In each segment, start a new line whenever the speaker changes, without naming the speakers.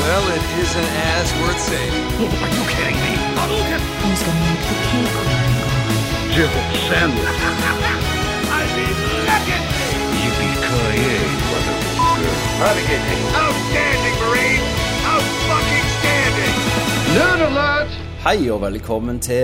Well, it isn't as worth saving.
Hei og velkommen til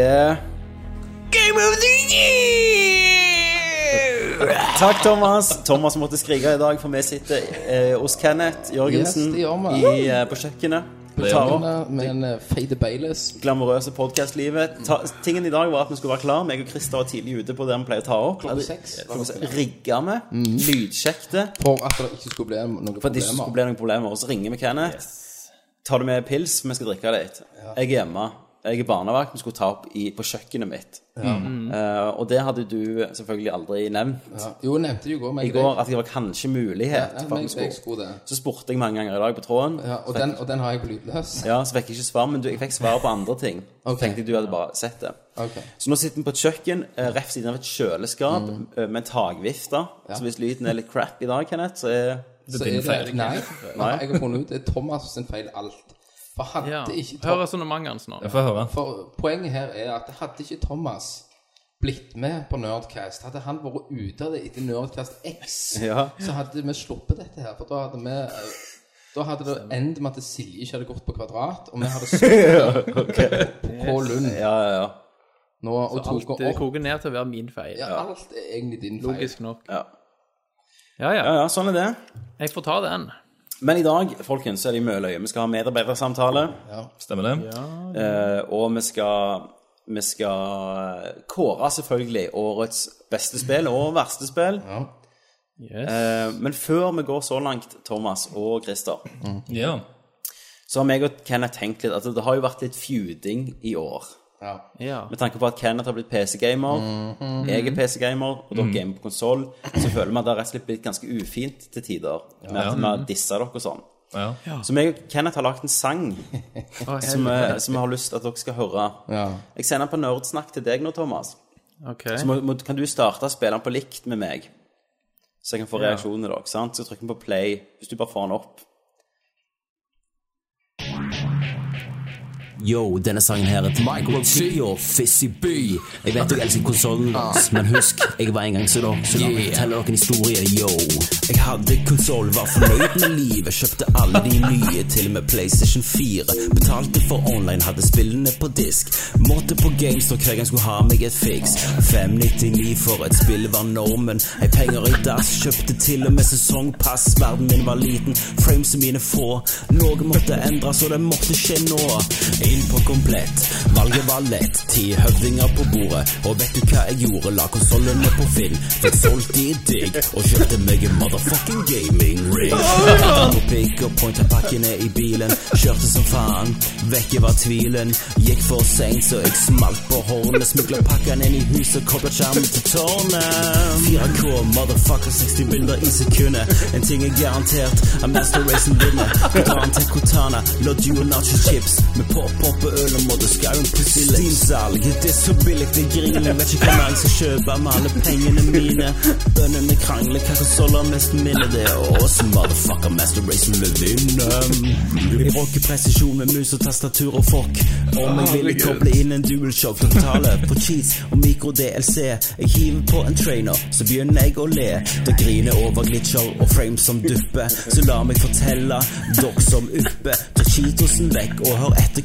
Game of the year!
Takk, Thomas. Thomas måtte skrike i dag, for vi sitter eh, hos Kenneth Jørgensen
Yes, det gjør vi.
i, eh, på kjøkkenet. Vi tar opp
Med- Med en eh, Fade Baileys.
glamorøse podcastlivet. Ta- Tingen i dag var at vi skulle være klar. meg og Christer var tidlig ute på det vi pleier å ta opp.
Klokka seks. Mm.
Klokka seks. Rigga vi. Lydsjekte.
For at det ikke skulle bli noen
For at det ikke skulle bli
problemer.
noen problemer. Og så ringer vi Kenneth. Tar du med pils? Vi skal drikke litt. Jeg er hjemme. Jeg er barnevakt. Vi skulle ta opp i, på kjøkkenet mitt. Eh, og det hadde du selvfølgelig aldri nevnt
Ja. Jo, jeg nevnte det jo i går. Men
i går, at det var kanskje mulighet.
Ja, ja,
for at
men
vi skulle.
jeg skulle det.
Så spurte jeg mange ganger i dag på tråden.
Ja, og, den, og den har jeg på lydløs.
Ja, så fikk jeg ikke svar, men du, jeg fikk svar på andre ting. Så
Ok.
tenkte jeg du hadde bare sett det.
Ok.
Så nå sitter vi på et kjøkken, eh, rett siden av et kjøleskap,
Mm.
eh, med takvifte. Så hvis lyden er litt crap i dag, Kenneth, så er
Så er det, nei, nei, jeg har funnet ut det er Thomas sin feil alt. For hadde
Ja.
ikke
Hør
Thomas,
resonnementet hans nå.
Få høre.
for Poenget her er at hadde ikke Thomas blitt med på Nerdcast, hadde han vært ute av det etter Nerdcast X,
Ja.
så hadde vi sluppet dette her. For da hadde vi eh, Da hadde det endt med at Silje ikke hadde gått på Kvadrat, og vi hadde sittet på K. Lund
Ja, ja, ja.
nå og tok
Det
henne opp.
koker ned til å være min feil.
Ja, alt er egentlig din feil.
Logisk nok.
Ja.
Ja, ja.
ja, ja sånn er det.
Jeg får ta den.
Men i dag, folkens, så er det i Møløye. Vi skal ha medarbeidersamtale,
Stemmer det?
eh, og vi skal, vi skal eh, kåre selvfølgelig årets beste spill og verste spill.
Yes.
Eh, Men før vi går så langt, Thomas og Christer,
Ja.
så har meg og Kenneth tenkt litt at det har jo vært litt feuding i år.
Ja.
Ja.
Med tanke på at Kenneth har blitt PC-gamer, jeg er PC-gamer, og
Mhm.
dere gamer på konsoll, så føler vi at det har rett og slett blitt ganske ufint til tider. Med at vi har dissa dere og sånn.
ja.
Så meg og Kenneth har lagt en sang
Å,
som
helvete.
vi- som vi har lyst til at dere skal høre.
Ja.
Jeg sender den på Nerdsnakk til deg nå, Thomas.
Ok.
Så må, må, kan du starte å spille den på likt med meg, så jeg kan få reaksjonene deres. sant? Så trykk den på play, hvis du bare får den opp.
Yo, denne sangen her er til Michael C og Fizzy B. Jeg vet du elsker konsollen, men husk, jeg var en gang så da. Så la meg fortelle dere en historie, yo. Jeg hadde konsoll, var fornøyd med livet. Kjøpte alle de nye, til og med PlayStation 4. Betalte for online, hadde spillene på disk. Måtte på GameStop hver gang jeg skulle ha meg et fiks. 599 for et spill var normen. Ei penger i dass, kjøpte til og med sesongpass. Verden min var liten, framesene mine få. Noe måtte endres, og det måtte skje nå. Inn på komplett, valget var lett. Ti høvdinger på bordet, og vet du hva jeg gjorde? La konsollene på Finn, fikk solgt de digg, og kjøpte meg en motherfucking gaming rig. På pick og pointa pakkene i bilen, kjørte som faen, vekke var tvilen. Gikk for seint, så jeg smalt på hornet. Smugla pakkene inn i huset, kobla skjermen til tårnet. 4K, motherfucker, 60 bilder i sekundet. En ting er garantert, a master race en vinner. Vi drar den til Cortana, lodge og nacho chips. Med pop-pop og øl og modder, skauen på silda. Svinsalget er så billig, det griner. Jeg Vet ikke hva mer jeg skal kjøpe med alle pengene mine. Bøndene krangler, hva konsoller mest minner det er oss, motherfucker, master race vil vinne. Jeg bruker presisjon med mus og tastatur og fork. Om jeg ville koble inn en dualshock-tale på cheese og mikro-DLC. Jeg hiver på en trainer, så begynner jeg å le. Det griner over glitcher og frames som dupper. Så la meg fortelle dere som uppe. Ta cheatosen vekk og hør etter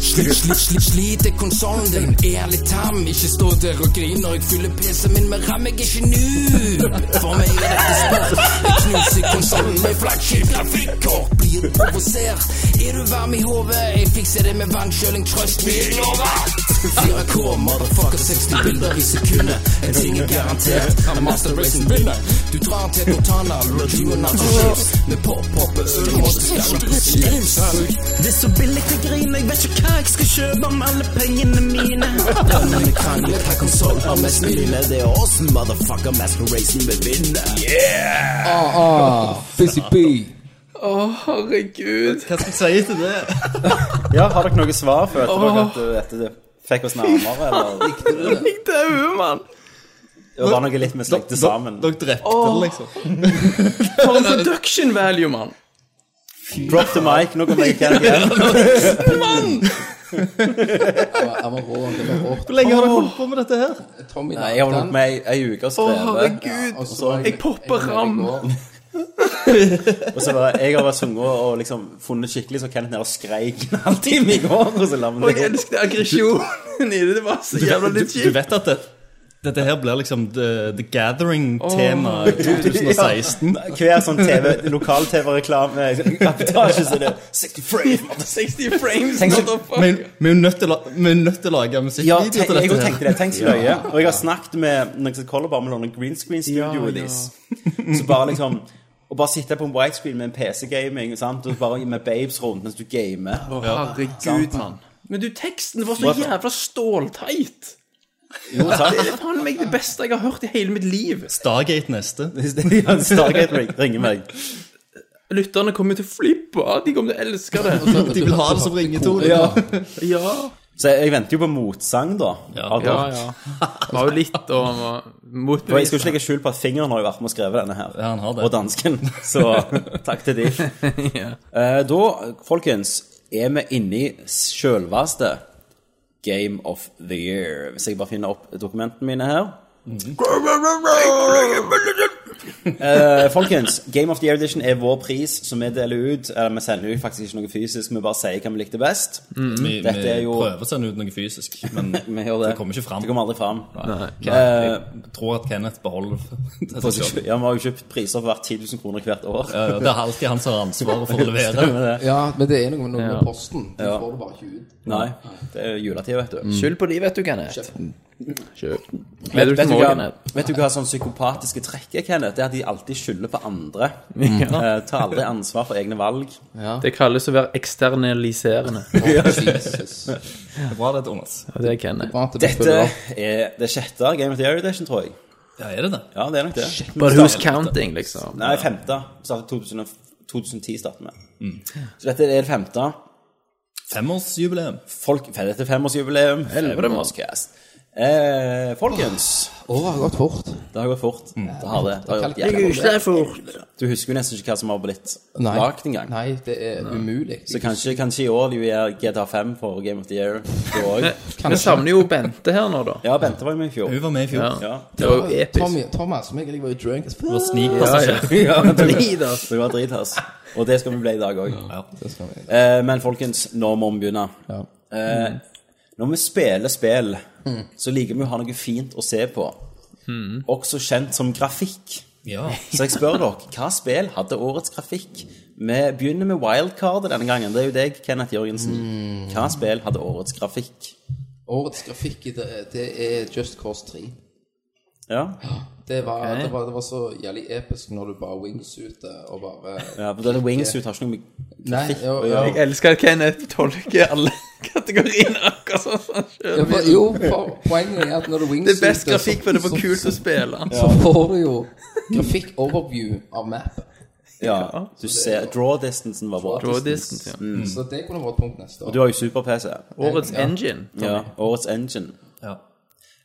Sliter konsollen din, er litt tam. Ikke stå der og grin når jeg fyller PC-en min med ram. Jeg er ikke noob. For meg er dette spill.
Musikkkonsollen med flaggskip Grafikkort blir provosert Er du varm i hodet? Jeg fikser det med vannkjøling Trøst meg, jeg lover 4K, motherfucker, 60 bilder i sekundet En ting er garantert Master Racing vinner Du drar til Cortana Regime Nato Chips Med pop, pop, øl, måte
Det er så billig til grine, jeg vet ikke hva jeg skal kjøpe om alle pengene mine.
Drømmene krangler Hva konsol har mest mine?
Det er oss, motherfucker, Master Racing vil vinne.
Ah, Fizzy B.
Herregud.
Hva skal jeg si til det?
Ja, har dere noe svar? Følte dere at uh, dette det fikk oss nærmere, eller?
Jeg dauer, mann.
Det var noe litt vi slengte sammen.
Dere drepte det, liksom.
For en production value, mann.
Drop the mic, nå kommer jeg ikke igjen.
Han var rå, det var rått.
Hvor lenge har dere holdt på med dette her?
Tommy
Nei, Jeg har holdt på med ei, ei uke og
Å,
skrevet.
herregud.
og
altså,
så
Jeg popper ram.
Og så var jeg har vært sunget og liksom funnet skikkelig, så Kenneth nede og skreik en halvtime i går. Og så la
Og
vi
jeg
det
elsker aggresjonen i det. Det var så jævla
Du,
litt
du
kjipt.
vet at det, dette her blir liksom The, the Gathering-tema i 2016.
Hver sånn TV, lokal-TV-reklame-kapitasje, så er det 60 frames.
60 frames,
Tenk så-
Men
motherfucker.
vi er jo nødt til å la- vi er nødt til å lage
Ja,
musikkvideo
tenk,
til
jeg
dette
også tenkte
her.
det. Tenk så løye. Og jeg har snakket med noen som kaller bare med noen green screen studio
Ja,
i this. Så bare liksom Å bare sitte på en white screen med en PC-gaming sant? og bare med babes rundt mens du gamer.
Å, herregud, mann. Men du, teksten var
Hva
så
for-
jævla stålteit.
Jo, takk.
Det er faen meg det beste jeg har hørt i hele mitt liv.
Stargate neste.
Ja, Stargate ring- ringer meg.
Lytterne kommer til å flippe av. De kommer til å elske det.
De vil ha det som ringetone.
Ja.
Ja.
Så jeg venter jo på motsang, da. av
Ja,
dere.
ja. Det var jo litt å
Og jeg skal
motbevise.
ikke legge skjul på at fingeren har jo vært med å skrive denne her.
Ja, han har det.
Og dansken. Så takk til de. Eh, da, folkens, er vi inne i selveste Game of the Year. Hvis jeg bare finner opp dokumentene mine her. Eh, folkens, Game of the Year Edition er vår pris som vi deler ut. Eller, vi sender jo faktisk ikke noe fysisk, vi bare sier hva vi likte best.
Vi, vi
Dette er jo-
prøver å sende ut noe fysisk, men
Vi gjør det.
Det kommer ikke fram.
Det kommer aldri Eh, fram.
jeg tror at Kenneth beholder det.
For seg
til seg selv.
selv. Ja, vi har jo kjøpt priser for hvert 10 000 kroner hvert år.
Ja, ja, Det er alltid han som har ansvaret for å levere.
ja, men det er noe med, noe med posten. Den får du bare ikke ut.
Nei, det er jo juletid, vet
Mm.
du.
Skyld på de, vet du, Kenneth.
Vet,
Vet du
vet, du
hva-
hva, vet du hva sånn psykopatiske trekk er, Kenneth? Det er at de alltid skylder på andre. Eh, tar aldri ansvar for egne valg.
Det kalles å være eksternaliserende.
Jesus.
Det er bra det, Thomas.
Og det er Kenneth.
Bra at vi
Dette
følger opp.
er det sjette Game of the Year Edition, tror jeg.
Ja, er det det?
Ja, det er nok det.
But who's counting, liksom?
Nei, femte. Startet 2000 2010 startet vi.
Mm.
Så dette er det femte.
Femårsjubileum.
Folk, dette er femårsjubileum.
Helvete, mann.
Femårscast. Eh, folkens,
Året har gått fort.
det har gått fort.
Mm.
Det har det. det har gjort
Jeg
jævla fort.
Det er fort.
Du husker jo nesten ikke hva som har blitt
Nei.
lagd engang.
Nei, det er umulig.
Så kanskje, kanskje i år de gjør GTA 5 for Game of the Year. Det var jo-
Vi savner jo Bente her nå, da.
Ja, Bente var jo med i fjor.
Hun var med i fjor.
Ja.
Ja.
Det var jo episk.
Tommy, Thomas og meg jeg var jo drunk as
Det var
fuck.
snikpassasjer.
Drit, ass. Det var drit, ass. Og det skal vi bli i dag òg. Eh, men folkens, nå må vi begynne. Eh, når vi spiller spill, så liker vi å ha noe fint å se på. Også kjent som grafikk.
Ja.
Så jeg spør dere, hva spill hadde årets grafikk? Vi begynner med wildcardet denne gangen. Det er jo deg, Kenneth Jørgensen. Hva spill hadde årets grafikk?
Årets grafikk i det, det er Just Cause 3.
Ja,
Det var, det var, det var så jævlig episk når du bare wingsuiter og bare
ja for denne wingsuit har ikke noe med
Nei, jo, jo,
Ja.
Jeg elsker at Kenneth tolker alle kategoriene akkurat sånn som han
Ja,
sjøl.
for, jo for, poenget er at når du
Det
wingsuiter
er sånn- best
så-
grafikk, for det var
så-
kult å spille.
Så får du jo grafikk overview av mappet.
Ja, du ser Draw distancen var bra.
Draw distance, ja.
Så det kunne vært punkt neste år.
Du har jo super-PC.
Årets engine.
Ja, årets engine.
ja.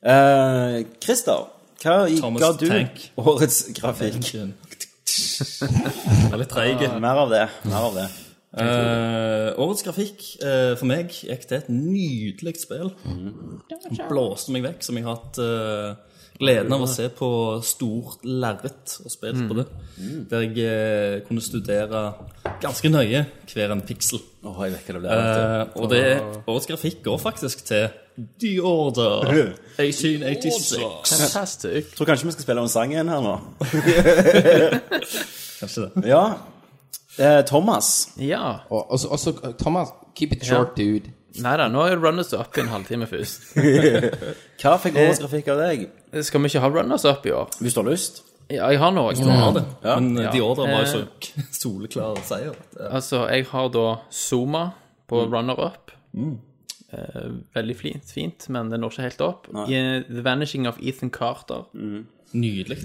Eh, Christer, hva
Thomas
ga du
Tank.
årets grafikk?
Engine. Jeg er litt treig.
Mer av det. Mer av det.
Eh, årets grafikk eh, for meg gikk til et nydelig spill. Den Blåste meg vekk, som jeg har hatt eh, gleden av å se på stort lerret og spilt på det. Der jeg eh, kunne studere ganske nøye hver en piksel.
Åh, jeg vet hva det ble. vet
Eh, og det årets grafikk går faktisk til The Order 1886.
Fantastisk.
du. Jeg tror kanskje vi skal spille en sang igjen her nå.
ikke det.
Ja. Eh, Thomas.
Ja.
Og og så- og så, Thomas, keep it short, dude.
Nei da, nå er runners up i en halvtime først. Eh,
Hva fikk årets grafikk av deg?
Skal vi ikke ha runners up i år?
Eh. Hvis du har lyst.
Ja, jeg har noe.
Men de ordrene var jo
Eh.
så soleklar seier. at, eh,
Altså, jeg har da Zuma på runner-up. Eh, veldig flint, fint, men det når ikke helt opp. I, eh, The Vanishing of Ethan Carter.
Nydelig.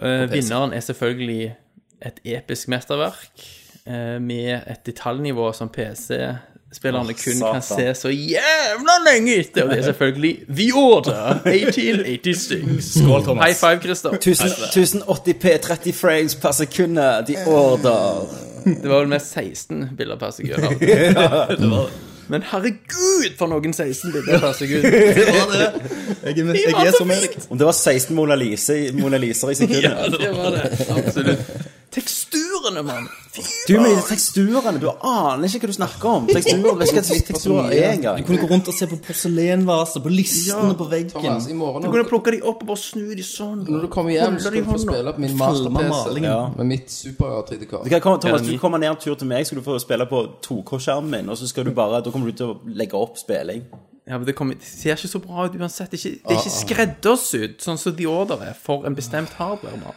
Eh, vinneren er selvfølgelig et episk mesterverk eh, med et detaljnivå som PC-spillerne kun
satan.
kan se så jævla lenge etter. Og det er selvfølgelig The Order 1886.
Skål, Thomas.
High five, Christer.
1080p, 30 frames per sekund, de order.
Det var vel mest 16 bilder per sekund. av det.
Mm.
Men herregud, for noen 16 bilder per sekund!
Jeg er,
jeg er som
Erik.
Om det var 16 Mona, Lise, Mona Liser i sekundet.
Det var det. Absolutt. Teksturene, mann! Fy
Du med teksturene, du aner ikke hva du snakker om. Teksturer, vet ikke hva teksturer er
Du
engang.
kunne gå rundt og se på porselenvaser, på listene på veggen.
Sånn,
Thomas, i morgen
Du kunne plukke de opp og bare snu de sånn.
når du kommer hjem, skal
Holde de i
du få
hånda.
spille på min
Falma
master-PC
malingen.
med mitt super 3D-kart.
Du kan komme, Thomas, du kommer ned en tur til meg, skal du få spille på 2K-skjermen min, og så skal du bare, da kommer du til å legge opp spilling.
Ja, men det, kommer- det ser ikke så bra ut uansett. Det er ikke, det er ikke skreddersydd, sånn som The Order er, for en bestemt hardware, mann.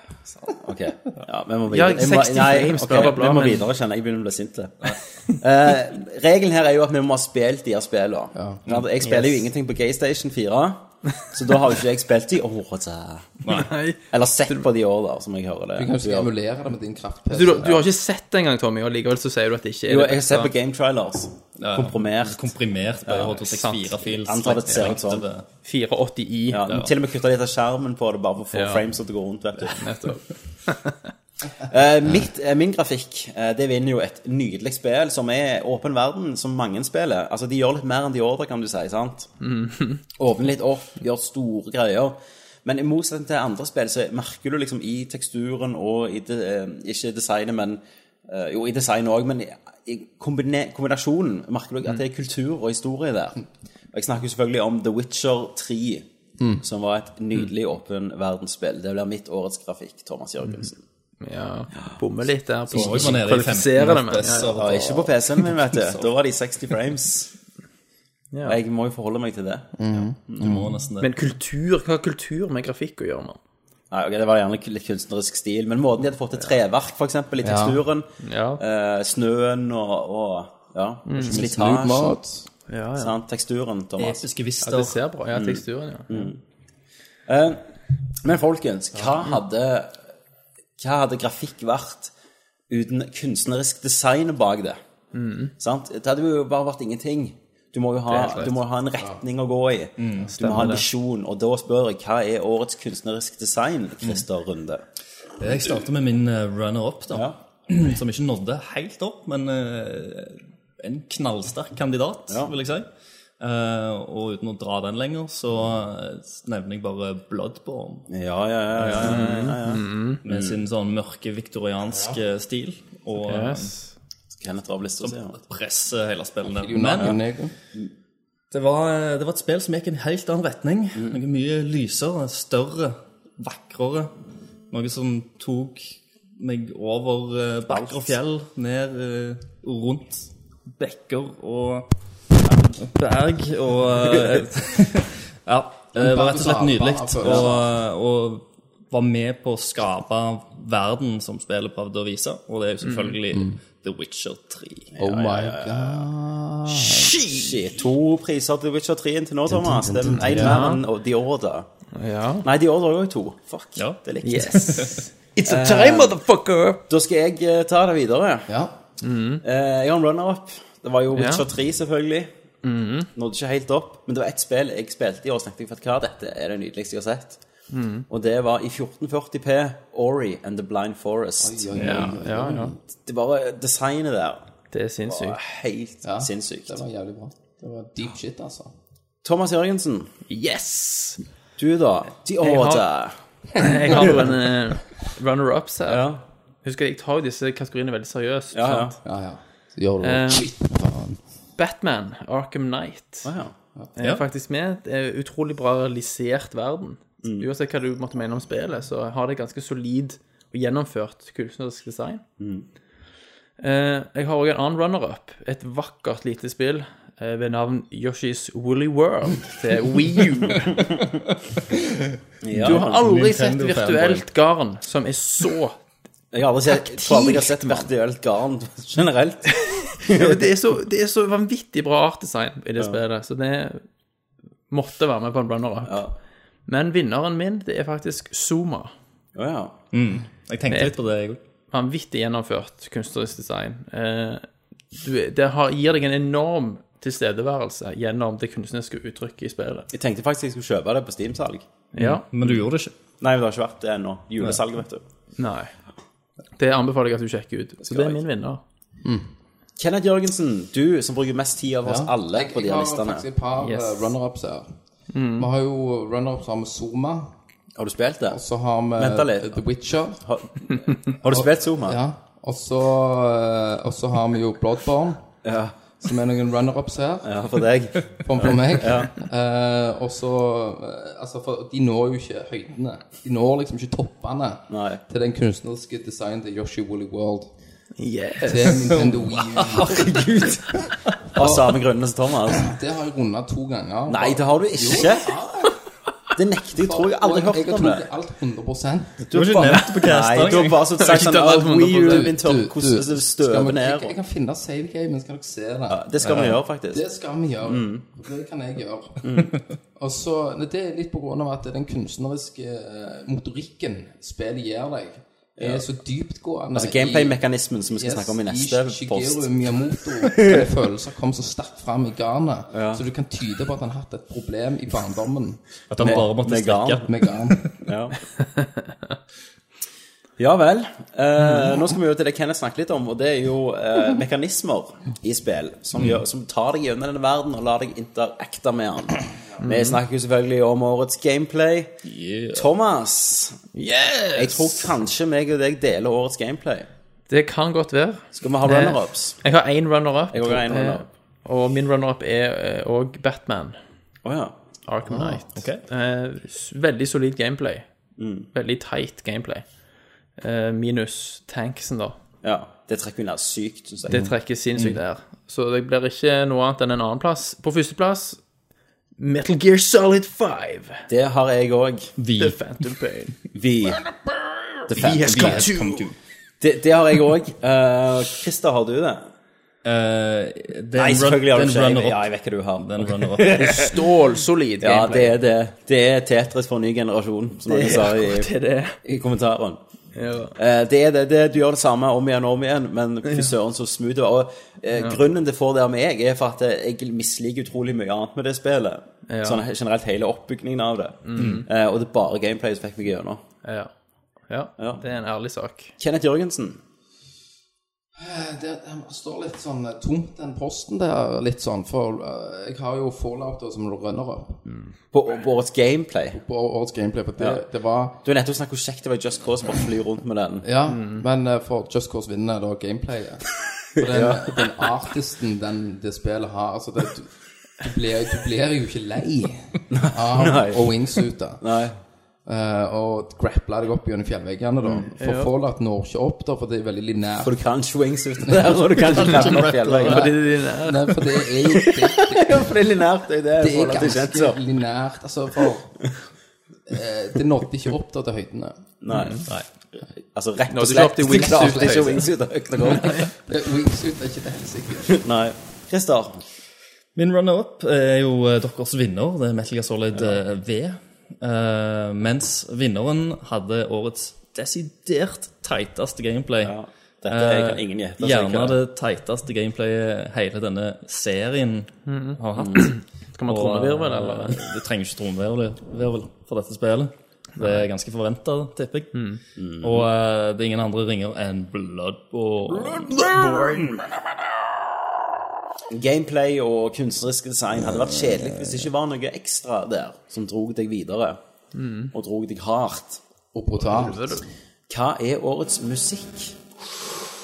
Ok, ja, vi må
Ja,
videre. Jeg må-
60
nei,
frames,
ok,
bla, bla, bla,
Vi må
men-
videre, kjenner jeg. Jeg begynner å bli sint. det. Eh, regelen her er jo at vi må ha spilt de her spillene. Ja, Jeg spiller jo ingenting på Gaystation 4, så da har jo ikke jeg spilt de året.
Nei.
Eller sett på de årene, som jeg hører
Du kan
det.
jo emulere det med din kraft-PC.
Du, du har ikke sett det engang, Tommy, og likevel så sier du at det ikke er
Jo,
det
jeg har sett på
beste.
Game Trailers. Komprimert.
Komprimert på
sant.
H264-fil.
Antar det ser ut sånn.
480i.
Ja, men Til og med kutta litt av skjermen på det, bare for å få
Ja.
frames til å gå rundt. vet du.
nettopp.
Eh, mitt, eh, min grafikk eh, det vinner jo et nydelig spill som er åpen verden, som mange spiller. Altså, De gjør litt mer enn de ordrer, kan du si. sant?
Mhm.
Åpner litt opp, gjør store greier. Men i motsetning til andre spill så merker du liksom i teksturen og i de, eh, Ikke i designet, men eh, Jo, i designet òg, men i, i kombine, kombinasjonen merker du at
Mhm.
det er kultur og historie der. Og jeg snakker jo selvfølgelig om The Witcher 3. Som var et nydelig åpen verdensspill. Det blir mitt årets grafikk, Thomas Jørgensen.
Ja, bomme litt der.
Så var
Ikke
man nede i
kvalifisere det,
15
men ja, ja.
Ja, ikke på PC-en min, vet du. Da var de 60 frames.
Ja.
Og jeg må jo forholde meg til det.
Du må nesten det.
Men kultur, hva har kultur med grafikk å gjøre, mann?
Nei, ok, Det var gjerne litt kunstnerisk stil, men måten de hadde fått til treverk, f.eks., i teksturen,
Ja.
eh, snøen og, og ja,
Nude
slitasjen
mods.
Ja, Mm. ja.
sant? Teksturen,
Eh,
Thomas.
Episke
ja det
vister.
ser bra Ja, teksturen, ja.
Eh, men folkens, hva hadde, hva hadde grafikk vært uten kunstnerisk design bak det? Sant? Det hadde jo bare vært ingenting. Du må jo ha,
Det er helt rett. Mm,
du må ha en retning å gå i. du må ha en
det.
visjon. Og da spør jeg hva er årets kunstnerisk design, Christer Runde?
Jeg starter med min eh, runner-up, da.
Ja.
Som ikke nådde helt opp, men eh, en knallsterk kandidat,
Ja.
vil jeg si. Eh, og uten å dra den lenger, så eh, nevner jeg bare Bloodborne.
Ja, ja, ja. ja, ja, ja, ja. Mm.
Med sin sånn mørke viktorianske stil. Og
Yes.
Kenneth Ravlistad sier det.
presser hele spillene.
Jo,
Men
naken, jeg.
Det var, det var et spill som gikk i en helt annen retning. Noe mye lysere, større, vakrere. Noe som tok meg over eh, bakker og fjell, ned eh, og rundt bekker og berg og eh, Ja. Det var rett og slett nydelig.
altså,
Og, og var med på å skape verden som spillet prøvde å vise, og det er jo selvfølgelig The Witcher 3.
Mm. Oh my god.
Shit, To priser til Witcher 3 til nå, Thomas. Det er én mer enn The Order.
Ja.
Nei, The Order er jo to. Fuck.
Ja.
Det er likt.
Yes. It's a time, motherfucker!
Da skal jeg eh, ta det videre.
Ja.
Eh, jeg har en runner-up. Det var jo
Ja. Mhm.
Witcher 3, selvfølgelig. Nådde ikke helt opp. Men det var ett spill jeg spilte i år, og snakket jeg for at hva dette er det nydeligste jeg har sett.
Mhm.
Og det var i 1440P Ori and the Blind Forest.
Oi, oi, oi.
Ja, ja.
Det bare designet der
Det er sinnssykt.
var helt
Ja,
sinnssykt.
Det var jævlig bra. Det var deep shit, altså.
Thomas Jørgensen,
Yes!
du da? De
har-
Order.
Jeg har jo en eh, runner-ups her.
Ja.
Husker jeg tar jo disse kategoriene veldig seriøst.
Ja, ja.
sant?
Ja, ja. Så gjør du
Eh.
det. Shit, faen.
Batman, Arkham Knight,
Ah, ja.
er faktisk med. Det er en
Mm.
utrolig bra realisert verden. Uansett hva du måtte mene om spillet, så har det ganske solid og gjennomført kunstnerisk design.
Mm.
Eh, jeg har òg en annen runner-up. Et vakkert lite spill eh, ved navn Yoshi's Woolly World til Wii U. Du har aldri sett
Nintendo
virtuelt garn som er så
Jeg har aldri sett, jeg tror aldri jeg har sett virtuelt garn generelt.
det, er så det er så vanvittig bra artdesign i det spillet, så det måtte være med på en runner-up.
Ja.
Men vinneren min, det er faktisk Zuma.
Å ja.
Jeg tenkte litt på det, jeg òg.
Vanvittig gjennomført kunstnerisk design. Eh, du, det har, gir deg en enorm tilstedeværelse gjennom det kunstneriske uttrykket i spillet.
Jeg tenkte faktisk jeg skulle kjøpe det på Steam-salg.
Ja,
Men du gjorde det ikke.
Nei, det har ikke vært det ennå. Julesalg, vet du.
nei. Det anbefaler jeg at du sjekker ut. Så det er min vinner.
Kenneth Jørgensen, du som bruker mest tid av oss alle på de
Jeg
her
har
listene. Mm.
faktisk et par
Yes.
eh, runner-ups her. Vi har jo runner-ups her med Zoma.
Har du spilt det?
Og så har vi eh,
Vent da litt.
The Witcher.
Har, har du spilt Zuma?
Ja. Og så eh, og så har vi jo Bloodborne,
Ja.
som er noen runner-ups her.
Ja, for deg.
For, for meg. Eh, og så eh, Altså, for de når jo ikke høydene. De når liksom ikke toppene
Nei.
til den kunstneriske designen til Yoshi Woolly World.
Yes.
Til Nintendo Wii U.
Herregud. Av samme grunnene som Thomas.
Det har jeg runda to ganger.
Nei, det har du ikke. Det nekter jeg. Tror jeg aldri har
Jeg
hørt
har
om det.
trodd alt 100
Du har
ikke nevnt det på casten
Nei, du har
engang.
bare sånn sagt
ikke
sånn
tatt alt
«Å, Wii U,
100%.
Intel, hvordan det
Skal vi-
støver
jeg,
ned
jeg
og
kan finne save gamen, skal dere se det.
Det skal vi gjøre, faktisk. Mm.
Det skal vi gjøre. Det kan jeg gjøre. og så, nei, Det er litt på grunn av at den kunstneriske eh, motorikken spillet gir deg, er så dyptgående
Altså Gameplay-mekanismen som vi skal snakke om i neste
i Shigeru
post.
Miyamoto sine følelser kom så sterkt fram i garnet, så du kan tyde på at han har hatt et problem i barndommen
At han bare måtte
med garn.
strikke.
med garn.
Ja, ja vel. Eh, nå skal vi jo til det Kenneth snakket litt om, og det er jo eh, mekanismer i spill
Mm.
som, gjør, som tar deg gjennom denne verden og lar deg interakte med den. Vi snakker jo selvfølgelig om årets gameplay. Thomas,
Yes!
jeg tror kanskje meg og deg deler årets gameplay.
Det kan godt være.
Skal vi ha runner-ups?
Jeg har én runner-up,
Jeg har en runner-up.
eh, og min runner-up er òg Batman.
Å ja.
Arkham
Ah,
Knight.
ok.
Eh, s- veldig solid gameplay.
Mm.
Veldig tight gameplay. Eh, minus tanksen, da.
ja. Det trekker unna sykt, syns jeg.
Det trekker sinnssykt
Mm.
her. Så det blir ikke noe annet enn en annen plass. På førsteplass Metal Gear Solid 5.
Det har jeg òg.
The Phantom Pain.
Vi. The Phantom Pain.
Yes, come to.
Det, det har jeg òg. Uh, Christer, har du det?
Eh, det er
Nei,
en run-
selvfølgelig har du
det er
ikke
en
det.
runner-up.
Ja, jeg vet ikke du har.
Det er en runner-up.
Stålsolid
Ja, det
gameplay.
er det. Det er Tetris for en ny generasjon, som noen sa
Det
i,
er det.
i kommentaren.
Ja.
Eh, det er det, det. Du gjør det samme om igjen og om igjen, men fy søren så smooth det var. Og eh, grunnen til for det med jeg, er for at jeg misliker utrolig mye annet med det spillet. Sånn generelt hele oppbyggingen av det. Eh, og det er bare gameplay som fikk meg gjennom.
Ja. ja.
Ja.
Det er en ærlig sak.
Kenneth Jørgensen.
Det, det står litt sånn eh, tomt den posten der, litt sånn, for eh, jeg har jo Fallout da som runner-up
På, på årets gameplay.
på årets gameplay, for det, det var
Du har nettopp snakket hvor kjekt det var i Just Cause bare fly rundt med den.
Ja, men eh, for Just Cause vinner da gameplayet. For den, den artisten den, det spillet har Altså, det, du, du, blir, du blir jo ikke lei av å wingsuite.
Nei.
eh, og grappla deg opp gjennom fjellveggene, da. For Fallout når ikke opp, da, for det er veldig linært.
For du kan ikke wings uten der, og du kan ikke klemme opp fjellet.
Fordi det er
Nei, for det er jo det, det,
Ja, for det er linært, det er det.
det er
forhold til kjent, så.
ganske linært. Altså, for eh, Det nådde ikke opp da til høydene.
Nei. Altså rett
Mm, Nå,
og
du
slett.
slapp i wingsuit.
klarte ikke wingsuit og høyt og godt.
Det- Wingsuit er ikke det sikkert.
Nei. Christer,
Min runner-up er jo eh, deres vinner. Det er Metal Gear Solid eh, V. Eh, mens vinneren hadde årets desidert teiteste gameplay.
Ja, dette
Eh,
kan ingen gjette, så jeg
Gjerne
kan-
det teiteste gameplayet hele denne serien har hatt.
Skal man
Og,
trommevirvel,
eh,
eller?
Du trenger ikke trommevirvel for dette spillet. Det er ganske forventa, tipper jeg.
Mm.
Og eh, det er ingen andre ringer enn Bloodborne.
gameplay og kunstnerisk design hadde vært kjedelig hvis det ikke var noe ekstra der som drog deg videre,
Mm.
og drog deg hardt.
Og brutalt.
Hva er årets musikk?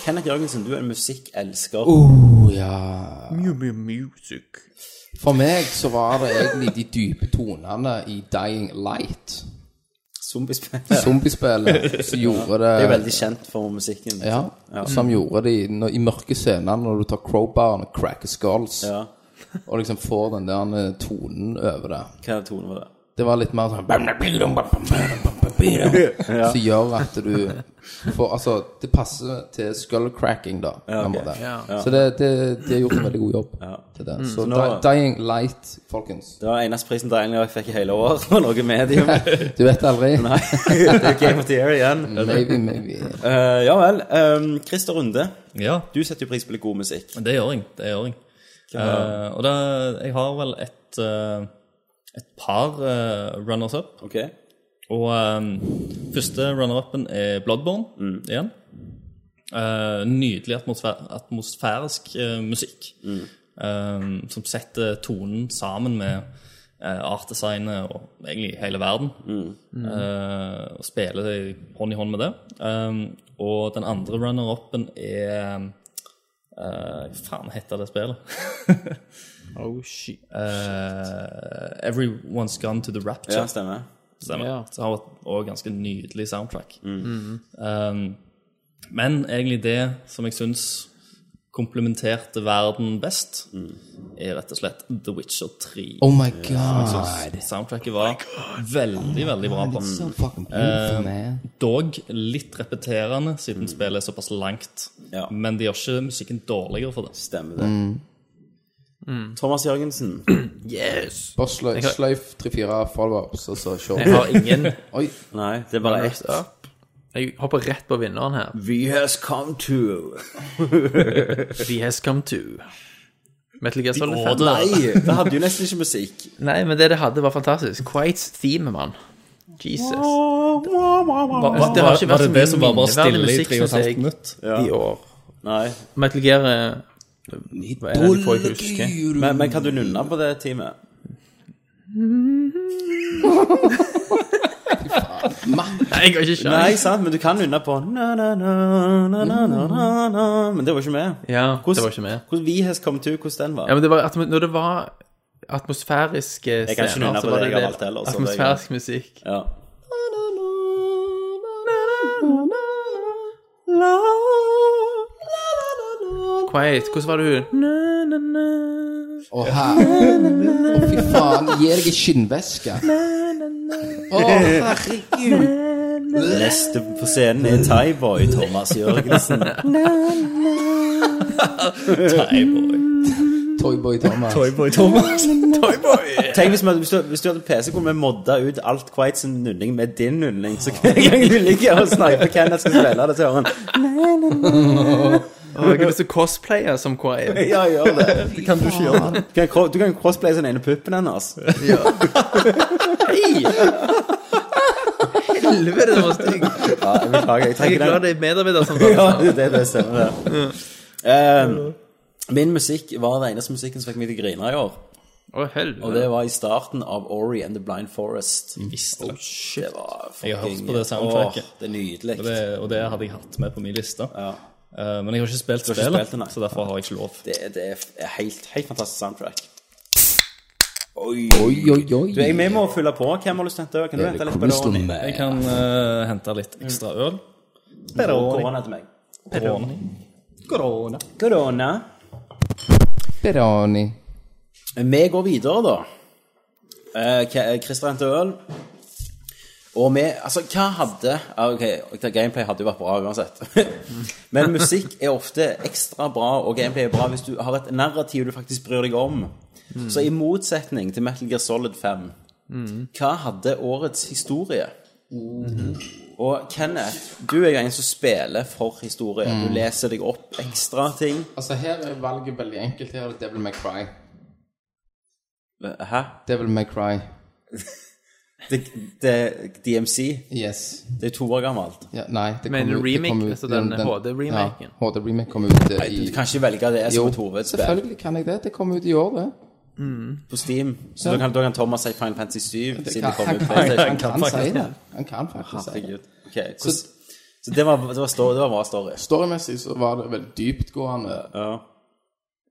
Kenneth Jørgensen, du er en musikkelsker.
Uh.
Oh, ja.
music.
For meg så var det egentlig de dype tonene i Dying Light
Zombiespill.
Zombiespillet som gjorde det
Det er jo veldig kjent for musikken.
Ja, som gjorde det i, når, i mørke scener, når du tar crowbaren og cracker skulls,
Ja.
og liksom får den der eh, tonen over det.
Hva tone var det?
Det var litt mer sånn Som gjør at du får Altså, det passer til skullcracking, da. på en
ok. Mm.
måte.
Ja.
Så det, det, de har gjort en veldig god jobb til det. Så
nå-
Di- Dying Light, folkens.
Det var eneste prisen Dying Light fikk i hele år, og noe medium.
Du vet aldri.
Nei, det er Game of the Year igjen.
Maybe, maybe.
Eh, ja vel. ehm, Christer Runde,
Ja,
du setter jo pris på litt god musikk.
det gjør jeg. Det gjør jeg. Eh, og da, jeg har vel et, eh, et par eh, runners-up.
Ok?
Og eh, første runner-upen er Bloodborne igjen. Eh, nydelig atmosfæ- atmosfærisk eh, musikk. eh, som setter tonen sammen med eh, artdesignet og egentlig hele verden.
Mm.
Eh, og spiller det hånd i hånd med det. Eh, og den andre runner-upen er eh, Hva faen heter det spillet?
Oh, shit.
Eh, Everyone's Gone to the Rapture.
Ja, stemmer.
Stemmer.
Ja. Mm.
Så har også ganske nydelig soundtrack. Um, men egentlig det som jeg syns komplementerte verden best, er rett og slett The Witcher 3.
Oh my god.
Soundtracket var veldig, veldig bra. på.
So fucking beautiful, man.
Dog litt repeterende, siden spillet er såpass langt.
Ja.
Men de gjør ikke musikken dårligere for det.
Stemmer det.
Mm.
Thomas Jørgensen.
Bare sløy- sløyf tre-fire follow-ups, og så
Jeg
kjør.
har ingen
Oi.
Nei, det er bare ett.
Jeg hopper rett på vinneren her.
We has come to
The has come to. Metal Gear Solid 5.
Nei, det hadde jo nesten ikke musikk.
Nei, men det det hadde, var fantastisk. Quates theme, mann. Jesus. Altså, det har ikke vært
Var
så
det
mye
det som var bare
minneverdig
stille i
musikk,
tre og et
synes jeg.
halvt minutt?
i år.
Nei.
Metal Gear eh, Hva er det de får eh? jeg ikke huske?
Men, men kan du nunne på det teamet?
Nei, jeg har ikke
Nei,
sjans.
sant, men du kan nunne på na, na, na, na, na, na, na, na. Men det var ikke med.
Ja, det
Hvordan-
var ikke med.
Hvordan We has come to, hvordan den var?
Ja, men det var, atmo- når det var atmosfæriske
kan ikke nynne
scener,
på
så var
det
det
jeg har
del
valgt heller, så det er
atmosfærisk musikk.
Ja.
Quiet. Hvordan var det hun?
Å, her. Å, fy faen. Gi deg en skinnveske. Å, herregud.
Neste på scenen er Thaiboy, Thomas Jørgensen.
Toyboy Thomas.
Tenk hvis, man, hvis, du, hvis du hadde PC, kunne vi modda ut alt Quites nunning med din nunning. Så hver gang du ligger og sniper Kenneth skal spille det, så hører han
Åh, Jeg har lyst til å cosplaye som Quiet.
Ja, gjør det. Det kan du ikke gjøre. Du kan, kro- du kan crossplay den ene puppen hennes.
Helvete, det var stygg.
Ja, jeg beklager. Jeg
Jeg
trenger
er glad
den.
det er medarbeider som
Ja, det, det stemmer. det. Eh, min musikk var den eneste musikken som fikk meg til å grine i år.
Å, helvete.
Og det var i starten av Ori and the Blind Forest.
Visste det.
Det var fucking
Jeg har hørt på det soundtracket.
Åh, det er nydelig.
Og det, og det hadde jeg hatt med på min liste.
Ja.
Eh, men jeg har ikke spilt
Du har ikke
spillet,
spilt det, nei.
så derfor har jeg ikke lov.
Det, det er helt, helt fantastisk soundtrack. Oi.
Oi, oi, oi.
Du, jeg vi må fylle på. Hvem har lyst til å hente øl? Kan du
Er det
hente litt på det? Ronny?
Crystal Man?
Jeg kan eh, hente litt ekstra øl.
Korona til meg.
Peroni. Corona.
Korona.
Peroni.
Vi går videre, da. Eh, K- Christer henter øl. Og vi Altså, hva hadde ah, Ok, gameplay hadde jo vært bra uansett. Men musikk er ofte ekstra bra, og gameplay er bra hvis du har et narrativ du faktisk bryr deg om. Så i motsetning til Metal Gear Solid 5, hva hadde årets historie? Og Kenneth, du er jo en som spiller for historie. Du leser deg opp ekstra ting.
Altså, her er valget veldig enkelt. Her er det Devil May Cry.
Hæ?
Devil May Cry.
Det, det, DMC?
Yes.
Det er to år gammelt.
Ja, nei, det
Men
kom ut- det
remake,
kom ut-
altså den
Ja,
HD-remaken.
HD-remake kom ut eh, i
Du kan ikke velge det som
Jo,
et hovedspill
selvfølgelig kan jeg det. Det kom ut i år, det.
på Steam. Så da kan, da kan Thomas si Final Fantasy 7 siden det
Han,
kommer
han,
ut på
kan- han,
PlayStation.
kan si det. Han kan faktisk si det.
Herregud. Ok, hvordan- Så det var, det, var story, det var bra story.
Storymessig så var det veldig dyptgående.
Ja.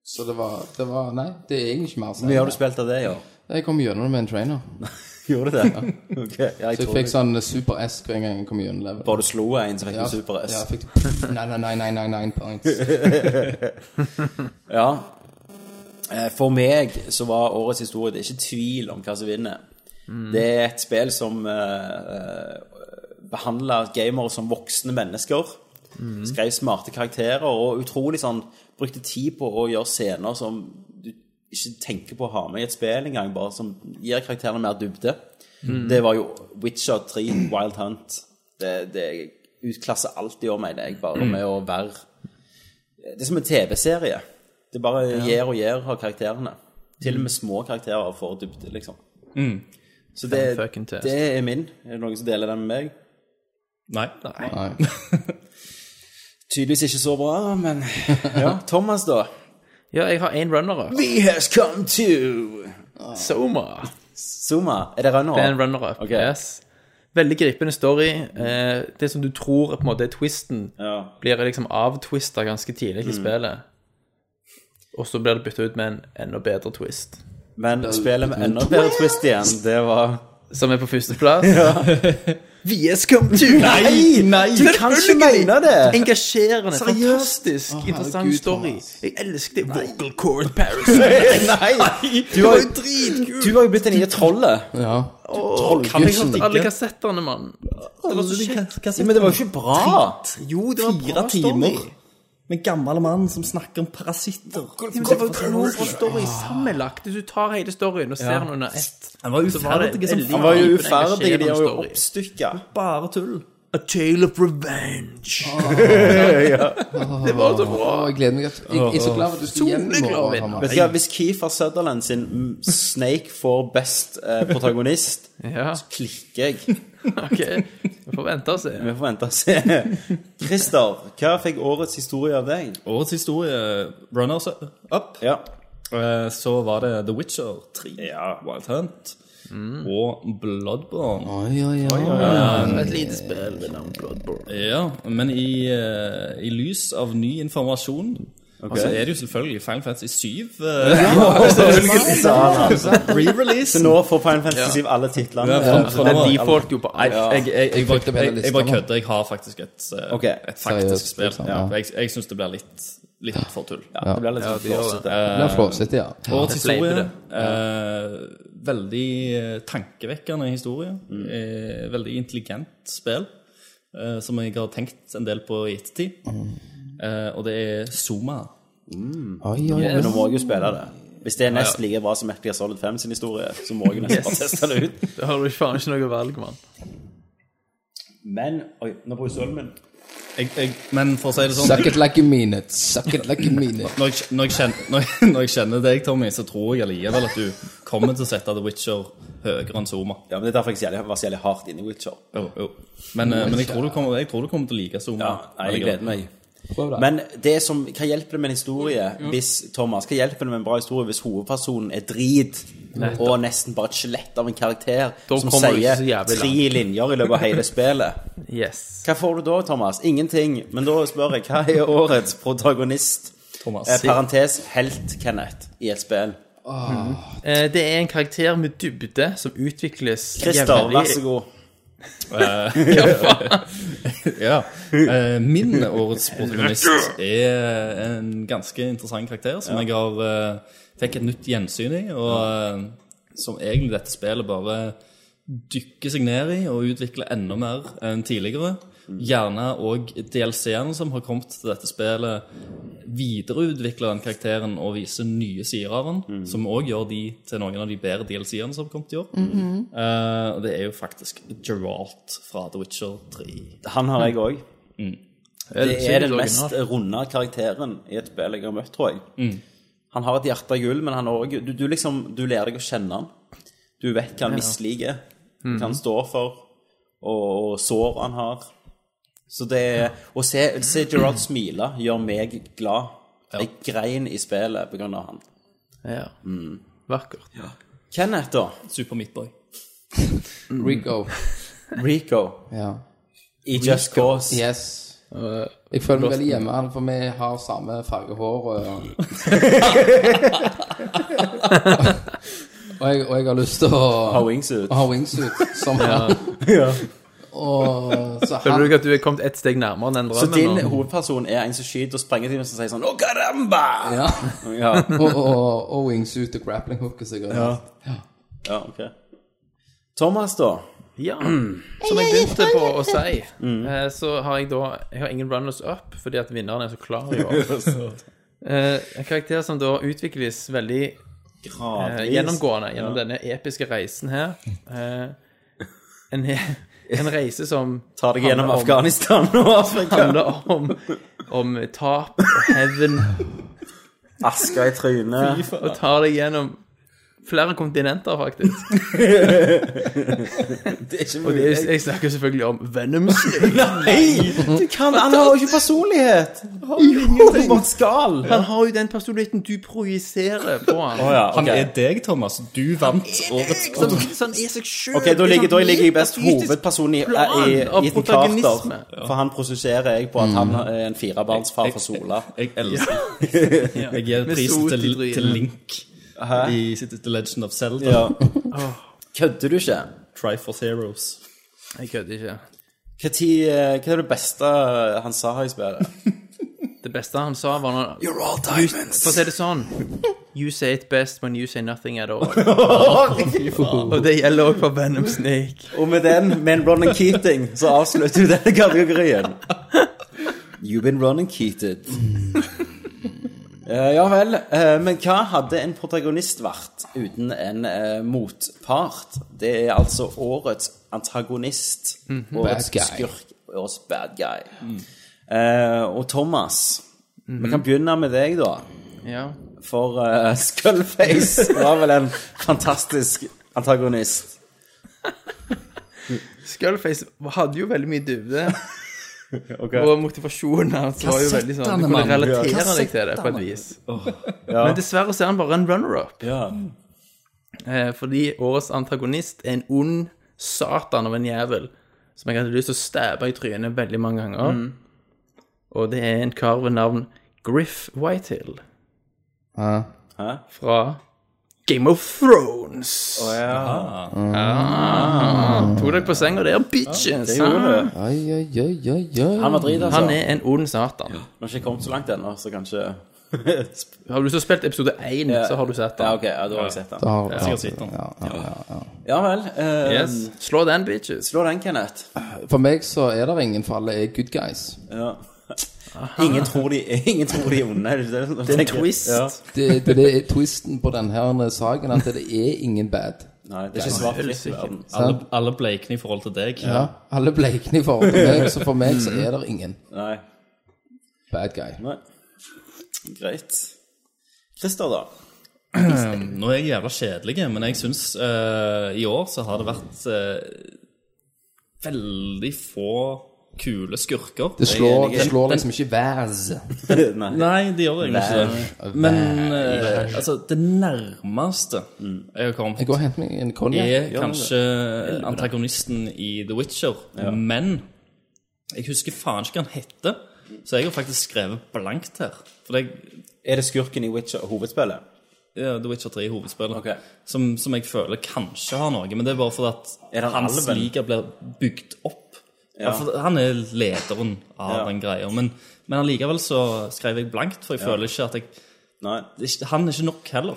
Så det var, det var Nei, det er egentlig ikke mer å si.
Hvor mye har du spilt av det i år?
Jeg kom gjennom det med en trainer.
Gjorde det? Ok, ja, jeg
Så jeg
tror
fikk sånn Super S hver gang jeg kom gjennom level.
Bare du slo en, så fikk du
Ja,
Super S.
Ja, jeg fikk nei, nei, nei, nei, nei, nei, points.
Ja. Eh, For meg så var årets historie Det er ikke tvil om hva som vinner. Det er et spill som eh, behandler gamere som voksne mennesker. Skrev smarte karakterer og utrolig sånn Brukte tid på å gjøre scener som du ikke tenker på å ha med i et spill engang, bare som gir karakterene mer dybde. Det var jo Witcher 3, Wild Hunt. Det, det utklasser alt i år, mener jeg,
Mm.
bare med å være det er som en TV-serie. Det bare gjer og gjer av karakterene. Til og med små karakterer får dybde, liksom. Så det,
Fem Mm. fucking test.
det er min. Er det noen som deler den med meg?
Nei. Nei.
Nei.
Tydeligvis ikke så bra, men ja. Thomas, da.
Ja, jeg har én runner-up.
We has come to
Soma.
Zuma. Er det runner?
Det er en runner-up.
Ah, Ok.
Yes. Veldig gripende story. Eh, det som du tror på en måte er twisten,
Ja. Mm.
blir liksom avtwista ganske tidlig i spillet. Og så blir det bytta ut med en enda bedre twist.
Men spillet med enda bedre twist igjen, det var
Som er på førsteplass.
We has come to Nei! Du kan ikke mene det!
Engasjerende,
Seriøst?
fantastisk, interessant
herregud,
story.
Thomas.
Jeg elsker det. Vocal cord Paris.
Nei! Du har, du har jo blitt det nye trollet.
Ja.
Kan jeg sånn
Alle kassettene, mann.
Det var så kjent.
Ja, Men det var jo ikke bra.
Jo, det var
Fire timer.
Med en gammel mann som snakker om parasitter.
Det var jo to år fra story sammenlagt. Hvis du tar hele storyen og ser den under ett
Han var
så var det
uferdig som
veldig
faen.
Han var jo
Nei,
uferdig,
det skjer
de har
noen
jo
story.
oppstykka.
Bare tull.
A tale of revenge.
Det var så bra. Jeg gleder meg. at- Jeg, jeg er så glad for at du skal hjem i
Soleklar
morgen.
Vet
Hamar.
du hva, Hvis Keefer Sutherland sin mm, Snake får best eh, protagonist,
Ja,
klikker jeg.
OK. Vi får vente og se.
Vi får vente og se. Christer, hva fikk årets historie av deg?
Årets historie, runners up,
Ja.
eh, så var det The Witcher 3, Wild Hunt og Bloodborne.
Oi, oi, oi.
Et lite spill ved navn Bloodborne.
Eh, Ja, men i, eh, i lys av ny informasjon Så er det jo selvfølgelig Final Fantasy 7 eh, re-release.
Så nå får Final Fantasy 7 alle titlene.
for- for-
Den default jo på alt.
Jeg, jeg, jeg,
fikk det
bare-
på hele
jeg, jeg bare
lista nå.
kødder. Jeg har faktisk et, eh,
Ok.
et faktisk
Seriøst,
spill.
liksom,
Ja.
ja.
Jeg, jeg syns det blir litt, litt for tull.
Ja, det blir litt sånn flåsete.
Det er flåsete, ja.
Årets
det fleiper
historie. eh, veldig eh, tankevekkende historie.
Mm.
Eh, veldig intelligent spill, eh, som jeg har tenkt en del på i ettertid.
Mm.
Eh, og det er Zuma.
Oi, oi,
Men
oi.
nå må jeg jo spille det. Hvis det er nesten like bra som Metal Gear Solid 5 sin historie, så må jeg jo nesten bare teste det ut.
Da har du faen ikke noe valg, mann.
Men Oi, nå bruker jeg sølen min.
Jeg, jeg, men for å si det sånn
Suck it like you mean it. Suck it like you mean it.
når jeg, kjen- når, jeg kjenner, når, jeg, når jeg kjenner deg, Tommy, så tror jeg allikevel at du kommer til å sette The Witcher høyere enn Zuma.
Ja, men Det er derfor jeg så jævlig- var så jævlig hardt inne i Witcher.
Jo, jo. Men, eh, men jeg, tror du kommer, jeg tror du kommer til å like Zuma.
Ja, nei, jeg gleder meg.
Prøv det.
Men det som, hva hjelper det med en historie
Mm,
hvis Thomas, hva hjelper det med en bra historie hvis hovedpersonen er drit og nesten bare et skjelett av en karakter
Da
som
kommer du ikke
sier
så jævlig
tre linjer i løpet av hele spillet?
Yes.
Hva får du da, Thomas? Ingenting. Men da spør jeg, hva er årets protagonist?
Thomas.
Eh, parentes helt, Kenneth, i et spill.
Eh, Det er en karakter med dybde som utvikles
Christer, vær så god.
Ja. Eh, min årets protagonist er en ganske interessant karakter som jeg har eh, fikk et nytt gjensyn i, og eh, som egentlig dette spillet bare dykker seg ned i og utvikler enda mer enn tidligere. Gjerne òg DLC-ene som har kommet til dette spillet, videreutvikler den karakteren og viser nye sider av den, som òg gjør de til noen av de bedre DLC-ene som har kommet i år. Eh, og det er jo faktisk Geralt fra The Witcher 3.
Han har jeg òg. Det er den mest
originalt.
runde karakteren i et spill jeg har møtt, tror jeg.
Mm.
Han har et hjerte av gull, men han har også, du, du, liksom, du lærer deg å kjenne han. Du vet hva han misliker, hva
Mhm.
han står for, og, og sår han har. Så det er, Å se, se Gerard smile gjør meg glad. Jeg grein i spillet på grunn av han.
Ja.
Mm.
Vakkert.
Kenneth, da?
Super Meatboy.
Rico.
Rico
Ja.
i Just Cause.
Yes.
Uh,
Jeg føler meg veldig hjemme, for vi har samme farge hår. Og, Og jeg, og jeg har lyst til å
Ha wingsuit.
å ha wingsuit som
Ja.
Og så
Føler du
han
ikke at du er kommet ett steg nærmere den
Så din
drømmen? nå?
hovedperson er en som skyter og sprenger til og sier sånn Å, caramba!
Ja.
Ja.
Og, og, og wingsuit og grappling hook og sikkert.
Ja. ja, ok. Thomas, da?
Ja. Som jeg begynte på å si,
Mm.
eh, så har jeg da Jeg har ingen runners up fordi at vinneren er så klar i år. Eh, En karakter som da utvikles veldig eh,
Gradvis.
gjennomgående gjennom denne episke reisen her. Eh, en, en reise som
Ta deg gjennom
handler om-
Afghanistan og Afrika.
handler om, om tap og hevn,
Aska i trynet.
og tar deg gjennom flere kontinenter, faktisk.
Det er ikke
Og det,
mulig.
jeg snakker selvfølgelig om Venoms
Nei! Du kan, han har jo ikke personlighet! Jo, bare skal.
Han har jo den personligheten du projiserer på han.
Å ja,
Han
ok.
er deg, Thomas. Du vant årets
Sånn, sånn er sånn seg selv.
Ok, da ligger, da ligger jeg best
Metafysisk
hovedpersonen i,
plan
i, Mm.
av
i Ethan
protagonisme.
Carter. For han prosesserer jeg på at han er en firebarnsfar fra Sola.
Jeg elsker Jeg gir
Med
prisen
sot i
til,
trynet.
til Link i The Legend of Zelda.
Ja. Kødder du ikke?
Try for Heroes.
Jeg kødder ikke.
Hva, tid, eh, hva er det beste han sa i spillet?
Det beste han sa, var når You're all diamonds. For å si det sånn You say it best when you say nothing at all. Og det gjelder også for Venom Snake.
Og med den, med en Ronan Keating, så avslutter vi denne kategorien. You've been Ronan Keated. Eh, ja vel, eh, men hva hadde en protagonist vært uten en eh, motpart? Det er altså årets antagonist, årets
Bad guy.
skurk, årets bad guy. Eh, og Thomas, vi kan begynne med deg da,
Ja.
for eh, Skullface var vel en fantastisk antagonist.
Skullface hadde jo veldig mye dybde,
Okay.
og motivasjonen hans var jo veldig sånn
Kassettene,
Du kunne
mann.
relatere deg til det på et vis. Men dessverre så er han bare en runner-up,
ja.
eh, fordi årets antagonist er en ond satan av en jævel som jeg hadde lyst til å stabbe i trynet veldig mange ganger. Og det er en kar ved navn Griff Whitehill
Ja.
fra Game of Thrones. Ah, tok dere på senga der, bitches? ah.
Ai, ai, ai, ai, ai.
Han var drit, altså.
Han er en ond satan.
Nå har jeg ikke kommet så langt ennå, så kanskje
Har du så spilt episode 1, så har du sett den.
Ja, ok, ja, da har jeg sett den.
Da har-
Sikkert sitter han.
ja, ja, ja.
Ja vel. eh,
Yes. Slå den, bitches.
Slå den, Kenneth.
For meg så er det ingen, for alle er good guys.
Ja. Ingen tror de ingen tror de er onde. er Det ikke det de
Det er en
tenker?
twist.
Ja.
Det, det, det er twisten på denne saken, at det er ingen bad.
Nei, det er ikke svart-hvitt i verden.
Alle, alle bleikner i forhold til deg.
Ja, alle blekner i forhold til meg, så for meg så er det ingen
Nei.
bad guy.
Nei. Greit. Christer, da?
Nå er jeg jævla kjedelig, men jeg syns eh, i år så har det vært eh, veldig få kule skurker.
Det slår,
Jeg er enig.
det slår liksom ikke værs.
Nei.
Nei, de gjør egentlig ikke det. Men eh, altså, det nærmeste jeg har kommet
Jeg går og henter meg en
er
konjakk.
kanskje antagonisten i The Witcher, men jeg husker faen ikke hva han heter, så jeg har faktisk skrevet blankt her. For det er
Er det skurken i Witcher hovedspillet?
ja, The Witcher 3 hovedspillet,
Ok.
som, som jeg føler kanskje har noe, men det er bare fordi at
Er det en
hans
alven?
liga blir bygd opp. Ja. for han er lederen av
Ja.
den greia, men, men allikevel så skrev jeg blankt, for jeg føler ikke at jeg
Nei.
det er ikke, han er ikke nok heller.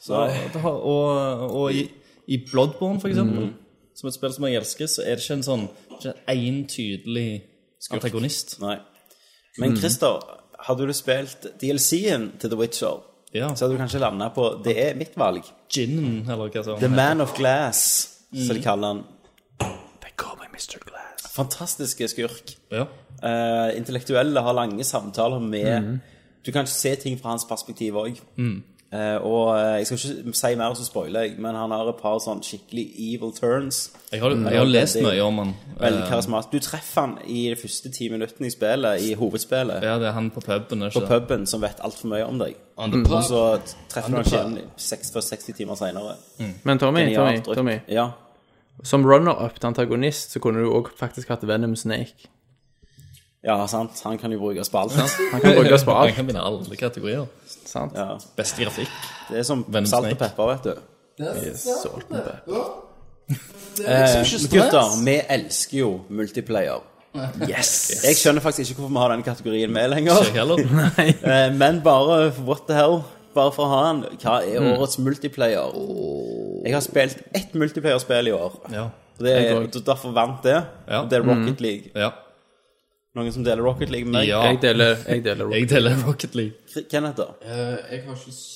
Så,
Nei.
det har, og og i, i Bloodborne, for
Mm.
eksempel, som et spill som jeg elsker, så er det ikke en sånn ikke en tydelig antagonist.
Nei.
Mm.
Men Christer, hadde du spilt DLC-en til The Witcher,
Ja.
så hadde du kanskje landa på Det er mitt valg.
Ginen, eller hva som
The Man of Glass, som de kaller han.
They call me Mr. Glass.
Fantastiske skurk.
Ja.
Eh, intellektuelle har lange samtaler med
Mm.
Du kan se ting fra hans perspektiv òg. og eh, jeg skal ikke si mer, så spoiler jeg, men han har et par sånn skikkelig evil turns.
Jeg
Mm.
har, jeg har lest
Veldig-
mye om han.
Veldig
Eh,
karismatisk. Du treffer han i de første ti minuttene i spillet, i hovedspillet,
Ja, det er han på puben, er
på
ikke det?
puben, som vet altfor mye om deg. Og
Mm.
Pub.
så treffer du han igjen seks- for 60 timer seinere.
Men Tommy, Tommy, Tommy
Ja.
som runner-up til antagonist så kunne du òg faktisk hatt Venom Snake.
ja, sant. Han kan jo bruke spalt.
Han kan brukes på
Han
alt.
kan vinne alle kategorier.
sant?
Ja.
Beste grafikk.
Det er som
Venom
salt og
Snake.
pepper, vet du.
Salt and pepper.
Eh, gutter, vi elsker jo multiplayer.
Yes!
Jeg skjønner faktisk ikke hvorfor vi har den kategorien med lenger.
Jeg heller.
Eh, men bare what the hell. Bare for å ha den. Hva er
Mm.
årets multiplayer? Jeg har spilt ett multiplayer-spill i år.
Ja.
Og Det er,
Jeg òg.
og derfor vant det.
Ja. Mm.
Og det er Rocket League.
ja.
Noen som deler Rocket League med meg?
Ja.
Jeg deler, jeg deler
Jeg deler Rocket League.
K- Kenneth, da?
Eh, jeg har ikke s-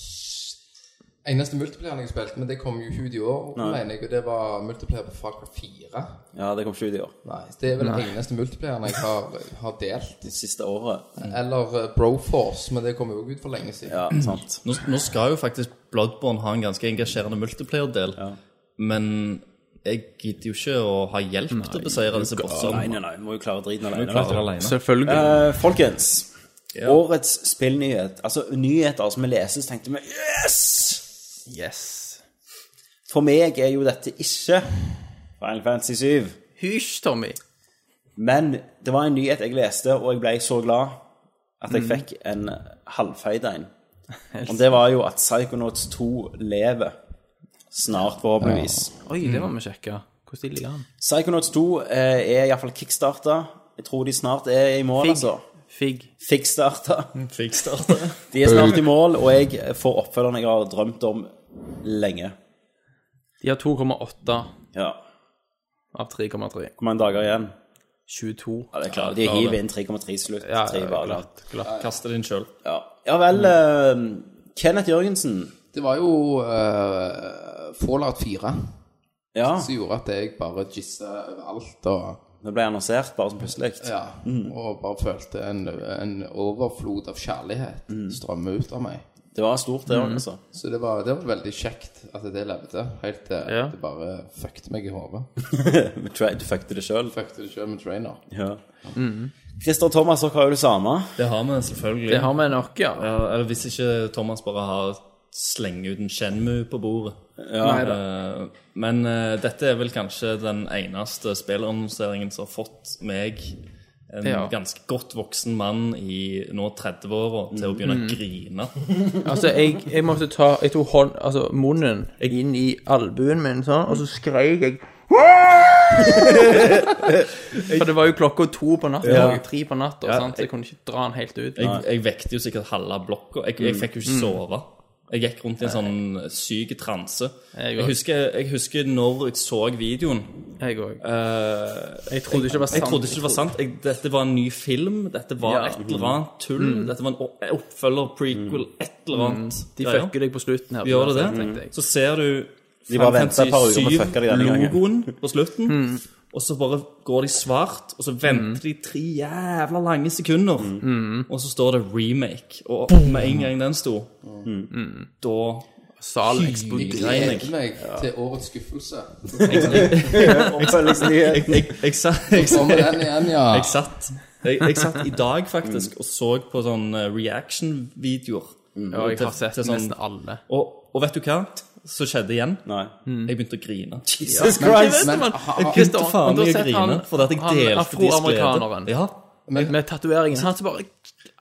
Eneste multiplayer jeg spilte, men det kom jo ikke ut i år, mener jeg, og det var multiplayer på Fagra 4.
Ja, det kom ikke ut i år.
Nei, det er vel den eneste multiplayeren jeg har, har delt.
Det siste året.
Eller eh, Broforce, men det kom jo også ut for lenge siden.
Ja, sant.
Nå, nå skal jo faktisk Bloodborne ha en ganske engasjerende multiplayer-del, men jeg gidder jo ikke å ha hjelp til å beseiere disse
Nei,
bossene.
nei, nei. Må jo klare driten alene. vet du.
Klarer alene.
Selvfølgelig.
Eh, folkens, årets spillnyhet Altså nyheter som vi leser, så tenkte vi Yes!
Yes.
For meg er jo dette ikke Final Fantasy 7.
Hysj, Tommy.
Men det var en nyhet jeg leste, og jeg ble så glad at jeg fikk en halvfeit en. Og det var jo at Psychonauts 2 lever. Snart, forhåpentligvis.
Oi, det
Mm.
må vi sjekke. Hvordan de ligger an.
Psychonauts 2 eh, er iallfall kickstarta. Jeg tror de snart er i mål, altså.
Figg.
Fikstarta.
Kickstarter.
De er snart i mål, og jeg får oppfølgeren jeg har drømt om lenge.
De har 2,8
Ja.
av 3,3.
Hvor mange dager igjen?
22.
Ja, det er klart. De
Ja,
hiver
det.
inn 3,3 slutt.
Ja,
tre dager.
glatt, glatt.
Kaster din sjøl.
Ja. ja vel, eh, Kenneth Jørgensen.
Det var jo eh, Fallout 4
Ja,
som gjorde at jeg bare jizza overalt og
det ble annonsert bare som plutselig.
Ja, og bare følte en, en overflod av kjærlighet strømme ut av meg.
Det var stort, det
Mm.
òg, altså.
Så det var, det var veldig kjekt at det levde, helt til
Ja.
det bare fucket meg i hodet.
Men tra- Du fucket det sjøl.
Fucket det sjøl med trainer.
Ja. Christer og Thomas, dere har jo det samme.
Mm. Det har vi selvfølgelig.
Det har vi nok, ja.
Ja, eller hvis ikke Thomas bare har slenge ut en Shenmue på bordet. Eh, men eh, dette er vel kanskje den eneste spillerannonseringen som har fått meg, en
Ja.
ganske godt voksen mann i nå 30-åra, til å
Mm.
begynne å grine.
Altså, jeg, jeg måtte ta Jeg tok hånd, altså munnen inn i albuen min sånn, og så skreik jeg For det var jo klokka to på natta,
Ja.
og tre på natta, sant? så jeg kunne ikke dra den helt ut.
Jeg, jeg vekte jo sikkert halve blokka. Jeg,
Mm.
jeg fikk jo ikke sove. Jeg gikk rundt i en sånn syk transe.
Jeg
Jeg
også.
husker, jeg husker når jeg så videoen.
Jeg òg.
eh,
Jeg trodde ikke det var sant.
Jeg trodde ikke det var sant. Jeg, dette var en ny film. Dette var
Ja. Mm.
et eller annet tull. Dette var en opp- oppfølger, prequel, et eller annet.
De
greier.
fucker deg på slutten her.
Gjør det det?
uansett, sånn, tenkte jeg.
Så ser du
De bare venter et par uker på å fucke de denne gangen.
logoen på slutten,
Mm.
og så bare går de svart, og så venter de tre jævla lange sekunder,
Mm.
Mm.
og så står det remake. Og med en gang den sto,
Mm.
Mm.
da
Salen eksploderte.
Nei,
Jeg gleder
jeg-
meg til årets skuffelse.
Oppfølgingsnyhet.
Jeg, jeg, jeg, sa- jeg, sa-
Så kommer den igjen, ja.
Jeg satt, jeg, jeg satt i dag
Mm.
faktisk og så på sånne reaction-videoer.
Ja, jeg har
Til-
sett
til sånn-
nesten alle.
Og, og vet du hva som skjedde igjen?
Nei.
Mm.
Jeg begynte å grine.
Jesus
Jeg
Christ!
vet det,
Men
man.
ha- ha-
Christer,
Begynte faen
du har
meg å
sett han-
grine fordi at jeg
han
delte deres glede.
afroamerikaneren.
Ja.
Med tatoveringen. Han som bare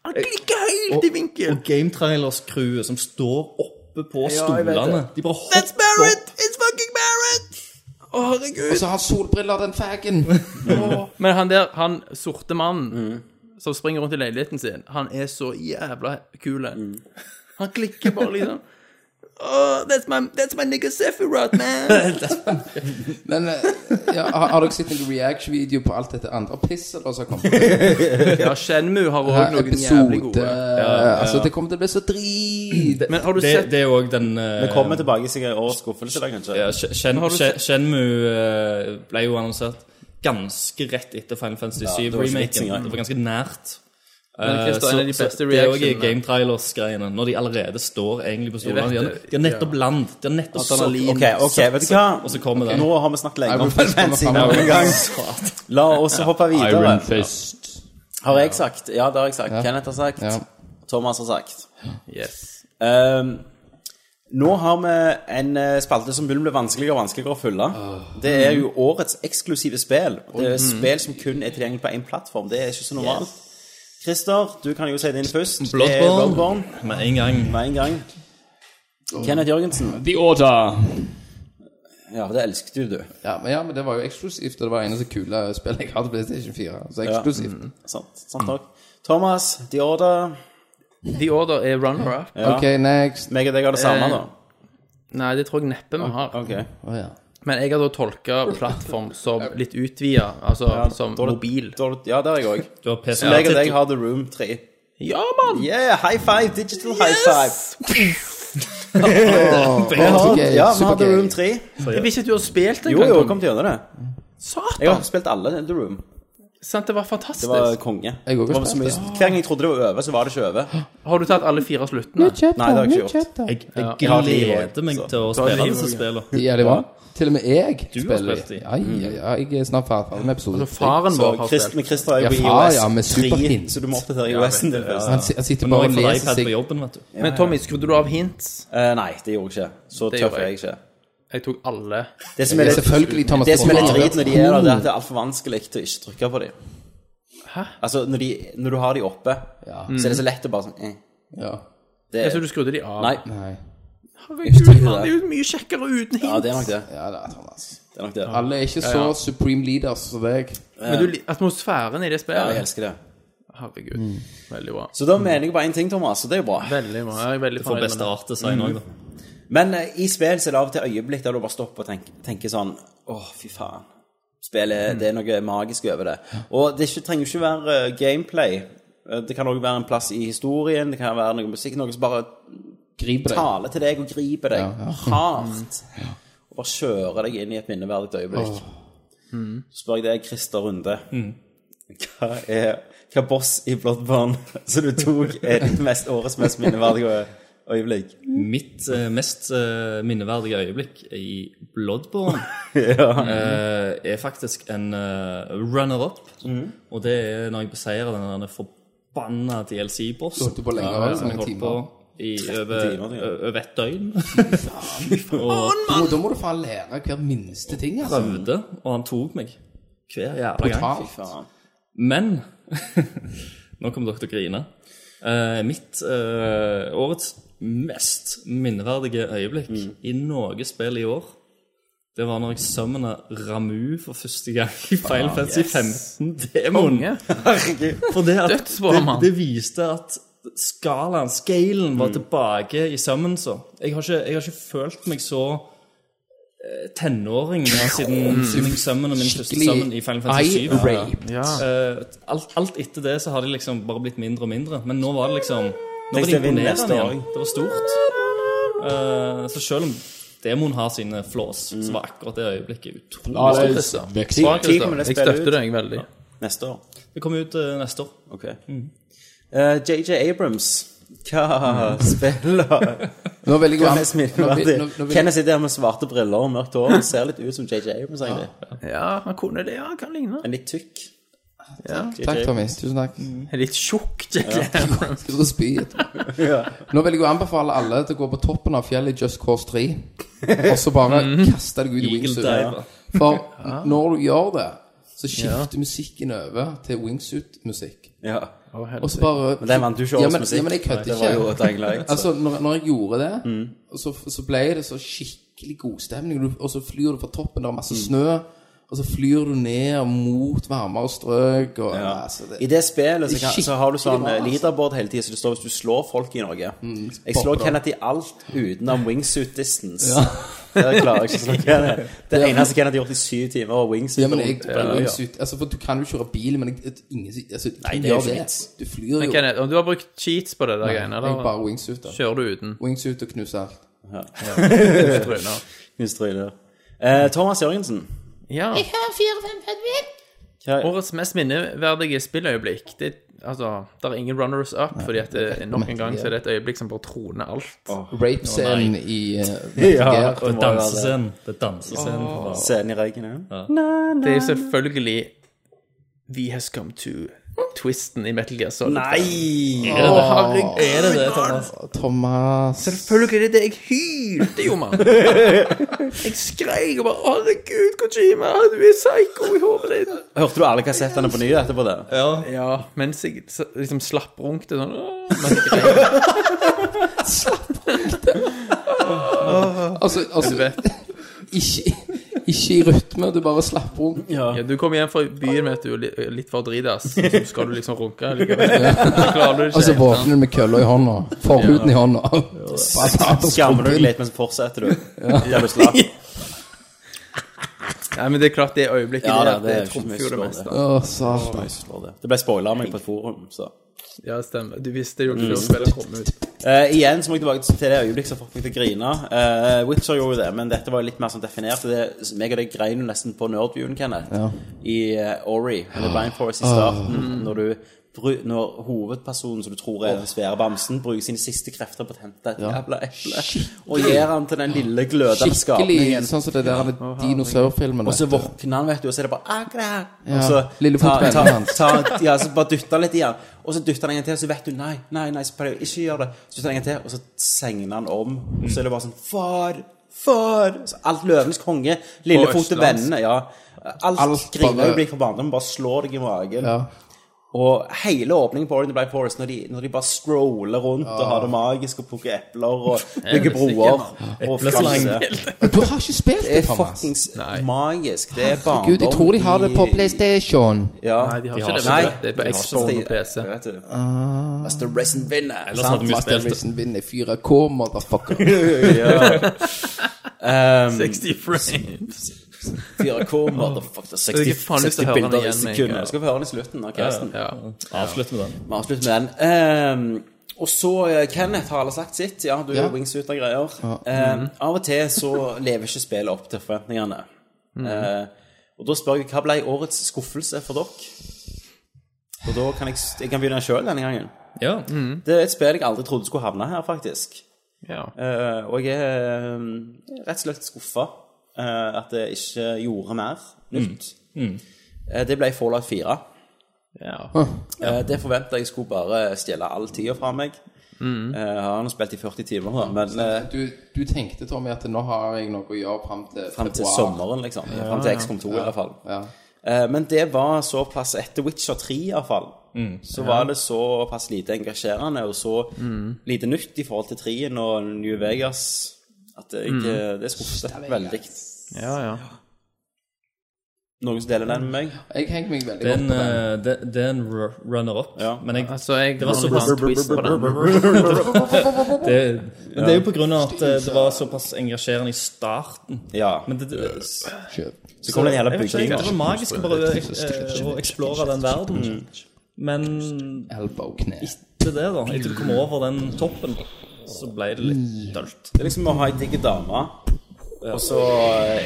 Han klikker helt i vinkel.
Og Gametrailers-crewet som står oppe på
Ja, jeg vet
stolene. De bare
It's
hopper
Barrett!
opp.
It's fucking Barrett! Å, herregud.
Og så har solbriller den fagen!
Men han der, han sorte
Mm.
mannen som springer rundt i leiligheten sin, han er så jævla kul.
Mm.
Han klikker bare liksom. Oh, that's my, that's my nigga Sephiroth, man!
Men eh, ja, har, har dere sett noen reaction-video på alt dette andre pisset da som har kommet? ut?
ja, Shenmue har òg noen jævlig
Episode
gode.
Altså, det kommer til å bli så drit!
Men har du
Det,
sett
det er jo òg den eh,
Vi kommer tilbake sikkert i årets skuffelse, da, kanskje.
ja, Shen- Shen-
har du sett-
Shenmue eh, ble jo annonsert ganske rett etter Final Fantasy
det var ikke vitsen
7-remaken.
engang.
Det var ganske nært.
Men Christer, en av de
eh, Så- så
beste
Det er jo i
reactionene-
Game Trailers-greiene, når de allerede står egentlig på
Jeg
stolene.
vet
De har-
det.
de har nettopp land. De har nettopp
Adrenalin.
Ok, ok, vet du hva?
Og så kommer den.
Nå har vi snakket lenge om
Iron Fist kommer
fancy
frem.
noen gang. La oss hoppe videre.
Fist.
Har jeg sagt? Ja, det har jeg sagt. Kenneth har sagt.
Ja.
Thomas har sagt.
Yes.
Ehm, nå har vi en eh, spalte som begynner å bli vanskeligere og vanskeligere å fylle. Det er jo årets eksklusive spill. Det er spill som kun er tilgjengelig på én plattform. Det er ikke så normalt. Christer, du kan jo si din først. Det er
Bloodborne.
Bloodborne
Med en gang.
med en gang. Kenneth Jørgensen.
The Order.
Ja, det elsket jo du.
Ja men, ja, men det var jo eksklusivt, og det var det eneste kule spillet jeg hadde på PlayStation 4. Så eksklusivt.
Sant, sant takk. Thomas, The Order.
The Order er runner-up.
Ja.
Ok, next.
Meg og deg har det samme, da.
Nei, det tror jeg neppe vi har.
Ok.
Å ja.
Men jeg har da tolka plattform som litt utvida, altså som
da er det-
mobil.
Da har du- Ja, det har jeg òg.
Du har PC.
Meg og deg har The Room 3.
Ja, mann!
Yeah, high five! Digital high five.
Supergay,
Ja, vi har The
supergay.
Room 3.
Jeg visste ikke du hadde spilt den.
Jo, jo, kom til gjennom det. Jeg har
Satan!
spilt alle The Room.
Sant, det var
Det var
fantastisk.
konge.
Jeg har
Det var
også
så
spilt
mye- Hver gang jeg trodde det var over, så var det ikke over.
Har du tatt alle fire sluttene?
Nei, det har jeg ikke gjort.
Jeg, jeg
Jeg har liv også,
gleder meg
så.
til å spille disse spillene.
Ja, det var Til og med jeg
Du har
spiller
spilt i.
Ja, ja, ja, jeg er snart ferdig med episode
Altså,
tre.
Faren vår
Så
har
Chris,
spilt.
men Christer er jo
Ja,
på
far,
IOS
ja, med superhint.
3, så du må oppdatere IOS-en din først.
Han, si- han sitter
Men nå
bare
har
og
jeg fått
leser
iPad
seg
på jobben, vet du.
Men Tommy, skrudde du av hints?
Eh, Nei, det gjorde jeg ikke. Så
Det
tøff
gjorde
er jeg
jeg.
ikke.
Jeg tok alle.
Det som er
Ja,
litt,
Selvfølgelig, Thomas.
det som er litt
Thomas.
drit når de er der, det er at det er altfor vanskelig til å ikke trykke på dem. Altså, når, de, når du har de oppe,
Ja.
så er det så lett å bare sånn eh.
Ja.
det,
Jeg så du skrudde de av.
Nei.
Nei.
Herregud,
det.
han er jo mye kjekkere uten
Ja,
hints.
det er nok det.
Ja, det er Thomas.
det, er nok det.
Alle er ikke så supreme leaders som deg.
Men du, li- atmosfæren i
Ja,
det
jeg
spillet
elsker det.
Herregud. Veldig bra.
Så da mener jeg bare én ting, Thomas, og det er jo bra.
Veldig bra. Jeg er veldig
For
fornøyd med
beste
det.
Mm.
artdesign òg, da.
Men eh, i spill så er det av og til øyeblikk der du bare stopper og tenker, tenker sånn Åh, fy faen.
Mm.
Spillet, det er noe magisk over det. Og det er ikke, trenger jo ikke være eh, gameplay. Eh, Det kan òg være en plass i historien, det kan være noe musikk, noe som bare
Griper deg. Mm.
taler til deg og griper deg hardt. Og bare kjører deg inn i et minneverdig øyeblikk. Mm. Så spør jeg deg, Christer Runde.
Mm.
Hva er hva boss i Bloodborne som du tok, er ditt mest, årets mest minneverdige øyeblikk?
Mitt eh, mest eh, minneverdige øyeblikk i Bloodborne eh, er faktisk en eh, runner-up.
Mm.
Og det er når jeg beseirer den denne forbanna
Du
DLC-bossen.
holdt på lenge,
Ja,
altså,
jeg
mange
holdt på
timer.
i
13 timer,
over,
det, ja.
ø- over et døgn.
Da må- Da må du faen lære hver minste ting, altså.
Prøvde, og han tok meg hver jævla gang.
Totalt.
Men Nå kommer dere til å grine. Eh, mitt eh, årets mest minneverdige øyeblikk
Mm.
i noe spill i år, det var når jeg summona Ramu for første gang i Final Fantasy 15-demoen.
Ah, Konge.
For det, at,
Dødsbra,
det,
mann. Mm.
det viste at skalaen, scalen, var tilbake i summonsa. Jeg, har ikke- jeg har ikke følt meg så eh, tenåring ja,
Mm.
siden, siden jeg summona min første summon i Final Fantasy 7.
Eye-rape.
Ja.
Eh, alt, alt etter det så har de liksom bare blitt mindre og mindre. Men nå var det liksom Nå
Tenk
var
deg
det
vinner neste
imponerende
år.
igjen. Det var stort. Eh, så selv om demoen har sine flås,
Mm.
så var akkurat det øyeblikket utrolig
La
stort.
oss vekse.
Bra, Christer.
kommer det
Jeg
spillet ut?
støtter deg veldig.
Neste år.
Det kommer ut eh, neste år.
Ok.
Mm.
Eh, JJ Abrams, hva spiller
Nå velger jeg
Hva
han-
mest
Mm. nå vil- nå- nå
minneverdig?
vil-
Kenneth sitter her med svarte briller og mørkt hår og ser litt ut som JJ Abrams, egentlig.
Ja, han kunne det. Ja, han kan ligne.
En litt tykk.
Takk, Tommy. Tusen takk.
Mm.
En litt tjukk JJ Abrams.
Skal du spy etterpå? Nå vil jeg jo anbefale alle til å gå på toppen av fjellet i Just Cause 3, og så bare kaste deg ut i
Mm. Eagle
wingsuit.
Diver.
For når du gjør det, så skifter musikken over til wingsuit-musikk.
Ja.
Å,
Og så
helvete.
bare
Men den vant du ikke
Ja,
årets
men-
musikk.
Ja, men jeg kødder
Det var jo
ikke.
Dying Light.
Altså, når, når jeg gjorde det,
Mm.
så, så ble det så skikkelig godstemning. Og så flyr du fra toppen, det er
Mm.
masse snø, og så flyr du ned mot varmere strøk. Og,
Ja.
altså,
I det spillet så, kan, så har du sånn
Skikkelig bra, altså.
leaderboard hele tida, så det står hvis du slår folk i noe. Jeg slår
Mm, popper
Kenneth i alt utenom wingsuit distance. Det klarer jeg ikke å slå Kenneth. Det eneste Kenneth har gjort i syv timer, var wingsuit.
Ja, men jeg,
rundt på en øy.
wingsuit, altså, for du kan jo kjøre bil, men jeg, ingen, altså, Nei,
det er jo ikke vits.
Du flyr jo.
Kenneth, om du har brukt cheats på det der greiene,
Jeg
eller
bare wingsuit, da.
kjører du uten?
Wingsuit og knuse alt.
Tryner.
Knust trynet. Eh, Thomas Jørgensen.
Ja.
Hva,
Årets mest minneverdige spilløyeblikk det, altså, Der er ingen runners up, fordi at det, nok en gang så er det et øyeblikk som bare troner alt.
Rape-scenen i
Ja,
uh,
Det
det
er
må jo være det.
dansescenen. Det er dansescenen. for faen.
Scenen i reggen, ja.
Det er selvfølgelig We Has Come To. Twisten i Metal Gear Solid.
Nei!
Å, herregud!
Er det det, Thomas?
Thomas
Selvfølgelig er det det. Jeg hylte jo, mann. Jeg skreik og bare Herregud, Kojima, du er psycho i hodet ditt.
Hørte du alle kassettene på ny etterpå det?
Ja, mens jeg s- liksom slapprungte sånn «Åh», mens jeg
altså, altså ikke, ikke i rytme, du bare slapper rundt.
Ja, du kommer hjem fra byen, vet du, og li- litt for dritas, og så skal du liksom runke likevel. Så klarer du det ikke.
Og så våkner du med kølla i hånda. Forhuden i hånda. Bare ta
Skammer du
på
deg
skrubben.
litt, men så fortsetter du. Der du slapp.
Nei, men det er klart det øyeblikket
Ja,
der,
da,
det,
det er
det
ikke så mye
trumfer jo det
som
meste.
slår
Å, satan.
det. Det ble spoila av meg på et forum, så
Ja, stemmer. Du visste jo ikke før spillet kom ut.
Eh, Igjen så må jeg tilbake til det øyeblikket som fikk meg til å grine. Eh, Witcher gjorde jo det, men dette var litt mer sånn definert. og Det, meg og deg grein jo nesten på nerdviewen, Kenneth,
Ja. Ah.
i eh, Ori, eller Blind Forest i starten, når du bru- når hovedpersonen som du tror er den svære bamsen, bruker sine siste krefter på å hente et jævla eple og gir han til den lille glødende
Skikkelig
skapningen.
sånn som det der med dinosaurfilmen.
Og så
vet du.
våkner han, vet du, og så er det bare Agra!
Ja,
Og så
lillefotvennen
ta, ta,
hans.
ta, Ja, så bare dytter han litt i han. Og så dytter han en gang til, og så vet du nei, nei, nei, så prøver jeg ikke å gjøre det. Så dytter han en gang til, og så segner han om. Og så er det bare sånn Far! Far! Så alt løvenes konge,
På
lillefote
østlandsk.
vennene, ja. Alt,
Alt
alt
bare-
grineøyeblikk fra barndommen bare slår deg i magen.
Ja.
Og hele åpningen på Oregon Black Forest, når de, når de bare stroller rundt og har det magisk og plukker epler og bygger broer og
Epleslang.
flasser.
Men Du har ikke spilt
Det
det,
er
Thomas.
fuckings magisk. Det er barndom.
Gud, jeg tror de har det på
i-
PlayStation.
Ja.
Nei, de har
De
ikke
har
det.
ikke
det.
vet du. Det er på Xbox og PC. sånn
Vet du.
Ah.
Master Resin vinner.
Ellers hadde vi
Master
spilt det.
Racing vinner 4K, motherfucker.
Um,
60 frames.
4K, motherfucker.
Jeg
60,
har faen lyst
60
til å høre den
bilder i
igjen,
sekundet.
Mikael.
Skal vi høre den i slutten av casten?
Ja.
Avslutt med den.
Vi avslutter med den. Um, og så, eh, Kenneth har alle sagt sitt. Ja, du er
Ja.
jo wingsuit og greier. Um, av og til så lever ikke spillet opp til forventningene. Eh, og da spør jeg hva ble årets skuffelse for dere? Og da kan jeg, s- jeg kan begynne sjøl denne gangen.
Ja.
Det er et spill jeg aldri trodde skulle havne her, faktisk.
Ja.
Eh, og jeg er eh, rett og slett skuffa at jeg ikke gjorde mer nytt. Eh, det ble Fallout 4.
ja.
Eh, det forventa jeg skulle bare stjele all tida fra meg. Eh, jeg har nå spilt i 40 timer, da, men eh,
Du, du tenkte, Tommy, at nå har jeg noe å gjøre fram til
fram til
februar.
sommeren, liksom. Fram til XCOM 2, i hvert fall.
Ja.
Eh, Men det var såpass etter Witcher 3 i hvert fall, så var det såpass lite engasjerende og så lite nytt i forhold til 3-en og New Vegas at jeg, eh, det skuffet veldig.
ja, ja.
Noen som deler den med meg?
Jeg hengte meg veldig
Det er en,
godt på den.
eh, det, det er en ru- runner-up,
Ja.
men jeg
Altså, jeg
Det var såpass
twist på den.
det, Men det er jo på grunn av at eh, det var såpass engasjerende i starten.
Ja.
Men det, det,
Kjøp.
Så kom den jævla
jeg vet ikke,
bygninga.
det var magisk å bare eh, å eksplore den verden. Men
Elbow, kne.
til det, da, etter
Mm.
du kom over den toppen, så ble det litt dølt.
Det er liksom å ha ei digg dame, og så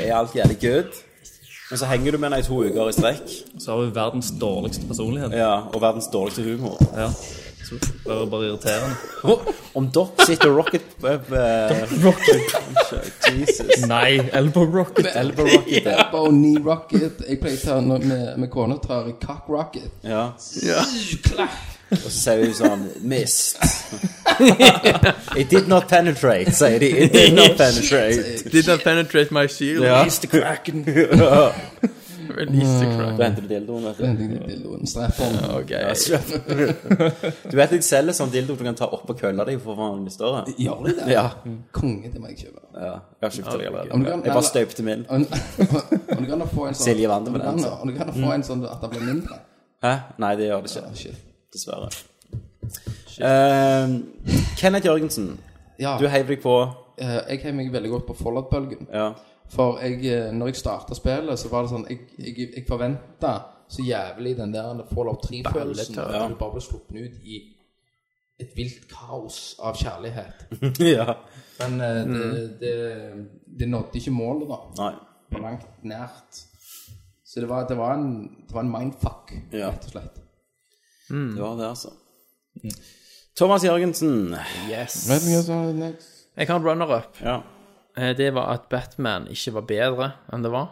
er alt jævlig good. Men så henger du med henne i to uker i strekk,
Så har vi verdens dårligste personlighet.
ja, og verdens dårligste humor.
Ja. Så bare, bare irriterende.
Om dere sitter og rocket Rocket Jesus.
Nei, Elbow Rocket.
Elbow rocket, ja.
Elbow, knee rocket. Jeg pleier å ta når med, med kona tar jeg cock rocket.
Ja. Og så sier hun sånn Mist. It did not penetrate, sier de. It did not penetrate.
Did not penetrate my shield.
Ja.
Release the kraken. Release the kraken.
Da henter du dildoen, vet du.
Den lille dildoen, Strapper den.
Ok.
Du vet jeg selger sånn dildo du kan ta oppå kølla di for å få den litt større?
Gjør de det?
Ja.
Konge, det må jeg kjøpe.
ja. Jeg har kjøpt det
Om du
allerede.
kan-
Jeg bare støpte min.
Om om du kan da få en sånn
Silje Wander med
om du
den,
kan
altså.
da- Om du kan da få en sånn at det blir mindre.
Hæ? Nei, det gjør det ikke.
Ja, shit.
Dessverre. Eh, Kenneth Jørgensen,
Ja,
du heiv deg på.
eh, jeg heier meg veldig godt på Follat-bølgen.
Ja.
For jeg, eh, når jeg starta spillet, så var det sånn Jeg, jeg, jeg forventa så jævlig den der Fallout 3-følelsen. At du bare ble sluppet ut i et vilt kaos av kjærlighet.
ja.
Men eh, det, det, det nådde ikke målet, da.
Nei.
På langt nært. Så det var, det var, en, det var en mindfuck,
Ja.
rett og slett.
Det var det, altså. Thomas Jørgensen.
Jeg har en runner-up.
Ja.
Eh, Det var at Batman ikke var bedre enn det var.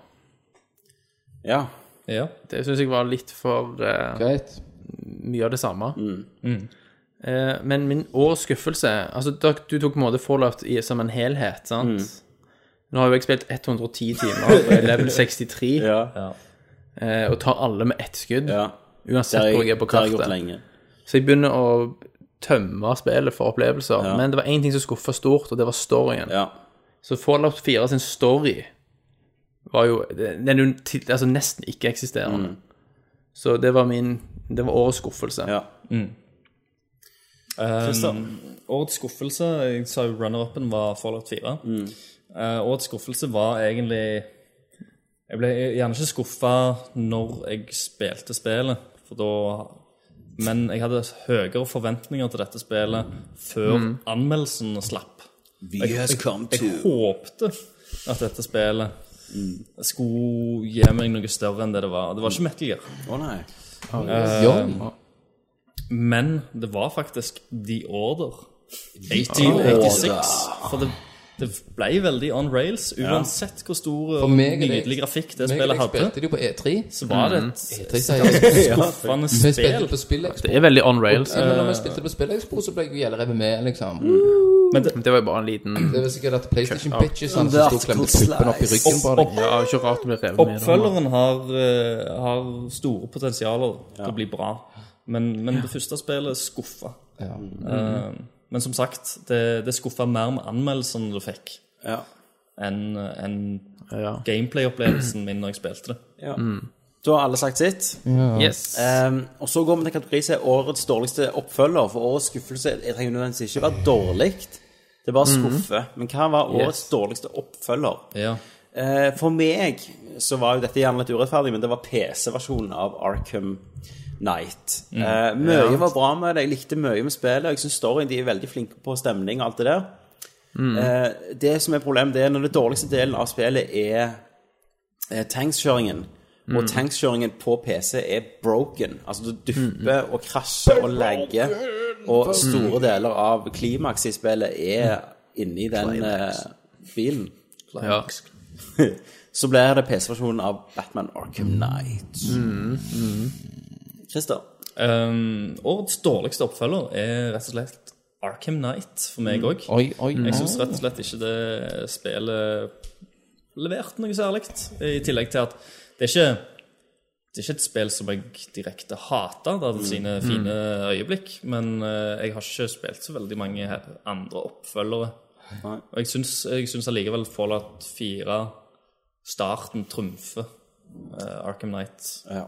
ja.
Ja.
Det syns jeg var litt for eh,
Greit.
mye av det samme. Eh, men min årets skuffelse Altså, da, du tok på en måte Fallout i, som en helhet, sant? Nå har jo jeg spilt 110 timer og er level 63
Ja.
eh, og tar alle med ett skudd.
ja.
Uansett hvor jeg er på
det har jeg gjort
kartet.
lenge.
Så jeg begynner å tømme spillet for opplevelser. Men det var én ting som skuffa stort, og det var storyen.
Ja.
Så Fallout 4 sin story var jo Den er jo til, altså nesten ikke-eksisterende. Så det var min Det var årets skuffelse.
Mm. Ja.
Christian, årets skuffelse Jeg sa jo runner-upen var Fallout 4. Eh, årets skuffelse var egentlig Jeg ble gjerne ikke skuffa når jeg spilte spillet, for da Men jeg hadde høyere forventninger til dette spillet før anmeldelsen slapp.
We has come
Jeg
to
håpte at dette spillet skulle gi meg noe større enn det det var. Det var ikke Metal Gear.
Å nei.
Eh, Johnny.
Men det var faktisk The Order. 1886. For det, det ble veldig on rails. Uansett hvor stor og
meg er det-
nydelig grafikk
Meg
det
og
spillet
deg
hadde,
spilte det jo på E3.
så var det et
E3 sier jeg.
skuffende
Vi
spill.
spilte på spillet.
Det er veldig on rails.
eh,
Ja, men når vi spilte på Spillexpo, så ble jeg jo gjelderevet med, liksom.
Men det,
Men Det var jo bare en liten
Det var sikkert at PlayStation Bitchesene som sto og klemte puppen opp i ryggen på deg.
Ja, ikke rart det ble revet med.
oppfølgeren har, eh, har store potensialer til å bli bra. Men, men det første spillet skuffa.
Ja.
Eh, Men som sagt, det, det skuffa mer med anmeldelsen du fikk,
Ja.
enn enn
Ja.
gameplay-opplevelsen min når jeg spilte det.
ja. Da har alle sagt sitt.
Yes.
Ehm, og så går vi til kategori som er årets dårligste oppfølger. For årets skuffelse jeg trenger nødvendigvis ikke være dårlig. Det er bare skuffe. Men hva var årets dårligste oppfølger?
Ja.
Eh, for meg så var jo dette gjerne litt urettferdig, men det var PC-versjonen av Arkham Knight. Eh, mye var bra med det, jeg likte mye med spillet. og Jeg synes storyen de er veldig flinke på stemning og alt det der. Eh, det som er problemet, det er når det dårligste delen av spillet er, er tankskjøringen. Og tankskjøringen på PC er broken. Altså du dupper og krasjer og lagger. Og store deler av klimaks i spillet er inni den eh, bilen
Ja.
så blir det PC-versjonen av Batman Arkham Knight. Christer?
Ehm, årets dårligste oppfølger er rett og slett Arkham Knight for meg òg.
Oi, oi,
Jeg syns rett og slett ikke det spillet leverte noe særlig. I tillegg til at det er ikke det er ikke et spill som jeg direkte hater. Det hadde sine fine øyeblikk. Men eh, jeg har ikke spilt så veldig mange he- andre oppfølgere. Og jeg syns, jeg syns allikevel Fallout 4, starten, trumfer eh, Arkham Knight
Ja.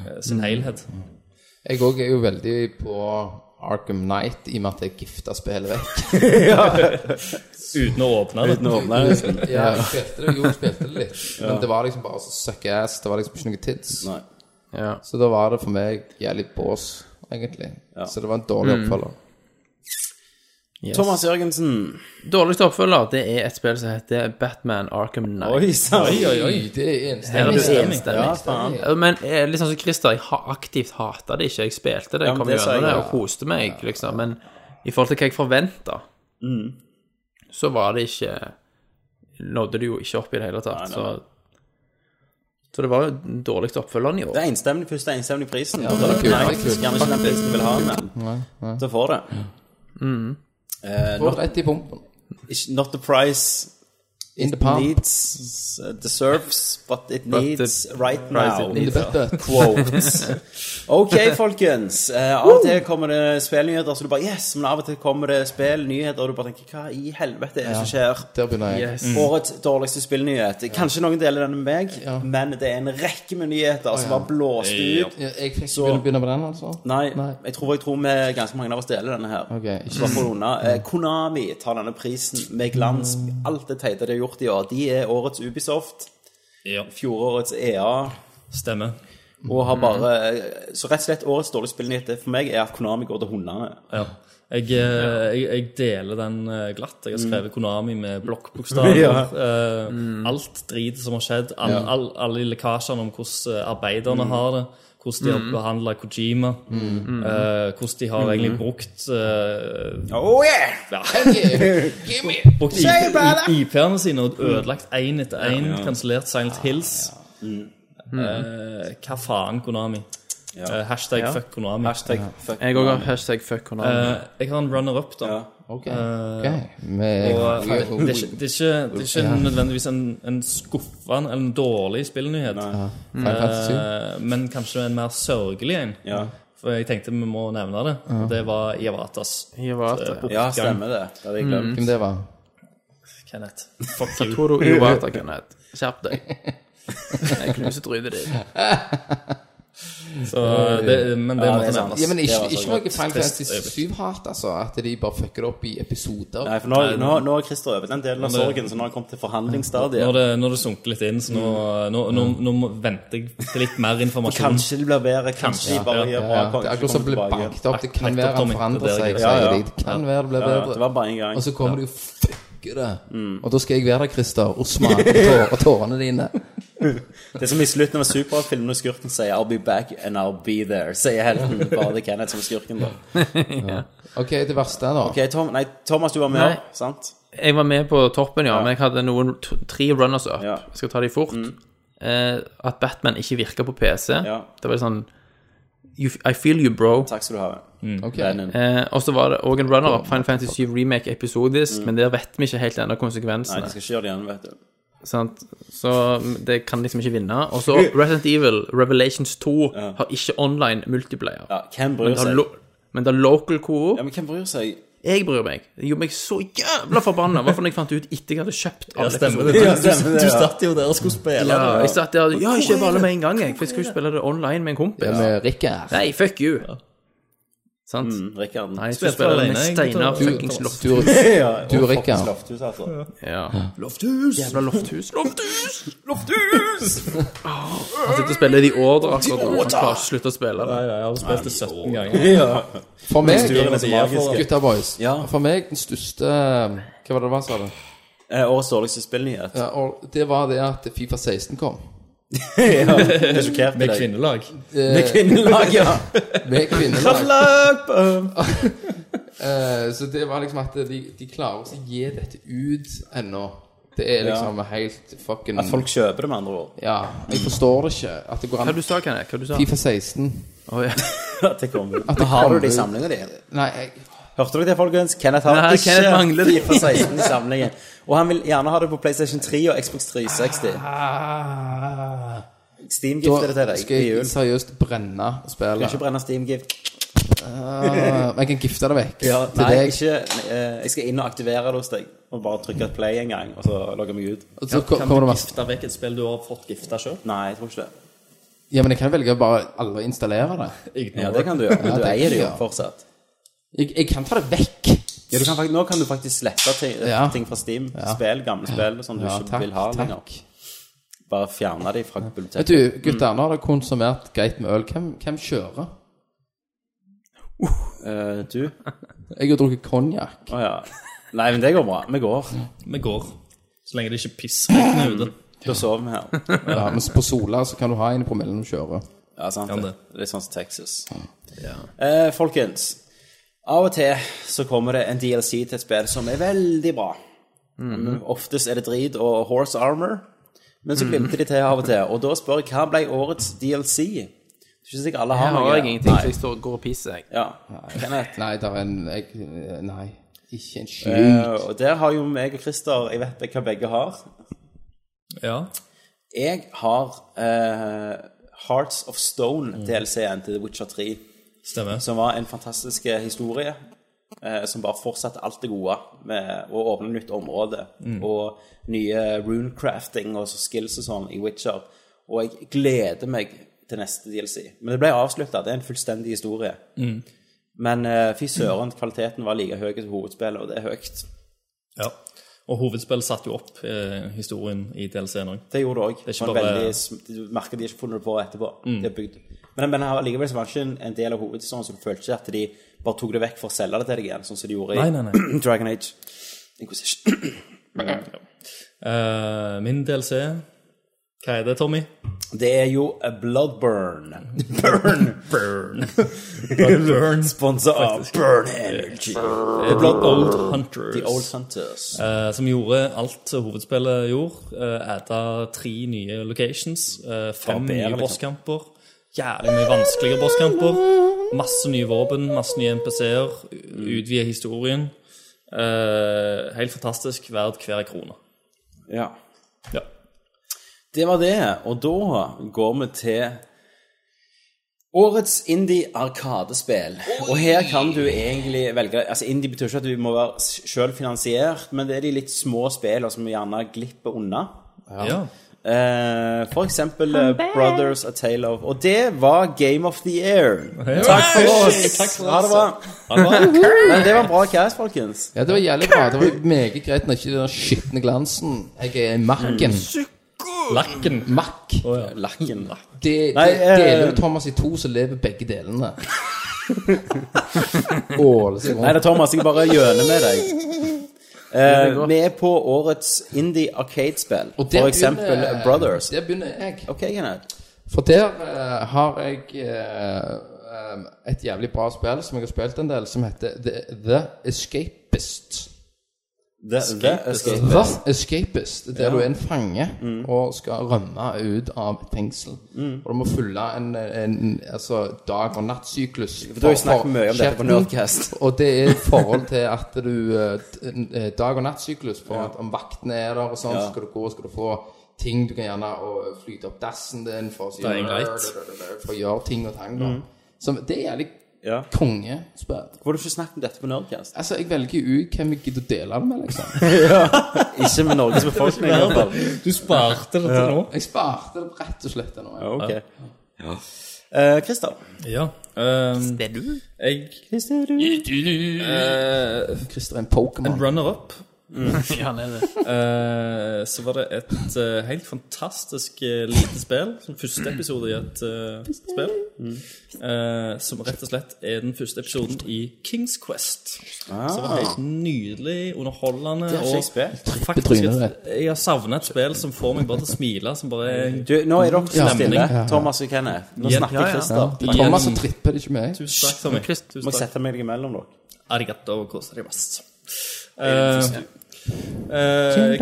eh, sin helhet.
Jeg òg er jo veldig på Arkham Knight i og med at jeg gifta spillet vekk.
Uten å åpne det.
Ja, jeg spilte det, jo, jeg spilte det litt. Men det var liksom bare så suck ass. Det var liksom ikke noe tids.
Nei.
Ja.
Så da var det for meg jævlig bås, egentlig. Så det var en dårlig oppfølger.
Yes.
Thomas Jørgensen.
Dårligste oppfølger det er et spill som heter Batman Arkham Knight.
Oi sann.
Oi, oi, det er
Her er
enstemmig.
det enstemmig.
Ja, faen.
Ja, Men eh, liksom som Christer, jeg har aktivt hata det ikke. Jeg spilte det,
Ja,
jeg
men
kom
det sa
gjennom
jeg,
det
ja.
og koste meg, liksom. Men i forhold til hva jeg forventa,
Mm.
så var det ikke Nådde det jo ikke opp i det hele tatt.
Nei, nei.
Så, så det var jo den dårligste oppfølgeren i år.
Det er enstemmig først, det er enstemmig prisen. Ja,
det er kult,
Nei,
det er kult.
gjerne ikke den prisen du vil ha, men så får det. Eh,
Gå
not,
rett i pumpen.
ikke- not the price
In the palm.
needs uh, deserves, but it
But
needs
the
right
price it
now.
In the butt.
quotes. Ok, folkens. Eh, av og til kommer det spillnyheter, så du bare Yes! Men av og til kommer det spillnyheter, og du bare tenker Hva i helvete er det som skjer?
Der begynner jeg.
Yes.
Årets dårligste spillnyhet. Kanskje noen deler den med meg, men det er en rekke med nyheter som bare blåst ut.
Ja, Jeg fikk
Så-
begynne begynne på den, altså?
Nei,
Nei.
jeg tror jeg tror vi ganske mange av oss deler denne her.
Ok, ikke Mm.
Så bare for unna. Eh, Konami tar denne prisen med glans. Alt det teite de har gjort i år. De er årets Ubisoft,
Ja,
fjorårets E EA.
stemmer.
Og har bare eh, Så rett og slett årets dårlige spillnyhet for meg er at Konami går til hundene.
Ja. Jeg, eh, jeg, jeg deler den eh, glatt. Jeg har skrevet Konami med blokkbokstaver.
Ja.
Eh, Alt dritet som har skjedd, all, all, alle lekkasjene om hvordan eh, arbeiderne har det, hvordan de har behandla Kojima, eh, hvordan de har egentlig brukt eh,
Oh yeah!
Brukt IP IP-ene sine og ødelagt én etter én, kansellert Silent Hills. Eh, hva faen, Konami? Eh, hashtag fuck Konami.
Hashtag fuck
Jeg òg har hashtag fuck Konami.
Eh, jeg har en runner-up, da.
Ok. ok. Men-
Og det er
Jo,
ikke, det er ikke, det er ikke nødvendigvis en, en skuffende eller en dårlig spillnyhet,
Final Fantasy.
eh, men kanskje en mer sørgelig en.
Ja.
For jeg tenkte vi må nevne det. og Det var Iavatas.
Iwata.
eh,
Mm.
bortgang.
Ja, stemmer det. Det hadde jeg glemt.
Hvem det var?
Kenneth. Fuck you.
Toro Iwata, Kenneth. Skjerp deg. Jeg knuser trynet ditt.
Så det, men det
Ja, det
måtte
er sant.
nevnes.
Ja, men
Det
ikke,
var så
ikke
godt.
noe Final Fantasy
øyeblikk.
7-hat, altså. At de bare fucker det opp i episoder.
Nei, for nå, nå, nå har Christer over den delen av sorgen, så nå har han kommet til
Når
forhandlingsstadiet.
det, når det sunker litt inn, så nå, nå, nå, nå må- venter jeg til litt mer informasjon.
Kanskje det blir bedre, kanskje de bare
Ja,
gjør
Ja,
bra.
det er akkurat som ble banket opp. Det kan
Banket
være
opp om
han
ikke
forandrer
det er
seg,
greit.
sier
Ja, ja.
de. Det kan være det ble
Ja, ja,
bedre.
det var bare Mm. en gang.
Og så kommer de og fucker det. Og da skal jeg være der, Christer, og smake på tår- tårene dine.
Det er som i slutten av superfilmen når skurken sier 'I'll be back and I'll be there', sier helten. Bare det er Kenneth som er skurken, da.
OK, det verste, da.
Ok, Tom, nei, Thomas, du var med,
Nei.
sant?
Jeg var med på toppen, ja, men jeg hadde noen to, tre runners up.
Ja. Mm.
Jeg skal ta de fort. Eh, at Batman ikke virka på PC.
Ja.
Det var sånn you, I feel you, bro.
Takk skal du ha.
Ok.
Vennen.
Eh, og så var det òg en runner-up, Final Fantasy 7 Remake episodisk, men der vet vi ikke helt ennå
Mm. Nei,
konsekvensene.
de skal ikke gjøre det igjen, vet du.
sant? Så det kan liksom ikke vinne. Og så Resident Evil Revelations 2 har ikke online multiplayer.
Ja, hvem
men,
bryr
det har
seg?
lo men det har local co-op.
Ja, men hvem bryr seg?
Jeg bryr meg. Det gjorde meg så jævla forbanna. I hvert fall når jeg fant det ut etter jeg hadde kjøpt alle
Stemmer
episodene.
det?
Ja, stemmer det,
Du
ja.
satt jo der og skulle spille.
Ja, jeg satt der Ja, jeg kjøper alle med en gang, jeg. For jeg skulle jo spille det online med en kompis.
Ja. Med Rikard.
Nei, fuck you. Sant?
Mm, Rikard.
Nei, jeg skulle
Spilte
spille
alene,
med
jeg,
Steinar
gutter.
fuckings
Du,
Lofthus.
Ja,
du
og
Rikard.
Fox Lofthus, altså.
Ja.
Lofthus!
Jævla Lofthus. Lofthus! Lofthus! Åh, Han sitter og spiller de ordre akkurat nå. Han klarer ikke å slutte å spille det.
Ja, jeg har spilt det 17 ganger.
Ja.
For meg,
Turen er så magisk.
gutta boys,
Ja.
for meg den største Hva var det det var, sa du?
Eh, Årets dårligste spillnyhet.
Ja, og det var det at Fifa 16 kom.
Ja, jeg er sjokkert i
Med
deg.
kvinnelag.
Med kvinnelag, ja.
Med kvinnelag.
Klapp!
Eh, så det var liksom at de, de klarer å gi dette ut ennå. Det er liksom helt fucking
At folk kjøper det, med andre ord.
Ja, jeg forstår det ikke. At det går
Hva
an
du sa Kenneth? Hva du sa
Fifa 16
Å, ja.
At det kommer.
At det
Har du
kommer
det i
ut.
samlinga di?
Nei, jeg,
Hørte dere det, folkens? Kenneth har
Nei,
ikke
Kenneth mangler det.
FIFA 16 i samlingen. Og han vil gjerne ha det på PlayStation 3 og Xbox 360. Steam
da
gifter det til deg
skal
i
jeg
jul.
seriøst brenne
Kan
spillet.
ikke brenne Steam-gift.
Ah, men jeg kan gifte det vekk
Ja,
til
nei,
deg.
ikke, eh, jeg skal inn og aktivere det hos deg. Og bare trykke et play en gang, og så logge meg ut.
Og så ko- kommer det masse
Gifta vekk et spill du har fått gifta sjøl.
Nei, jeg tror ikke det.
Ja, men jeg kan velge å bare aldri installere det.
Ja, det kan du gjøre. Men
Ja,
du
det kan
eier det
jeg
jo
gjøre.
fortsatt.
Jeg, jeg kan ta det vekk.
Ja, du kan faktisk, nå kan du faktisk slette ting,
Ja.
ting fra Steam. Spill, gamle spill, sånn du
Ja,
ikke
takk,
vil ha
takk.
lenger. Bare fjerne de fra biblioteket.
Vet du, gutter, nå har dere konsumert greit med øl. Hvem, hvem kjører?
Eh, du?
Jeg har drukket konjakk.
Å ja. Nei, men det går bra. Vi går.
Vi går. Så lenge det ikke pissregner ute.
Da sover vi her.
Ja, men på Sola så kan du ha en i promillen når du kjører.
Ja, sant
Kan
det.
det.
Litt sånn som Texas. Eh, folkens, av og til så kommer det en DLC til et spill som er veldig bra. Men Oftest er det drit og horse armor, men så glimter de til av og til. Og da spør jeg hva ble årets DLC? Det er ikke sikkert alle har
Her har
noe.
jeg ingenting, så
Nei.
jeg står og går og pisser, jeg.
Ja. Kenneth.
Nei, der er en jeg, eh, Nei, ikke en
Eh,
skyld.
og der har jo meg og Christer Jeg vet hva begge har.
Ja.
Jeg har eh, Hearts of Stone-DLC-en til The Witcher 3.
Stemmer.
som var en fantastisk eh, historie. Eh, som bare fortsatte alt det gode med å åpne nytt område. Og nye runecrafting og så skills og sånn i Witcher. Og jeg gleder meg til neste DLC. Men det ble avslutta. Det er en fullstendig historie. Men eh, fy søren, kvaliteten var like høy som hovedspillet, og det er høyt.
ja. Og hovedspillet satte jo opp eh, historien i DLC-en òg.
Det gjorde det òg.
er
På
ikke
en
bare- Mm.
veldig sm- Du merker de har ikke funnet det på etterpå. Det er bygd. Men, men allikevel så var det ikke en- en del av hovedhistorien som følte ikke at de bare tok det vekk for å selge det til deg igjen, sånn som de gjorde i
Nei, nei, nei.
Dragon Age. Inquisition.
Eh, min DLC Hva er det, Tommy?
Det er jo a Bloodburn. Burn!
Burn.
Bloodburn. Sponsa av Burn Energy.
The Old Hunters.
The Old Hunters.
Eh, som gjorde alt hovedspillet gjorde. Uh, Adda tre nye locations. eh, fem
Barberer,
nye
liksom.
bosskamper. Jævlig mye vanskeligere bosskamper. Masse nye våpen, masse nye NPC-er. u- Utvide historien. Eh, helt fantastisk. Verdt hver krone.
Ja.
Ja.
Det var det. Og da går vi til Årets indie-arkadespill. Og her kan du egentlig velge Altså Indie betyr ikke at du må være sjøl finansiert, men det er de litt små spillene som gjerne glipper unna.
Ja.
Eh, for eksempel eh, Brothers A Tale of Og det var Game of the Year. Takk for oss. Ha det bra. Men det var bra cast, folkens.
Ja, det var jævlig bra. Det var meget greit når ikke den der skitne glansen Jeg er makken.
Mm.
Lakken.
Makk.
Lakken.
Det, det
Nei, eh,
deler jo Thomas i to, så lever begge delene. Åle seg
Nei,
rundt.
det er Thomas. Jeg bare gjøner med deg. Eh, vi er på årets indie arcade-spill.
Og der
For eksempel
begynner-
Brothers.
Der begynner jeg.
OK, Kenneth.
For der eh, har jeg eh, em, et jævlig bra spill som jeg har spilt en del, som heter The, The Escapist.
The, the Escape.
The Escapist, der du er en fange
Mm.
og skal rømme ut av et fengsel. Og du må fylle en, en altså, dag- og nattsyklus.
Du har jo snakket mye om dette på
kjeften.
Nerdcast.
Og det er i forhold til at du eh, t- eh, Dag- og nattsyklus. For at om vaktene er der, og sånn, så skal du gå skal du få ting du kan gjerne og flyte opp dassen din for å, si,
er greit.
for å gjøre ting og tang. da. Så det er jævlig
Mm. Ja.
kongespill.
Hvorfor har du ikke snakket om dette på Nerdcast?
Altså, jeg velger ut hvem jeg gidder å dele det med, liksom.
Ikke med Norges befolkning, i hvert fall.
Du sparte det til nå.
Jeg sparte det rett og slett til nå.
Ja,
Ja.
Ok. Eh, Christer.
Ja. ehm,
Det er du?
jeg
Christer, du
Christer er en Pokémon.
runner up.
Ja, han er det.
Eh, så var det et eh, helt fantastisk eh, lite spill. Som første episode i et eh, spill. eh, som rett og slett er den første episoden i Kings Quest. Som var helt nydelig, underholdende
har ikke jeg spilt.
faktisk
Trynet
et, Jeg har savna et spill som får meg bare til å smile. Som bare er
Du, nå er dere så
Ja.
stille.
Ja.
Thomas og Kenneth. Nå
Ja,
snakker
ja, ja.
Christer.
Ja, det er Thomas som tripper, det er ikke meg.
Tusen takk, Tommy.
Chris,
Tusen
Må
takk.
sette meg imellom dere.
Arigato gozaimasu. Uh, uh,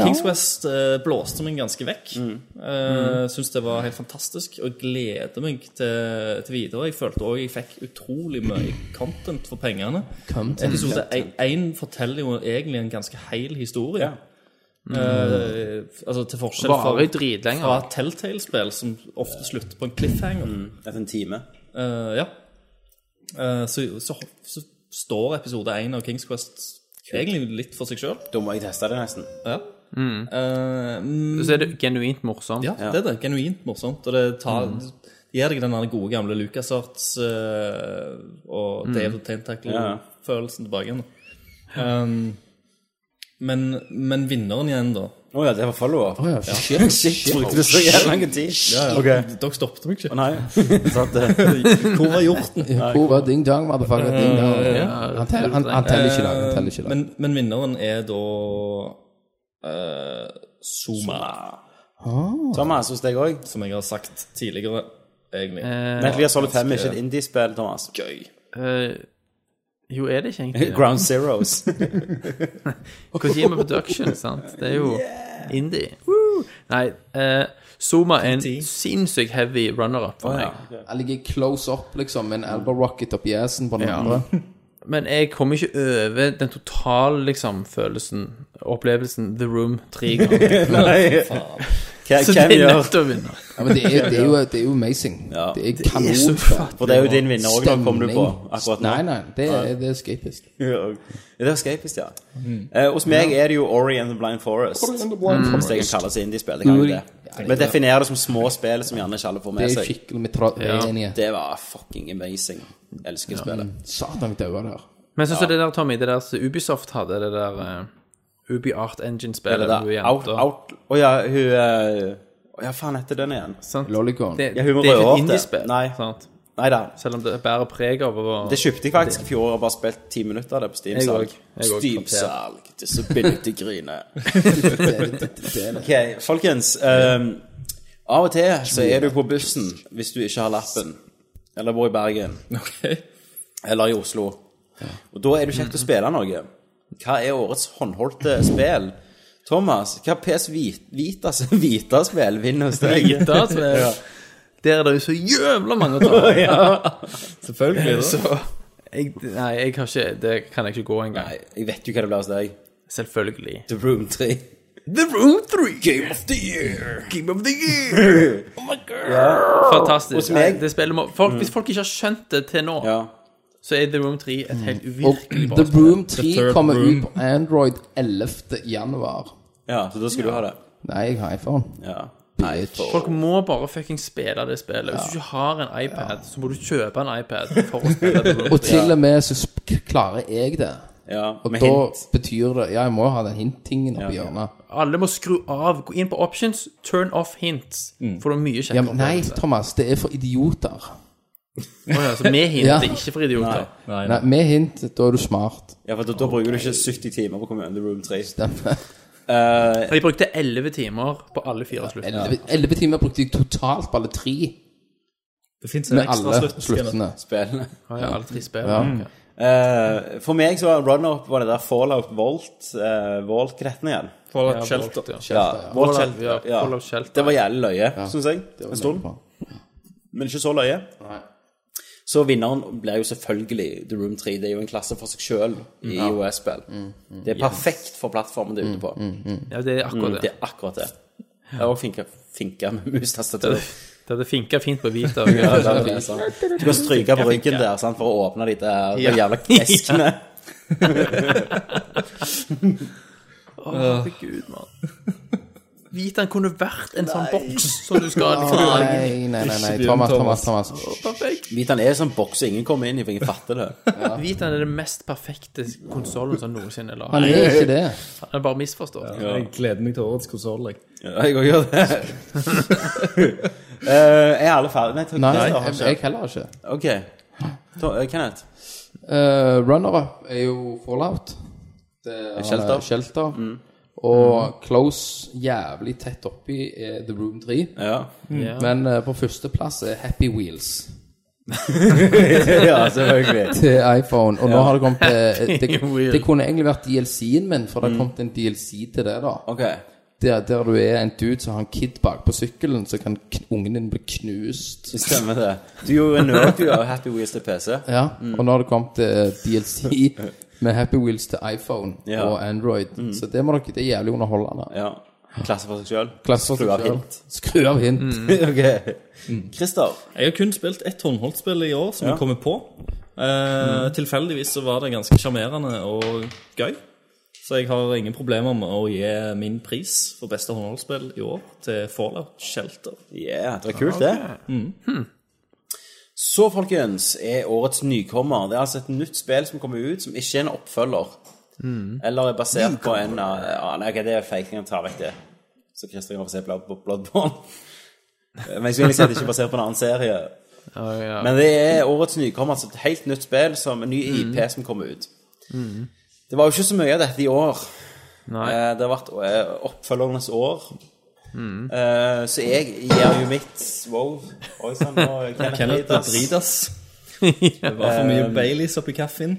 Kings West eh, blåste meg ganske vekk. Uh, Syns det var helt fantastisk, og gleder meg til, til videre. Jeg følte òg jeg fikk utrolig mye content for pengene.
Content.
Episode 1 forteller jo egentlig en ganske heil historie.
Ja.
Eh, altså Til forskjell fra,
Varer jo dritlenge.
fra Telltale-spill, som ofte slutter på en cliffhanger.
Etter en time.
Eh, ja. Eh, så, så, så står episode 1 av Kings Quest egentlig litt for seg sjøl.
Da må jeg teste det nesten.
Ja. Eh, mm,
Så er det genuint morsomt.
ja, Mm. det er det. Genuint morsomt. Og det tar, gir deg den der gode gamle LucasArts eh, og Dave the
Ja, ja.
Tentacle-følelsen tilbake igjen. Um, men, men vinneren igjen, da
Å ja, det var follow-up.
Å ja, shit, shit.
Brukte du så jævla lang tid? Ja, ja.
Dere stoppet meg ikke.
Nei. Satt, eh,
Hvor var hjorten?
Hvor var Ding Dong, motherfucker? Ding Dong. Han teller, han, han teller ikke da. Han teller ikke da.
Men, men vinneren er da eh, Zuma,
Thomas, hos deg òg?
som jeg har sagt tidligere. Egentlig
Metal Gear Solid 5 er ikke et indie-spill, Thomas.
gøy.
Eh, jo, er det ikke egentlig?
Ground Zeroes.
Kojima Production, sant? Det er jo indie. Woo! Nei, eh, Zuma er en sinnssykt heavy runner-up for meg.
Han ligger close up, liksom, med en elbow rocket opp i assen på den andre.
Men jeg kommer ikke over den totale liksom, følelsen, opplevelsen, The Room tre ganger.
Nei. Hva-
Så det
Hvem
er
gjør
nødt til å vinne.
Ja, men det er, det er, jo, det er jo amazing. Det er
så
kanonspill.
For det er jo din vinner òg, den kom du på akkurat nå.
Nei, nei, det er, det er escapist.
Ja, Det er Escapist, ja. Eh, hos meg er det jo Ori and the Blind Forest. Mm. Hvis det kan kalles indiespill. Det kan jo det. Men definerer det som små spill som gjerne ikke alle får
Det
med
er
seg.
skikkelig metraljenige.
Det var fucking amazing. Elsker spillet.
Satan, jeg dauer der.
Men jeg syns det der, Tommy, det der som Ubisoft hadde, det der uh, UbiArt
Eller
Engine-spillet
da,
hvor du er
out,
jenter.
out Å ja, hun eh, Å ja, faen heter den igjen?
sant?
Lollicon.
Det,
Ja,
det
hun må
er ikke
røre opp
et
det.
indiespill,
Nei.
sant?
Nei da.
selv om det bærer preg av å
Det kjøpte jeg faktisk i fjor og bare spilt ti minutter av det på
Jeg
Steam-salg.
òg. Jeg òg,
Steam-salg. Disability-grine.
Det er det, det, det er det.
Ok, folkens. ehm, av og til så er du på bussen hvis du ikke har lappen. Eller bor i Bergen.
Ok.
Eller i Oslo. Og da er det kjekt å spille noe. Hva er årets håndholdte spill? Thomas, hva PS Vit- Vitas Vita-spill vinner hos deg?
Vita, som er- Der er det jo så jævla mange å ta.
Selvfølgelig. da.
Så jeg, Nei, jeg har ikke Det kan jeg ikke gå engang.
Nei, jeg vet jo hva det blir hos deg.
Selvfølgelig.
The Room 3.
The Room 3! Game of the Year! Game of the Year! Fantastisk.
Hos meg-
Det spillet må, folk, Hvis folk ikke har skjønt det til nå,
Ja.
så er The Room 3 et helt
Og
uvirkelig bra
The
spill.
Broom
The
3
Third
kommer
Room.
ut på Android 11. januar.
ja, så da skal du ha det.
Nei, jeg har iPhone.
Ja.
Bitch.
Folk må bare fucking spille det spillet. Hvis du ikke har en iPad, så må du kjøpe en iPad for å spille The Room
Og
3.
til og med så sp- klarer jeg det.
ja.
Og
Med
da
hint.
betyr det Ja, jeg må jo ha den hint-tingen oppi
Ja.
hjørnet.
Alle må skru av. Gå inn på options, turn off hints. For det er mye
Ja,
kjekkere.
men nei,
opplevelse.
Thomas, det er for idioter.
Å ja, så vi hinter
Ja.
ikke for idioter.
Nei,
Nei, Med hint, da er du smart.
Ja, for da, da bruker du ikke 70 timer på å komme under Room 3.
Stemmer.
Og Jeg brukte 11 timer på alle fire sluttene.
Elleve elleve timer brukte jeg totalt på alle tre.
Det fins en
Med
ekstra
alle
slutt. Kenneth.
sluttene.
Spillene.
Ja, ja, alle tre spill.
Eh, for meg så var run-up var det der Fallout Volt. Uh, Volt-gretten igjen.
Fallout Shelter.
Ja, Volt
Fallout,
Shelter.
ja,
Ja.
Fallout Shelter.
Det var jævlig løye, syns jeg. En stund. Men ikke så løye. Så vinneren blir jo selvfølgelig The Room 3. Det er jo en klasse for seg sjøl i IOS-spill. Det er perfekt for plattformen det er ute på. Mm,
Ja, det er akkurat
Det
det.
er akkurat det. Jeg har òg finka, finka med mustastatur.
Det hadde finka fint på hvit. da.
Ja, det er det, sant. Du kan stryke på ryggen der sant, for å åpne de der de jævla eskene.
Herregud, mann. Hvit, han kunne vært en sånn boks som du skal liksom, lage.
Nei, nei, nei, nei. Thomas, Thomas, Thomas.
Perfekt.
Vitan er sånn boks og ingen kommer inn i, for ingen fatter det.
Hvit han er den mest perfekte konsollen som noensinne er
Han
laget.
er ikke det.
Han er bare misforstått.
Jeg gleder meg til årets konsoll.
Ja, jeg òg gjør det. Eh, er alle ferdige? Nei,
Nei,
jeg
jeg,
har
jeg
ikke.
heller ikke.
OK. Ta- eh, Kenneth?
Eh, Runner-up er jo Fallout. Det er
Shelter. Mm.
shelter. Og close, jævlig tett oppi, er The Room 3.
Ja.
Men eh, på førsteplass er Happy Wheels
ja, selvfølgelig.
til iPhone. Og nå har det kommet eh, det,
Wheels.
det kunne egentlig vært DLC-en min, for
Mm.
det har kommet en DLC til det, da.
OK.
Der, der du er en dude som har en kid bak på sykkelen, så kan kn- ungen din bli knust.
Det stemmer det. Du er jo en nerd, du har Happy Wheels til PC.
Ja,
Mm.
og nå har det kommet eh, DLC med Happy Wheels til iPhone
Ja. Mm.
og Android. Så det må dere, det er jævlig underholdende.
Ja. Klasse for seg Mm. sjøl.
Klasser
Skru av
seg selv.
hint.
Skru av hint.
OK. Christer.
Jeg har kun spilt ett håndholdtspill i år som
Ja.
jeg kommer på. Eh, Tilfeldigvis så var det ganske sjarmerende og gøy. Så jeg har ingen problemer med å gi min pris for beste håndholdtspill i år til Fallout Shelter.
Ja, det var kult, det. Mm. Så, folkens, er årets nykommer. Det er altså et nytt spill som kommer ut, som ikke er en oppfølger. Eller er basert på en av ja, Nei, ok, det er fake. Jeg tar vekk det. Så Christer kan få se Blood- Bloodborne. Men jeg skulle egentlig si at det ikke er basert på en annen serie. Men det er årets nykommer, altså et helt nytt spill, som en ny IP som kommer ut. Mhm. Det var jo ikke så mye av dette i år.
Nei.
Eh, Det har vært eh, oppfølgernes år. Eh, Så jeg gir jo mitt Wow. Oi sann, nå er Kenneth
Kenneth
Ridas.
Dridas. Det var for mye Baileys oppi kaffen.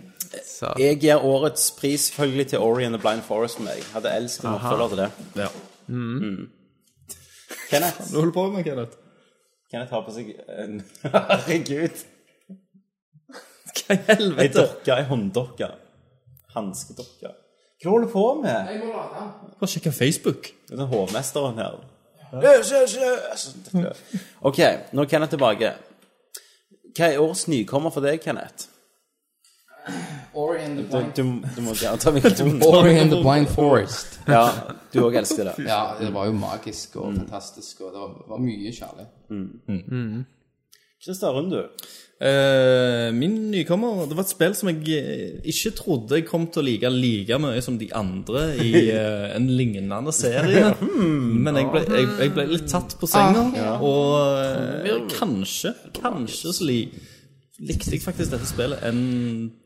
Så.
Jeg gir årets pris selvfølgelig til Ori and the Blind Forest for meg. Hadde elsket en oppfølger til det.
Ja.
Mm. Kenneth,
Du holder på med Kenneth?
Kenneth har på seg en Herregud.
Hva i
Ei
helvete?
dokke, ei hånddokke. Hanskedokke. Hva holder du på med?
Bare sjekk Facebook.
Det er den hovmesteren her. Løs, løs, løs! OK, nå er Kenneth tilbake. Hva er årets nykommer for deg, Kenneth?
Ori and the
Du,
Blind,
du, du må gjerne ta mikrofonen.
Forest.
Ja, du òg elsker det.
Ja, det var jo magisk og fantastisk, og det var, var mye kjærlighet.
Christer Rund, du.
Eh, min nykommer Det var et spill som jeg eh, ikke trodde jeg kom til å like like mye som de andre i eh, en lignende serie. Hmm. Men jeg ble, jeg, jeg ble litt tatt på senga, og eh, kanskje, kanskje så li, likte jeg faktisk dette spillet enn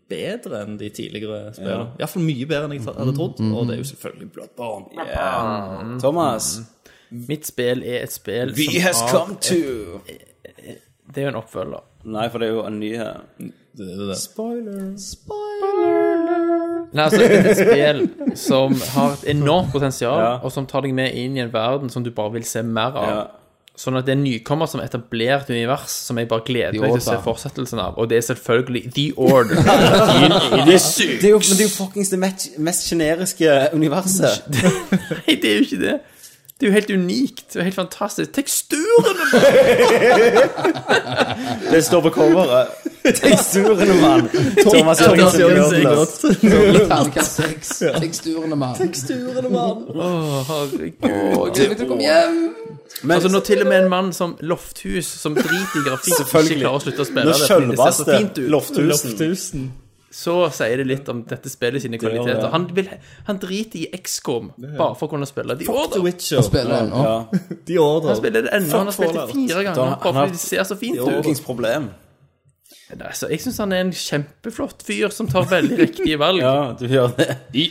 bedre enn de tidligere spillene. Iallfall mye bedre enn jeg tra- hadde trodd, og det er jo selvfølgelig Bloodborne.
Thomas.
Mitt spill er et spill
We has
som har
come to
Det er jo en oppfølger.
Nei, for det er jo en ny her.
Det, det, det.
Nei, altså, det er et spill som har et enormt potensial, og som tar deg med inn i en verden som du bare vil se mer av.
Ja.
Sånn at det er en nykommer som etablert univers som jeg bare gleder
The
meg til å se
Order.
fortsettelsen av. Og det er selvfølgelig The Order. In- in-
Det er jo, men det er jo fuckings det mest, mest generiske universet.
Nei, det er jo ikke det. Det er jo helt unikt. Det er helt fantastisk. Teksturen!
Det står på coveret. Teksturene, mann. Thomas Jørgensen Bjørnløs.
Terningkast seks. Teksturene, mann.
Å, herregud.
Jeg vil du komme hjem.
Men
Altså, når til og med en mann som Lofthus, som driter i grafikk, ikke
Selvfølgelig.
klarer å slutte å spille
når
det fordi det ser så
sjølveste
fint ut,
Lofthusen
så sier det litt om dette spillet sine
gjør det.
kvaliteter. Han, vil, han driter i XCOM bare for å kunne spille The
The
Order.
Witcher.
Spiller den nå.
ja.
The Order.
Han spiller det ennå. Han har spilt det
Fallout.
fire
altså. Da-
ganger
han
bare
har-
fordi det ser så fint
Det er
ut.
fuckings problem.
Nei, Altså, jeg syns han er en kjempeflott fyr som tar veldig riktige valg.
Ja, du gjør det.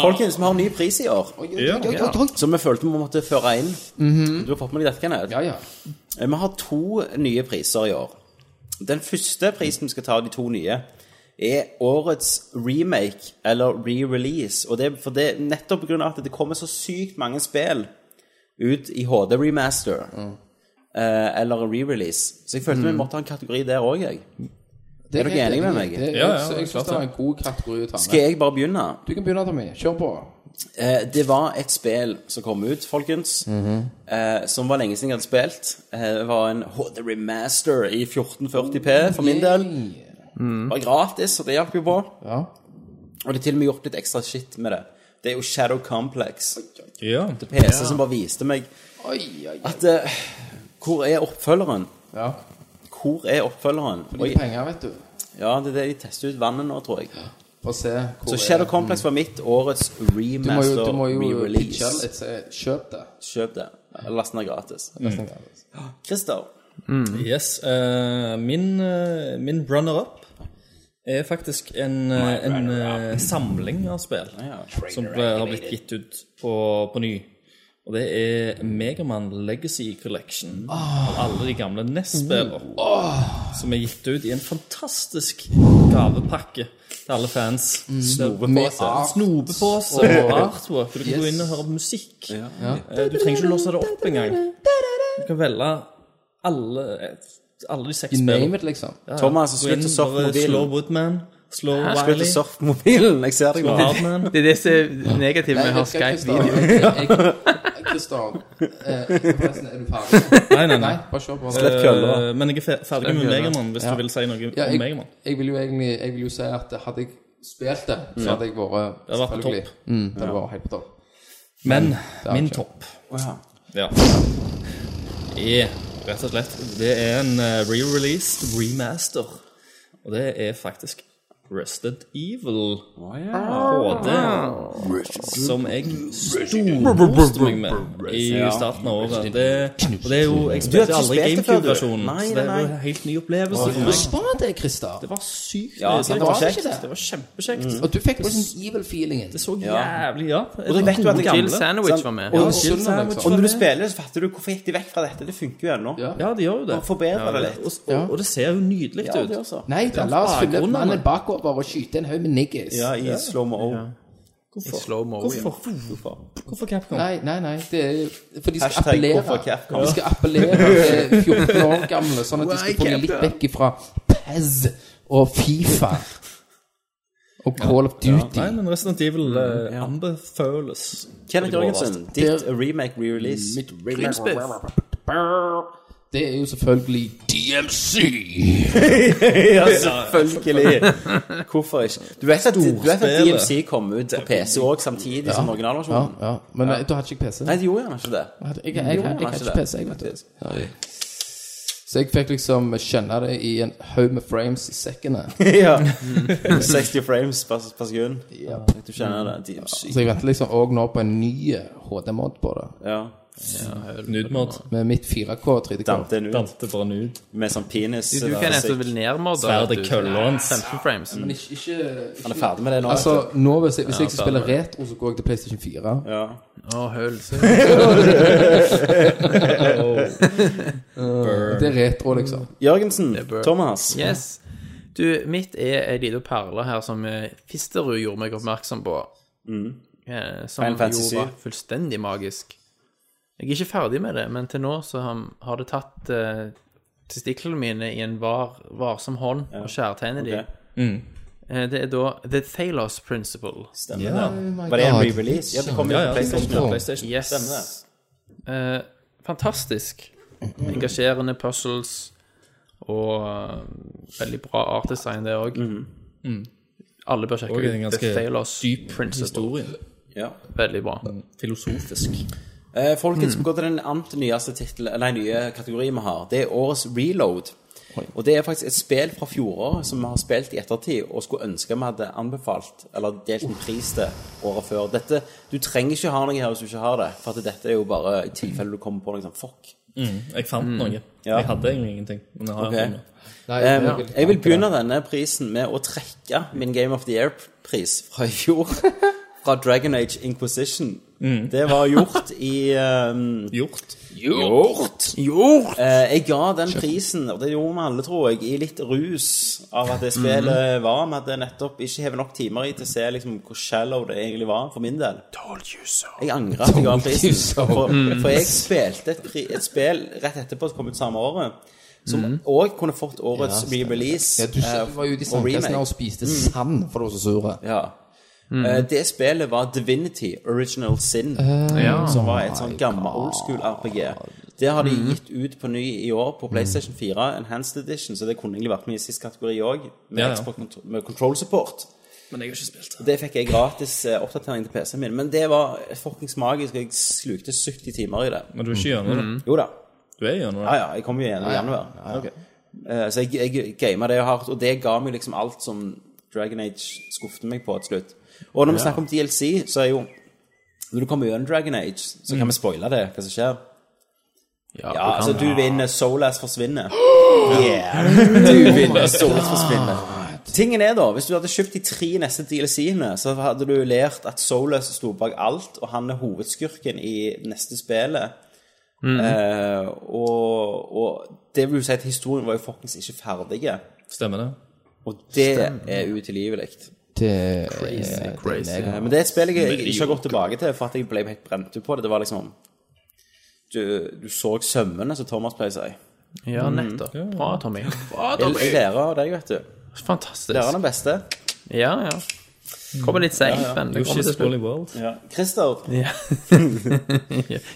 Folkens, vi har en ny pris i år,
Ja, ja, ja.
som vi følte vi måtte føre inn. Du har fått med deg dette, Kenneth?
Ja, ja.
Eh, Vi har to nye priser i år. Den første prisen vi skal ta, de to nye, er årets remake eller re-release. Og det er for det, nettopp på grunn av at det kommer så sykt mange spill ut i HD remaster. eh, eller re-release. Så jeg følte vi måtte ha en kategori der òg, jeg.
Det
Er dere
helt
enige med
enig.
meg?
Det-
Ja, ja,
jeg- Jeg
klart
syns det var en god kategori å ta
Skal
med.
jeg bare begynne?
Du kan begynne, Tommy. Kjør på.
Eh, det var et spill som kom ut, folkens,
Mhm.
eh, som var lenge siden jeg hadde spilt. Eh, det var en HD remaster i 1440P for min del. Det var gratis, og det hjalp jo på.
Ja.
Og det er til og med gjort litt ekstra shit med det. Det er jo Shadow Complex.
Ja.
PC som bare viste meg
Oi, oi, oi.
at eh, Hvor er oppfølgeren?
Ja.
Hvor er oppfølgeren?
For
Oi,
de penger, vet du.
ja, det er det de tester ut vannet nå, tror jeg.
For å se hvor
Så
er-
Shadow Complex var mitt årets
Du må jo,
remaster,
du må jo pitche
re-release.
litt. se- Kjøp det.
Kjøp det. Last den er gratis.
Mm.
Christer,
Yes. eh, min eh, min runner-up er faktisk en, eh, en eh, samling av spill som ble, har blitt gitt ut på, på ny. Og det er Megaman Legacy Collection av alle de gamle NES-spillene. Som er gitt ut i en fantastisk gavepakke til alle fans. Snopepose. Snopepose og artwork. Du kan gå inn og høre musikk. Eh, Du trenger ikke låse det opp engang. Du kan velge alle, alle de seks
Name
spillene.
it, liksom.
Thomas,
Gå inn,
slutt å surfe
bare slå
mobilen.
Woodman, slå
Slutt å
Wiley,
surfe mobilen, jeg ser deg
slå
nå.
Hardman.
Det er det som er negativt med å ha Skype-video.
Kristian, eh, forresten, er du ferdig?
Nei, nei, nei.
Nei, bare kjør på.
Slett køller.
Eh, Men jeg er fe- ferdig med Megaman, hvis du vil si noe
Ja,
om
jeg,
Megaman.
jeg vil jo egentlig jeg vil jo si at hadde jeg spilt det, så hadde jeg vært
Det hadde vært på
selvfølgelig.
topp.
Mm, det hadde vært helt på topp.
Men min
ikke-
topp ja. er rett og slett Det er en eh, re-released remaster. Og det er faktisk Rusted Evil HD.
Ah,
Som jeg storkoste meg med i starten av året. Det, og det er jo Jeg
har
spilte
ikke
aldri
spilt det før, du.
GameCube-versjonen,
Nei,
så det
nei,
er jo
nei.
en helt ny opplevelse for meg.
Hva var det, Christer?
Det var sykt
Ja,
det,
sant, det
var
var
kjekt.
kjekt.
Det var kjempekjekt.
Og du fikk liksom evil-feelingen.
sånn- Det så jævlig ja.
Mm. Og du vet jo at det
Jill
gamle
Sandwich var med.
Og Sunderland,
Sånn- Og
liksom.
når du spiller, så fatter du hvorfor gikk de vekk fra dette. Det funker jo ennå.
Ja.
Ja, det gjør jo det.
Og forbedre det litt.
Og, og, og det ser jo nydelig
Ja,
ut.
det også.
Nei da, la oss fylle
bakgrunnen,
mannen
men.
bakover og skyte en haug med niggas.
Ja, i slow mo.
I slow-mo. ja.
Hvorfor? Hvorfor Capcom?
Nei, nei, nei. Det er, for de skal
Hashtag
appellere
hvorfor Capcom.
De skal appellere til 14 år gamle, sånn at de skal få dem litt vekk ifra Pez og Fifa og Call of Duty.
Nei, men Resident Evil eh, anbeføles.
Kenneth Jørgensen, ditt remake re-release.
Mitt Det er jo selvfølgelig DMC.
Ja, selvfølgelig. Hvorfor ikke? Du vet at, du vet at DMC kom ut på PC òg samtidig som
Ja,
originalversjonen?
ja. Men eh, da hadde ikke jeg PC.
Nei, det gjorde gjerne ikke det.
Jeg, hadde- jeg, jeg, jeg, jeg,
Jo,
hadde
kanskje
ikke
det.
PC, jeg, vet du. Så jeg fikk liksom skjønne det i en haug med frames i sekkene.
ja. 60 frames per, per sekund. Du kjenner det. DMC.
Så jeg venter liksom òg nå på en ny HD-mod på det.
Ja.
Nudemod.
Med mitt 4K og 3D-K.
Damte den ut
Dante bare nud.
med sånn penis.
Du
der,
kan nesten
musikk.
vel nærmere
Sverdet køller hans.
15 frames.
Men ikke, ikke, ikke
Han er ferdig med det nå.
Altså,
vet
nå hvis jeg, hvis jeg skal spille retro, så går jeg til PlayStation 4.
du. ja.
Å, høls.
Det er retro, liksom.
Mm. Jørgensen.
bør-
Thomas.
Yes. Du, mitt er ei lita perle her som eh, Fisterud gjorde meg oppmerksom på. Eh, som
Mm. Final Fantasy
jo var fullstendig magisk. Jeg er ikke ferdig med det, men til nå så har, har det tatt eh, testiklene mine i en var, varsom hånd og skjærtegnet
Ok.
de. Eh, det er da The Thalos Principle.
Stemmer det. Var det en
God.
re-release? Ja, det kom jo på PlayStation.
kom på.
ja, PlayStation.
Yes.
Stemmer det.
Eh, fantastisk. Engasjerende puzzles og eh, veldig bra artdesign, det òg. Mm-hmm. Alle bør sjekke
Mm. Og en
ut The
ganske
Thalos
dyp
Principle.
Historie.
Ja.
Veldig bra.
Mm. Filosofisk.
Eh, folkens, vi går til den annet nyeste titel, eller nye kategori vi har. Det er årets reload. Og det er faktisk et spill fra fjoråret som vi har spilt i ettertid og skulle ønske vi hadde anbefalt eller delt en pris til året før. Dette, Du trenger ikke ha noe her hvis du ikke har det, for at dette er jo bare i tilfelle du kommer på noe sånn fuck.
Mm. Jeg fant noe.
Ja.
Jeg hadde egentlig ingenting. Men jeg har
Ok.
funnet.
Nei,
Em,
vil
jeg vil begynne denne prisen med å trekke min Game of the Year-pris fra i fjor. Fra Dragon Age Inquisition.
Mm.
Det var gjort i em,
Gjort.
Gjort! Eh, jeg ga den prisen, og det gjorde vi alle, tror jeg, i litt rus av at det
Mhm.
spillet var. Vi hadde nettopp ikke hevet nok timer i til å se liksom, hvor shallow det egentlig var, for min del. Jeg angrer at jeg ga prisen.
so. Mhm.
For, for jeg spilte et, pri- et spill rett etterpå som kom ut samme året, som òg kunne fått årets re-release
Mhm. Ja, du
eh,
var jo ute i
og remake.
sandkassen og spiste sand, for du var så sure.
Ja.
Mm.
Eh, det spillet var Divinity Original Sin,
Eh,
som var et
Oh
sånn gammel old school RPG. Det har de
Mm.
gitt ut på ny i år på PlayStation 4, Enhanced Edition, så det kunne egentlig vært med i sist kategori òg, med,
Ja, ja.
Xbox contro- med control support.
Men jeg har ikke spilt
Og Det fikk jeg gratis eh, oppdatering til PC-en min, men det var fuckings magisk, og jeg slukte 70 timer i det.
Men du er ikke gjennom det?
Jo da.
Du er
Ja,
gjennom det?
ja, jeg kommer jo gjennom i januar. Eh, så jeg, jeg gama det hardt, og det ga meg liksom alt som Dragon Age skuffet meg på til slutt. Og når vi snakker om DLC, så er jo Når du kommer gjennom Dragon Age, så kan vi spoile det, hva som skjer. Ja, altså, du vinner, Solas forsvinner. Yeah. Du vinner, Solas forsvinner. Tingen er da, Hvis du hadde kjøpt de tre neste DLC-ene, så hadde du lært at Solas sto bak alt, og han er hovedskurken i neste spillet. Eh, og, og det vil jo si at historien var jo fuckings ikke ferdig.
Stemmer det?
Og det er utilgivelig.
Det
Crazy.
Eh, men det er et spill jeg ikke har gått tilbake til, for at jeg ble helt brent ut på det. Det var liksom Du, du så sømmene, som Thomas pleier å si.
Ja,
Mm.
nettopp. Bra, Tommy.
Jeg, jeg lærer av deg, vet du.
Fantastisk.
Lærer er den beste.
Ja, ja. Kommer litt seint, men det kommer til
She's
slutt.
Spoiling World.
Christer.
Ja.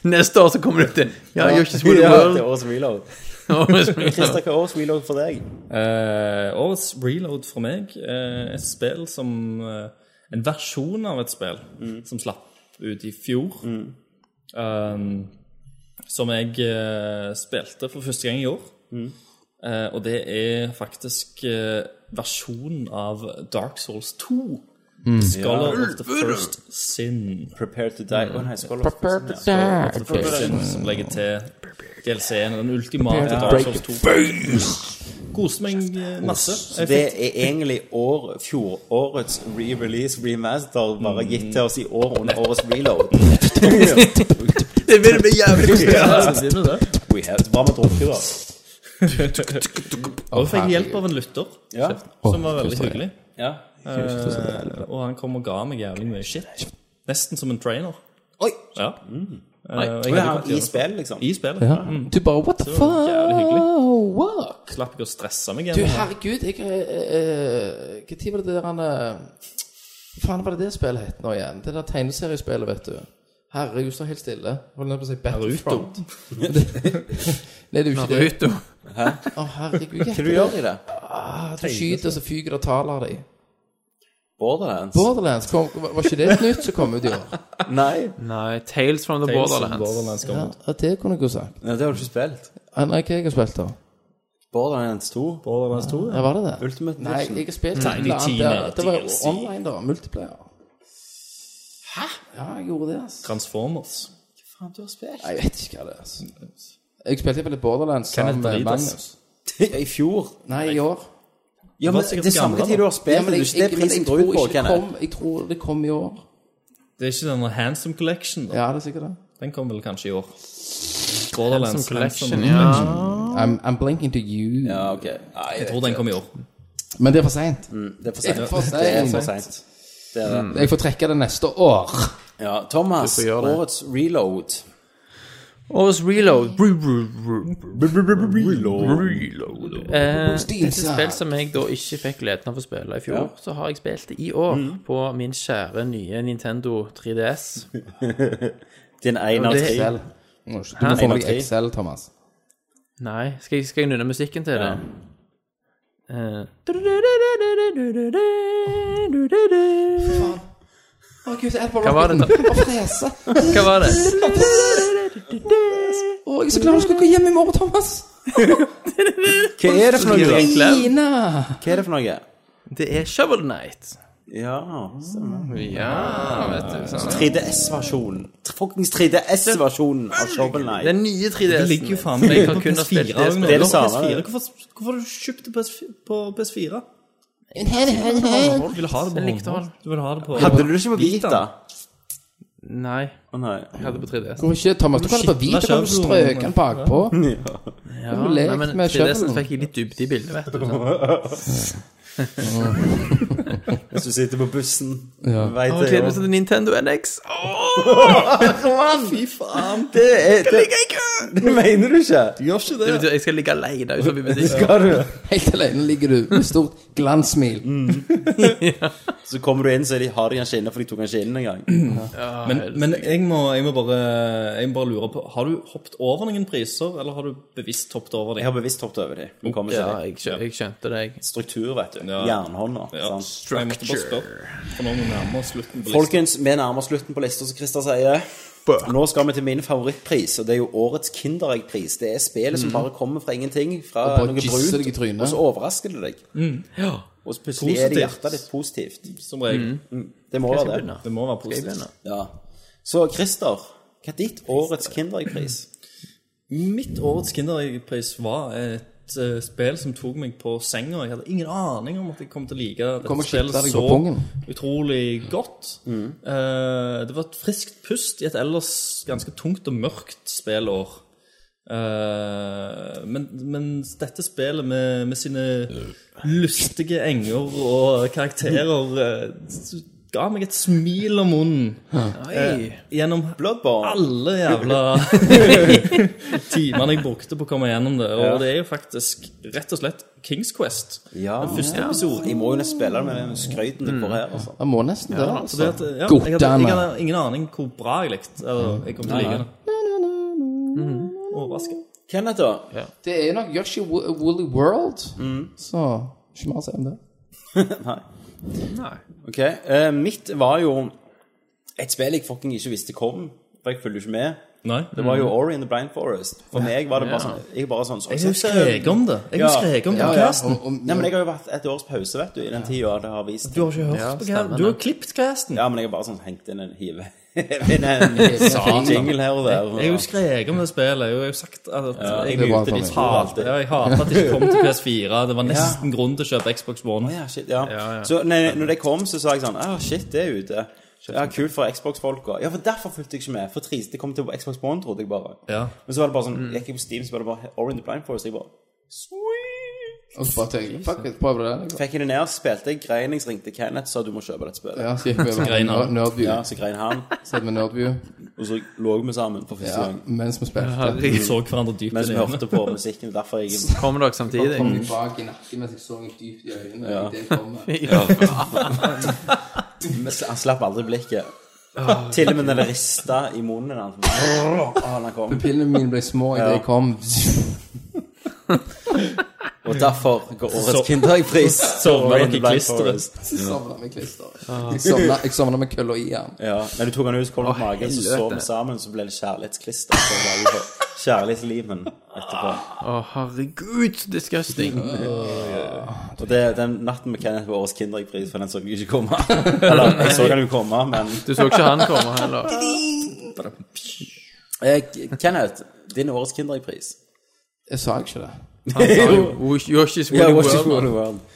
Neste år så kommer det til Ja, gjør ikke Spoiler
Ja,
World.
til årets reload.
Ja,
Christer, hva er årets reload for deg?
Eh, årets reload fra meg er et spill som eh, En versjon av et spill
Mm.
som slapp ut i fjor. Um, som jeg eh, spilte for første gang i år.
Mm.
Eh, og det er faktisk eh, versjonen av Dark Souls 2. Scholar of the First Sin.
Prepare to die. Å, nei, skål.
Of the First Sin som legger til DLC-en. Den ultimate Dark Souls 2. Koste meg eh, masse.
Så det er egentlig år, fjorårets re-release, remaster, bare gitt til oss i år under årets reload.
det vil bli jævlig
We have, hva med drukket, da?
Og fikk hjelp av en lytter,
Ja.
som var veldig hyggelig.
ja.
Eh, og han kom og ga meg jævlig mye shit. Nesten som en trainer.
Oi!
Ja. Eh, og
Og
jeg hadde
jeg har
fått
den i
gjøre det.
spill, liksom.
I spillet. Ja. Mm.
Du bare What the
Det var jævlig hyggelig.
fuck?
Slapp ikke å stresse meg
Du,
igjen.
herregud, jeg eh, Når var det der han eh, Faen, var det det spillet het nå igjen? Det der tegneseriespillet, vet du. Herregud, stå helt stille. Holdt jeg på å si Battlefront. Nei, det er jo ikke det.
Naruto.
Å, herregud.
Hva du gjør i det?
Ah, du skyter, så fyker det og taler av deg.
Borderlands?
Borderlands, kom, var var ikke det et nytt som kom ut i år?
Nei.
Nei, Tales from the
Tales of
Borderlands.
Borderlands kom
Ja,
ut.
det kunne jeg jo sagt.
Nei, det har du ikke spilt.
Ah, Nei, hva jeg har spilt, da?
Borderlands 2.
Borderlands 2.
Ja, var det det?
Ultimate
Nei,
Edition.
jeg har spilt et eller annet
Tiny
der. Det var jo
DLC.
online, da. Multiplayer. Hæ? Ja, jeg gjorde det, altså.
Transformers.
Faen, du har spilt.
Jeg vet ikke hva det er. altså. Jeg spilte vel i Borderlands sammen med
Ridas.
Magnus.
I fjor.
Nei, i år.
Ja, men
var sikkert
det er samme
gamle,
tid du har spilt, men det
jeg,
er ikke det
jeg- men jeg
prisen går ut
tror
på,
ikke det
Kenneth.
kom, jeg tror det kom i år.
Det er ikke denne Handsome Collection. Da.
Ja, det er sikkert det.
Den kom vel kanskje i år. Borderlands
Som collection,
Handsome-
ja.
I'm, I'm blinking to you.
Ja, ok. Nei,
Jeg tror den kom i år.
Men det er for seint.
det er for sent.
Det er for sent.
Det er for sent. Det er det.
Jeg får trekke det neste år.
Ja, Thomas,
Du får gjøre det.
årets reload.
Årets reload. Bru, bru, bru, bru,
Reload.
reload. Eh, dette er spill som jeg da ikke fikk gleden av å spille i fjor. Så har jeg spilt det i år
Mm.
på min kjære nye Nintendo 3DS.
Din én av
det-
tre.
Excel. Nå, Du må få
En av
deg
tre.
Excel, Thomas.
Nei, skal jeg, skal jeg nynne musikken til det? Eh,
Å, gud, jeg er
Hva
bare
var det da?
å frese.
Hva var det?
Å, jeg er så glad du skal gå hjem i morgen, Thomas.
Hva er det for noe? da?
Ina.
Hva er det for noe?
Det er Shovel Night.
Ja stemmer.
Ja, vet du. sant?
3DS-versjonen. Fuckings 3DS-versjonen av Shovel Knight.
Den nye 3DS-en.
Det ligger jo faen meg
Jeg har
på
kun spilt
PS4.
det
også nå.
spillet.
Det er det samme,
PS4.
det.
Hvorfor, hvorfor har du kjøpt det på PS4 på PS4? Du ville ha det på
Jeg likte
håndhold. Du ville ha det på
Hadde du det ikke på Vita?
Nei,
Å nei.
jeg hadde på 3DS.
Hvorfor ikke, Thomas? Du kan det på hvit, du kan
skjøv-
strøke den bakpå.
Ja,
du lekt
nei, men
med
3DS-en
shovelen?
fikk jeg litt dybde i bildet, vet du.
Hvis du sitter på bussen
Ja.
Vei
Å,
til
Gleder meg til Nintendo NX. Åh,
Fy faen! Det er det, det mener du ikke! Du gjør ikke
det betyr jeg skal ligge alene utenfor butikken.
Skal du?
Helt alene ligger du med stort glanssmil.
Så kommer du inn, så er de, har de kanskje inne, for de tok kanskje inn en gang.
Men, men jeg, må, jeg, må bare, jeg må bare lure på Har du hoppet over noen priser, eller har du bevisst hoppet over
Jeg
dem?
har bevisst hoppet over dem. Vi kommer
Ja,
til
jeg, skjø jeg skjønte det. jeg.
det. Struktur, vet du.
Ja.
Jernhånda.
Ja,
sant?
så jeg måtte bare spørre. For nå er vi nærmere slutten på listen.
Folkens, vi nærmer oss slutten på lista, som Christer sier. Nå skal vi til min favorittpris, og det er jo årets Kinderegg-pris. Det er spillet som bare kommer fra ingenting, fra
Og bare
noe
kysser deg i
brunt,
trynet.
og så overrasker det deg. Og så plutselig er det
Positivt.
hjertet ditt positivt.
Som regel.
Det må
Skal jeg
være det.
begynne?
Det må være
Skal jeg
positivt.
begynne?
Ja. Så Christer, hva er ditt årets Kinderegg-pris?
Mitt årets Kinderpris var et eh, spill som tok meg på senga. Jeg hadde ingen aning om at jeg kom til å like
Kom og
dette
kitte
spillet
deg
så
på pungen.
utrolig godt. Eh, det var et friskt pust i et ellers ganske tungt og mørkt spillår. Eh, men, men dette spillet med, med sine lystige enger og karakterer eh, s- ga meg et smil om munnen Eh,
Oi.
gjennom
Bloodborne.
alle jævla timene jeg brukte på å komme gjennom det. Og det er jo faktisk rett og slett Kings Quest.
Ja.
Den første episoden.
Jeg må jo nesten spille det med skryten det går
Mm.
her, altså.
Jeg må nesten det,
Så det at,
altså.
ja, jeg, hadde, jeg
Godtene.
hadde ingen aning hvor bra jeg likte eller jeg kom til å like det.
Mhm.
Overraska.
Kenneth, da?
Det er nok Yoshi Wo- Woolly World, så ikke mer å si om det.
Ok, eh, mitt var jo et spill jeg fucking ikke visste kom, for jeg følger jo ikke med.
Nei.
Det var jo Ori in the Blind Forest. For meg var det bare sånn Jeg bare sånn så,
Mm. Jeg skrek om det. Jeg
Ja.
skrek om det
Ja,
på
ja.
casten.
Og- og-
Nei, men jeg har jo vært et års pause, vet du, i den tida det har vist
Du har ikke hørt på casten. Du har klippet casten.
Ja, men jeg har bare sånn hengt inn en hive Inn en jingle her og der.
Jeg har jo skrek om det spillet. Jeg har jo sagt at jeg sånn-
Det var
Ute
for
de
meg.
to
hater
alltid.
ja, jeg hater at det ikke kom til PS4. Det var nesten grunn til å kjøpe Xbox One.
Ja, shit, ja. Så nei, når det kom, så sa jeg sånn ah, Shit, det er ute. Ja, Kult for Xbox-folka. Ja, for derfor fulgte jeg ikke med. For trist, det kom til Xbox One, trodde jeg bare.
Ja.
Men så var det bare sånn Gikk jeg på Steam, så var det bare Ori in the Blind Forest. Jeg bare
Og så bare tenker jeg, fuck it, prøv det. liksom.
Fikk jeg det ned, spilte jeg Greinings, ringte Kenneth, sa du må kjøpe dette spillet.
Ja, så gikk vi over
grein han.
Nerd- Nerdview.
Ja, så grein han,
Satt med Nerdview
og så lå vi sammen for første
ja,
gang.
mens vi spilte.
Vi så hverandre dypt
Mens
i
vi
øynene.
hørte på musikken. Derfor jeg
Kommer dere samtidig?
Kom tilbake i nakken mens jeg så henne dypt i øynene.
Ja.
i det jeg kom med.
Han slapp aldri blikket. Til og med når det rista i munnen hans. Ah, han kom.
Pupillene mine ble små idet
Ja.
jeg kom.
Og derfor går
Så-
årets Kinderegg-pris.
Sovna
Ori
dere
in the
i
Blind
klisteret?
Forest.
Sovna med klister. Jeg sovna- Jeg sovna med kølla i han.
Ja, Nei, du tok han ut, så kom det på magen, så
helvete.
sov vi sammen, så ble det kjærlighetsklister. Så var vi på Kjærlighetslimen etterpå.
Å, herregud, så disgusting.
Og det, den natten med Kenneth var årets Kinderegg-pris, for den så jeg ikke komme. Eller, jeg så han jo komme, men
Du så ikke han komme heller.
eh, Kenneth, din årets Kinderegg-pris.
Jeg sa ikke det.
Han sa jo Wish- Yoshi's Woolly World.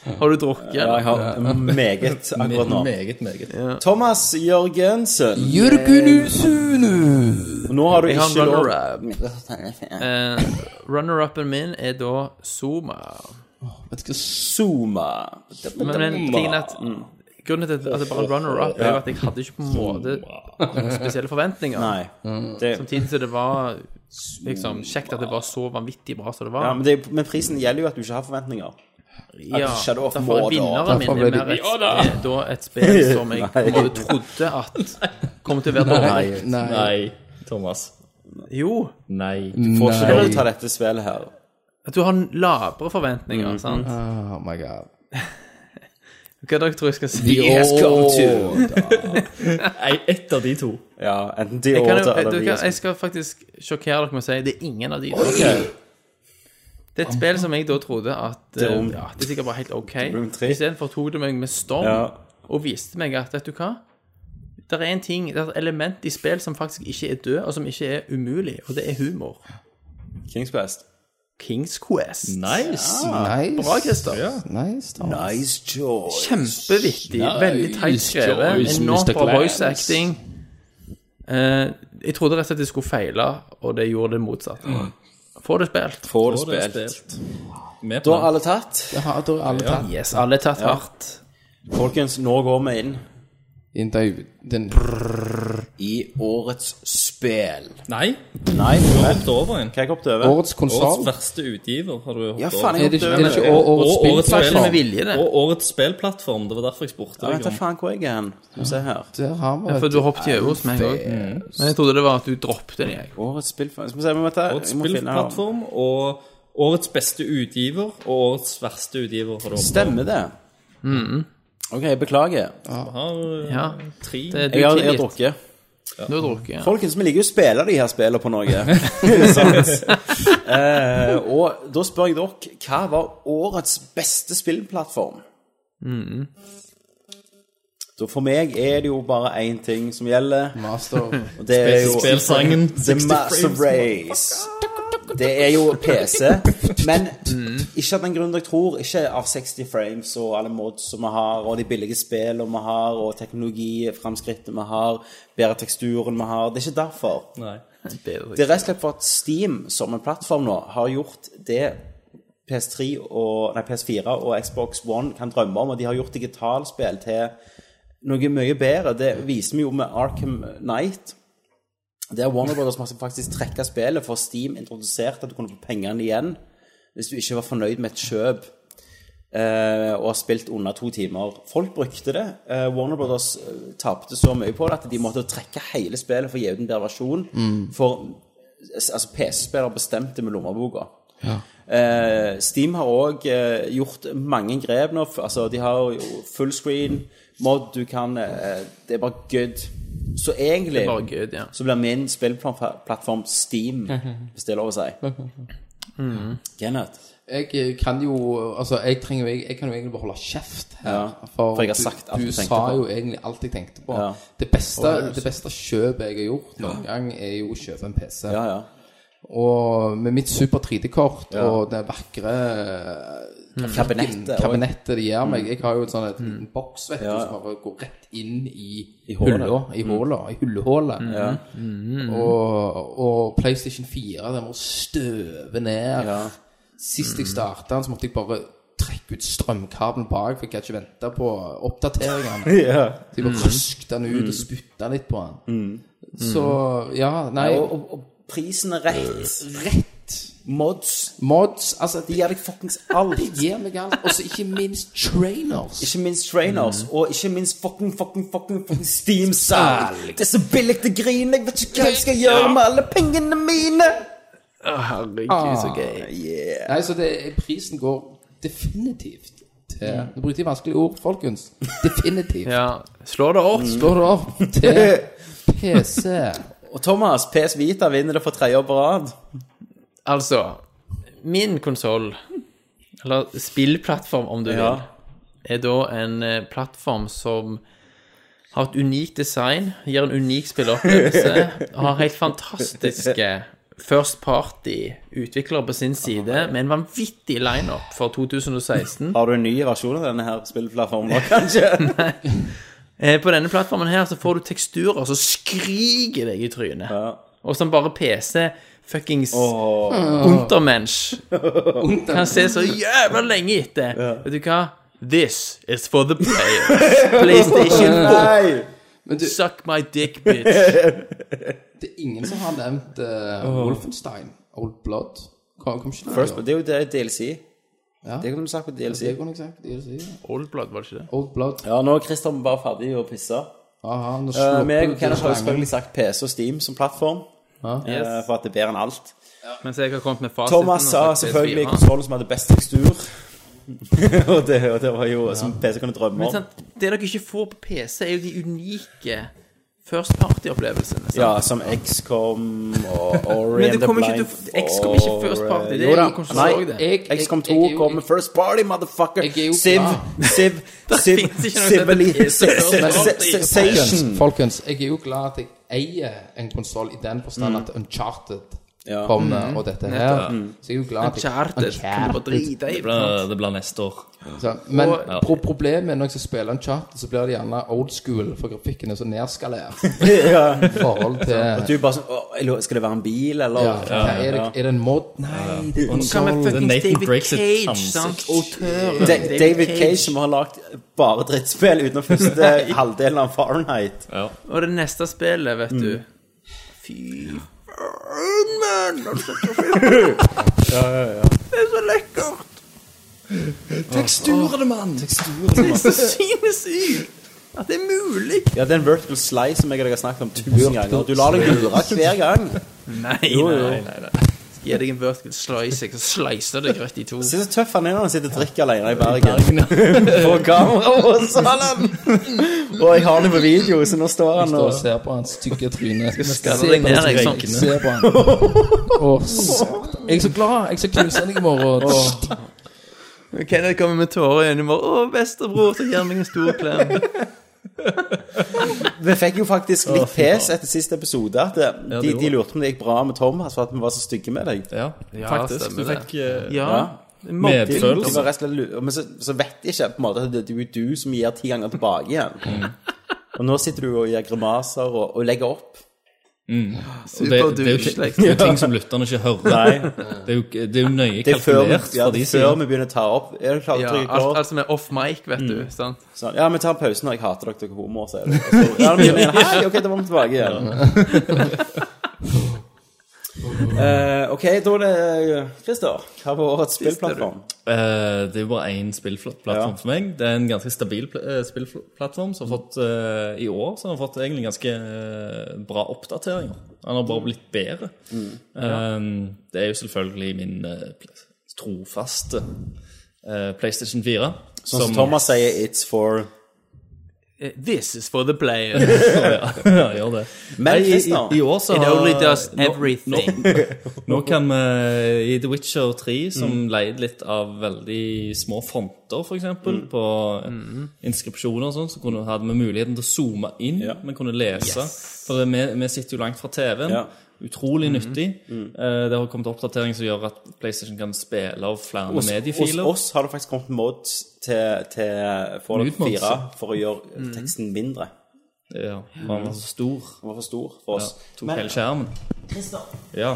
World.
Har du drukket?
Ja, jeg
eller?
har meget akkurat nå.
Meget, meget.
Thomas Jørgensen,
Jørgen Usunu!
nå har du
Jeg har en
ikke lov
runner-up. Eh, Runner-upen min er da Zuma.
Vet ikke hva s-
Zuma.
Men men tingen er at Grunnen til at det bare er runner-up, er jo at jeg hadde ikke på en måte noen spesielle forventninger.
Nei. Det,
Samtidig Mm. som det var liksom kjekt at det var så vanvittig bra som det
ja,
var.
men, det, men prisen gjelder jo at du ikke har forventninger.
Ja,
Shadow of
derfor er
Mordor.
vinneren min
Derfor ble
er
det-
mer et, er eh, da et spill som jeg på en måte trodde at kom til å være dårlig.
Nei.
Nei, Thomas.
Jo,
Nei.
Får ikke lov til å ta dette spillet her.
at du har labre forventninger, sant?
Oh my god.
Hva dere tror jeg skal si?
Nei, ett av de to.
Ja, enten de
Jeg, kan, jo-
årene
du,
eller
kan,
vi
jeg skal faktisk sjokkere dere med å si det er ingen av de. Det er et spill som jeg da trodde at eh,
om-
ja, det er sikkert bare helt OK.
om tre.
Istedenfor tok det meg med storm
Ja.
og viste meg at vet du hva Det er en ting, det er et element i spill som faktisk ikke er død, og som ikke er umulig, og det er humor.
Kings Quest.
Kings Quest.
Nice.
Nice.
Bra, Christer.
Nice, da.
Nice choice.
Kjempevittig. Veldig teit skrevet.
Joyce,
Enormt
Mr.
bra
Glass.
voice acting. Eh, jeg trodde rett og slett det skulle feile, og det gjorde det motsatte. Få det spilt.
Får du
Får det
spilt.
Med
Da har
plan.
alle tatt.
Ja, da er alle tatt
Yes, alle er tatt hardt.
Folkens, nå går vi inn
inn der den
i årets spill.
Nei,
Nei,
du
hva
har hoppet over en.
har jeg hoppet over?
Årets konsol.
Årets verste utgiver har du hoppet
Ja, faen,
over.
jeg
Er det
hoppet over.
ikke, er det ikke å- årets
Og årets
Det er
spillplattform?
med vilje, det.
Og årets spillplattform. Det var derfor jeg spurte
Ja,
deg
Vent, da
om
faen hvor er jeg hen. Skal vi se her.
Der har vi
For du hoppet jo hos meg òg. Men jeg trodde det var at du droppet den, jeg.
Årets spill... Skal vi se, men vent da,
årets
jeg må finne her.
spillplattform og årets beste utgiver og årets verste utgiver. Har du hoppet
Stemmer det?
Mm.
Ok, beklager.
over. Har du
Ja.
tre?
Det er du
Jeg har, jeg har
tilgitt.
drukket.
Du har drukket, ja.
Folkens, vi liker jo å spille de her spillene på noe. Sant? eh, og da spør jeg dere, hva var årets beste spillplattform? Da for meg er det jo bare én ting som gjelder,
Master
og det er jo
Spillsangen.
The Master Race. Det er jo PC, men ikke av den grunn dere tror. Ikke av 60 frames og alle mods som vi har, og de billige spillene vi har, og teknologiframskrittene vi har, bedre teksturen vi har. Det er ikke derfor.
Nei.
Det er rett og slett for at Steam som en plattform nå har gjort det PS3 og, nei, PS4 og Xbox One kan drømme om, og de har gjort digitalspill til noe mye bedre. Det viser vi jo med Arkham Knight. Der Warner Brothers måtte faktisk trekke spillet, for Steam introduserte at du kunne få pengene igjen hvis du ikke var fornøyd med et kjøp eh, og har spilt under to timer. Folk brukte det. Eh, Warner Brothers eh, tapte så mye på det at de måtte trekke hele spillet for å gi ut en bedre versjon. For s- altså, PC-spillere bestemte med lommeboka. Eh, Steam har òg eh, gjort mange grep nå. F- Altså, de har jo full screen, mod, du kan eh, Det er bare good. Så egentlig
Bare gud, ja.
så blir min spillplattform Steam, hvis det er lov å si. Kenneth?
Jeg eh, kan jo Altså, jeg trenger jo jeg, jeg kan jo egentlig bare holde kjeft her.
Ja, for jeg har sagt alt
du,
jeg
du
tenkte
sa
på.
jo egentlig alt jeg tenkte på.
Ja.
Det, beste, det beste kjøpet jeg har gjort noen gang, er jo å kjøpe en PC.
Ja, ja.
Og med mitt super 3D-kort
Ja. Hmm.
og det vakre eh,
Kabinettet også.
kabinettet de gir
Mm.
meg Jeg har jo et sånn et liten boks, vet du, som bare går rett inn i,
I hullet. Mm.
hulla. I hullet, i hullehullet. Og, og PlayStation 4, den må støve ned.
Ja. Mm.
Sist jeg starta den, så måtte jeg bare trekke ut strømkabelen bak, for jeg gadd ikke vente på oppdateringene.
ja. Mm.
Så jeg bare røskte den ut og spytta litt på den. Så ja, nei
Mm. Og, og, og prisen er rett.
Øh.
Rett
Mods.
mods, altså
De gir deg fuckings alt.
gir meg alt. Og så ikke minst trainers.
Ikke minst trainers,
Mhm.
og ikke minst fucking, fucking, fucking, fucking Steam-salg. Det er så billig til grin. Jeg vet ikke hva jeg skal gjøre med alle pengene mine.
Herregud, så
Eh,
gøy.
Yeah.
Nei, så det, prisen går definitivt til Nå brukte jeg vanskelige ord, folkens. Definitivt.
Ja. Slå det opp.
Mm.
Går det opp til PC.
Og Thomas, PS Vita vinner det for tredje år på rad.
Altså, min konsoll, eller spillplattform om du
Ja.
vil, er da en eh, plattform som har et unikt design, gir en unik spilleopplevelse, har helt fantastiske First Party-utviklere på sin side, med en vanvittig lineup for 2016.
Har du en ny versjon av denne her spillplattformen nå, kanskje?
Eh, På denne plattformen her så får du teksturer som skriker deg i trynet. Og som bare PC fuckings Untermensch kan se så jævla lenge etter. Vet du hva? This is for the players. PlayStation 4.
Nei!
Men du,
Suck my dick, bitch.
det er ingen som har nevnt eh, Wolfenstein, Old Blood. Hva kom ikke det?
First, det er jo det er DLC.
Ja.
Det kunne du sagt på DLC.
Det kunne jeg sagt. Det er det jeg sier.
Oldblad, var det ikke det?
Old Blood.
Ja, nå er Christian bare ferdig å pisse.
Aha, nå
Uh,
slår
meg
du
og Kenneth har jo
slangen.
selvfølgelig sagt PC og Steam som plattform, eh, for at det er bedre enn alt.
Mens jeg har kommet med fasiten.
Thomas sa
og sagt
selvfølgelig
PS4.
konsollen som hadde best tekstur. og, det, og det var jo som PC kunne drømme
Men
sånn
om.
sant, det dere ikke får på PC, er jo de unike first party-opplevelsene. sant?
Ja, som XCOM og Ori and
Men det
the
kommer ikke
Blind
til å XCOM er ikke first party, det er
Jo da,
jo konsol også det.
Nei,
Jeg-
XCOM
jeg-
2
jeg er jo-
kommer first party, motherfucker!
Jeg er jo
Siv,
klar.
Siv, Siv,
finnes ikke noe som heter
Sivili-
first party.
Sensation!
Folkens, jeg er jo glad at jeg eier en konsoll i den forstand at Uncharted
Ja.
kommer, og dette her. Så jeg er jo glad at jeg
Uncharted. Kan du bare drite i
Det, det blir neste år.
sant? Men pro problemet er når jeg skal spille Uncharted, så blir det gjerne old school, for grafikken er så nedskalert i
Ja.
forhold til
At du bare sånn «Åh, eller Skal det være en bil, eller?
ja, hva er, det, er det en mod? Nei, det er sånn. en
Hva med
konsoll.
fuckings
Nathan
David
breaks its
Cage,
ansikt.
sant? Autør.
Da- David Cage som har lagd bare drittspill utenom første halvdelen av Fahrenheit.
Og det neste spillet, vet du Fy faen, mann! Har du sett det filmen? Det er så lekkert!
Teksturene, mann!
Det er så sinnssykt! At det er mulig!
Ja, det er en vertical slice som jeg og deg har snakket om tusen ganger. Du lar deg lure hver gang.
Nei, nei, nei. nei. Skal jeg gi deg en vertical slice, jeg, så slicer jeg deg rett i to.
Se så tøff han er når han sitter og drikker alene i Bergen.
sånn.
På kamera og salen! Og jeg har det på video, så nå står han
Står og
og
ser på hans stygge tryne. Se
skalle deg
på
ned,
disse
jeg, sånn.
røykene. Se på han. Å, satan. Jeg er så glad. Jeg skal knuse han i morgen. Åh.
Kenneth kommer med tårer i øynene bare 'Å, bestebror, så gir meg en stor klem'.
Vi fikk jo faktisk litt pes etter siste episode. At det, de, de lurte på om det gikk bra med Thomas for at vi var så stygge med deg.
Ja, faktisk. Du
stemmer det.
fikk eh,
Ja.
Ja.
Mobbing.
De
Følelsen.
var rett og slett lu- Men så, så vet de ikke på en måte at det er jo du som gir ti ganger tilbake igjen. Og nå sitter du og gjør grimaser og, og legger opp.
og det, det, er jo
Superdusj,
ting,
liksom.
det er jo ting som lytterne ikke hører. Det er jo, det er jo nøye
Det er før,
kalkulert
ja,
fra de
før
sider.
vi begynner å ta opp. Er du klar til
Ja,
å trykke
alt,
på?
alt som er off mic, vet du. sant?
Sånn, ja, vi tar en pause når jeg hater dere, dere homoer, sier du. Og så- Ja, da begynner jeg igjen. Hei, ok, da var vi tilbake igjen. Eh, ok, da er det Christer. Hva var årets spillplattform?
Eh, det er jo bare én spillplattform
Ja.
for meg. Det er en ganske stabil pl- eh, spillplattform som har fått eh, i år så har den fått egentlig ganske eh, bra oppdateringer. Den har bare blitt bedre.
Mm.
Eh, det er jo selvfølgelig min eh, pl- trofaste eh, PlayStation 4.
Sånn som Thomas sier, it's for
Eh, This is for the player.
ja, gjør det.
Men
Nei, i, i,
Christer,
I år så
It
har
only does
nå-
everything.
Nå kan vi i The Witcher 3, som
Mm.
leide litt av veldig små fonter, f.eks., eksempel,
Mm.
på inskripsjoner og sånn, så kunne, hadde vi muligheten til å zoome inn. Vi kunne lese. For det, vi, vi sitter jo langt fra TV-en.
Ja. Mm-hmm. Mm.
Utrolig nyttig. Eh, det har kommet oppdatering som gjør at PlayStation kan spille av flere
hos, hos
mediefiler.
oss har det faktisk kommet mods til, til Fallout
Lydmods.
4 for å gjøre teksten mindre.
Ja, for han var så stor.
Den var for stor for oss.
Tok
Men Ah!
hele skjermen. Ja.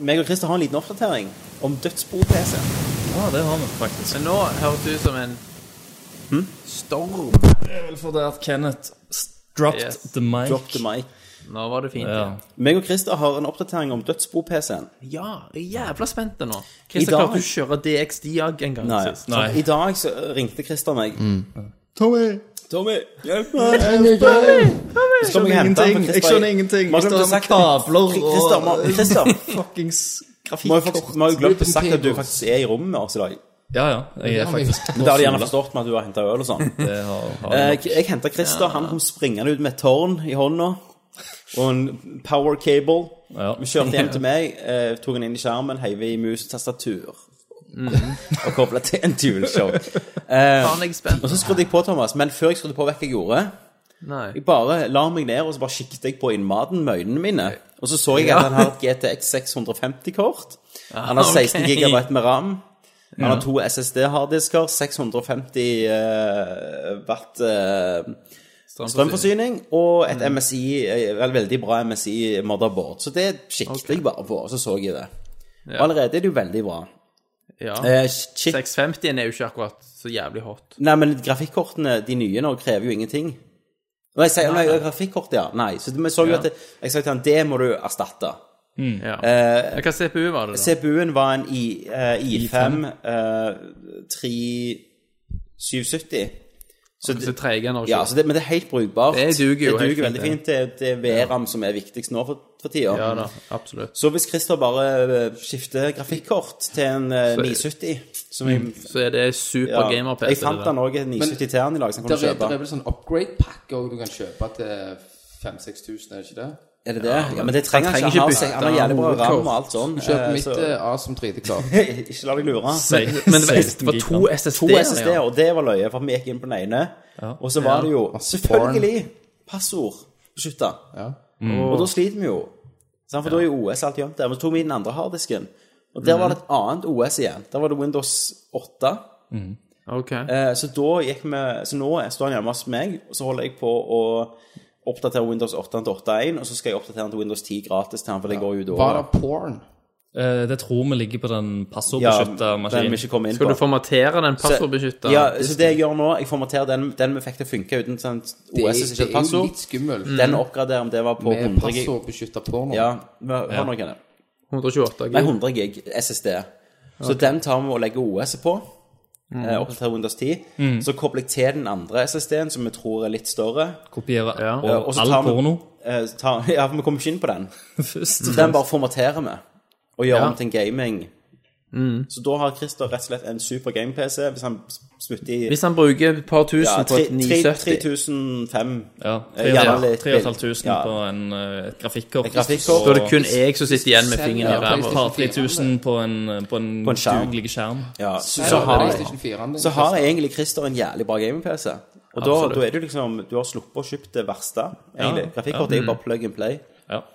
meg og Christer har en liten oppdatering om dødsbo-PC.
ja, det har vi faktisk.
Men nå høres det ut som en
Hm?
storm.
For det at Kenneth s- dropped
Yes.
the mic.
Drop the mic.
Nå var det fint.
Ja.
Ja,
Meg og Christer har en oppdatering om dødsbo-PC-en.
ja jeg er jævla spent nå.
I
Christer,
dag-
klarte du å kjøre DXDIAG en gang
Nei.
sist?
Sånn,
Nei. Mm.
I dag så ringte Christer meg. Tommy! Tommy, hjelp meg! Så kom jeg og hentet han, for Christer-
ingenting.
Man har glemt å sagt Christer, man- Christer,
fuckings
man har jo faktisk- man har jo glemt å
Ruben
sagt at du
Pebbles.
faktisk er i rommet med oss i dag.
Ja, ja. Jeg er faktisk
Men Det har de gjerne forstått med at du har hentet øl og sånn.
det har, har
Eh, Jeg hentet Christer, han kom springende ut med et tårn i hånda. Og en power cable.
Ja.
Vi kjørte hjem til meg, eh, tok han inn i skjermen, heiv i mus og tastatur.
Mhm.
Og koblet til en dualshock.
Faen, jeg er spent.
Og så skrudde jeg på, Thomas, men før jeg skrudde på, vet du hva jeg gjorde?
Nei.
Jeg bare la meg ned, og så bare kikket jeg på innmaten med øynene mine. Og så så jeg at han har et GTX 650-kort. Han har 16
ok.
gigabyte med RAM. Han har to SSD-harddisker, 650 eh, watt eh,
Sånn
strømforsyning og et MSI, eh, vel, veldig bra MSI motherboard. Så det kikket jeg bare på, og så så jeg det. Og allerede er det jo veldig bra.
Ja.
Eh, chip
650-en er jo ikke akkurat så jævlig hot.
Nei, men grafikkortene, de nye nå, krever jo ingenting. Nei, jeg sier, nei, grafikkort, ja. Nei, så vi så jo
Ja.
at det, jeg sa til han, det må du erstatte. Mm.
Ja.
Eh,
Men Hva CPU var det, da?
CPU-en var en I, eh, I5 eh, 3770. Så
Så
det,
tredje generasjon.
ja, så det, men det er helt brukbart.
Det duger jo
Det
helt fint,
veldig
det.
fint. Det, det er VRAM som er viktigst nå for, for tida.
ja da, absolutt.
Så hvis Christer bare eh, skifter grafikkort til en eh,
Så- Mm.
970 som jeg,
Så er det
ja,
super gamer-PC.
jeg fant
det der.
den òg, 970 til han i dag, som kan
Der
du
er, der er
kjøpe.
vel sånn upgrade-pakke også du kan kjøpe til 5000-6000, er det ikke det?
Er det det? Ja, men det trenger han
trenger
ikke. Han
ikke
har- Han har
bytte
jævlig bra
hovedkort.
ram og alt sånn.
Kjøp
eh,
mitt
så-
eh, Asom 3D-klar.
Ikke la deg lure.
Men det var, det var to
to
SSD-er.
SSD-er, og det var løye, for vi gikk inn på den ene. Og så var det jo
Masse
selvfølgelig passord beskytta.
Ja.
Og da sliter vi jo. sant? For da er jo OS alt gjemt der. Men så tok vi den andre harddisken, og der var det et annet OS igjen. Der var det Windows 8.
Ok.
Eh, så da gikk vi Så nå står han hjemme hos meg, og så holder jeg på å oppdatere Windows 8 til 8.1, og så skal jeg oppdatere den til Windows 10 gratis til han, for det går jo da
Var det porn?
Eh, det tror vi ligger på den
ja,
passordbeskytta
den vi
maskinen.
ikke kommer inn
Skal du
på.
formatere den
Så-
passordbeskytta?
Ja, så det jeg gjør nå, jeg formaterer den, den vi fikk til å funke uten sånn sånt
Det,
OS
det
ikke et
er jo
passord.
litt skummelt
Den oppgraderer om det var på
med
100 gig.
passordbeskytta porno.
Ja, men hør nå, Kenneth.
128
Nei,
gig.
100 gig SSD. Så den tar vi og legger OS på. Mm. Oppdaterer Windows 10. Så kobler jeg til den andre SSD-en, som vi tror er litt større.
Kopiere
Ja.
og,
og så
all
tar vi-
porno
Eh, så tar, ja, for vi kommer ikke inn på den.
først.
Så den bare formaterer vi, og gjør
Ja.
om til en gaming. Så da har Christer rett og slett en super game-PC, hvis han spytter i
Hvis han bruker et par tusen
ja,
på et 970,
3005
Ja,
Ja, Eh, litt
3500
Ja.
på en, eh, et grafikkort.
Et grafikkort.
så er det kun jeg som sitter igjen med fingeren i
Ja,
ræva.
Par 3000 på en, på en,
På en skjerm.
dugelig skjerm.
ja, så,
Så
så har jeg
PlayStation 4 din,
så har
Christian.
egentlig Christer en jævlig bra gaming-PC. Og da,
Absolutt.
da er du liksom Du har sluppet å kjøpt det verste, egentlig.
Ja,
Grafikkort er jo bare plug and play.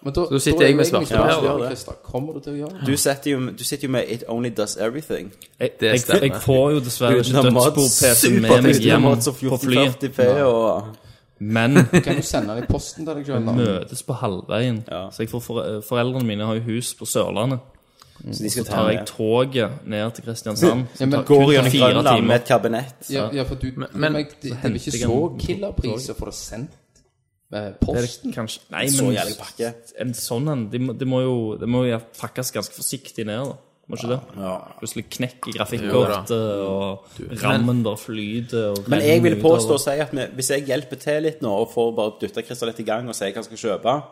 Men da,
Så sitter jeg med svarte
Ja,
perler.
Ja, det.
Christer, kommer du til å gjøre det?
Du sitter jo, du sitter jo med It Only Does Everything.
Jeg,
Det
jeg,
stemmer.
jeg får jo dessverre ikke
Uten mods,
dødsbo-PC med meg
supertekst, uten
hjem
mods og
på flyet,
1440p og
men
Kan du sende den i posten til deg sjøl?
møtes på halvveien. Så jeg får fore- eh, foreldrene mine har jo hus på Sørlandet.
Så de skal ta
Tar jeg
med.
toget ned til Kristiansand.
Ja, men,
Går gjennom
fire
Grønland
timer.
med et kabinett.
ja, ja, for du
men-
men, det, det er vel ikke
henter jeg
så
den på
killerpris å få det sendt med
Er det
posten?
kanskje Nei,
Så jævlig pakke.
men en sånn en Det må, det må jo, det må jo pakkes ganske forsiktig ned, da. Må ikke det? Plutselig knekk i grafikkortet, og rammen bare flyter og
Men jeg
renner
vil påstå
utover.
og si at vi- hvis jeg hjelper til litt nå, og får bare dytta Christer litt i gang og sier hva han skal kjøpe,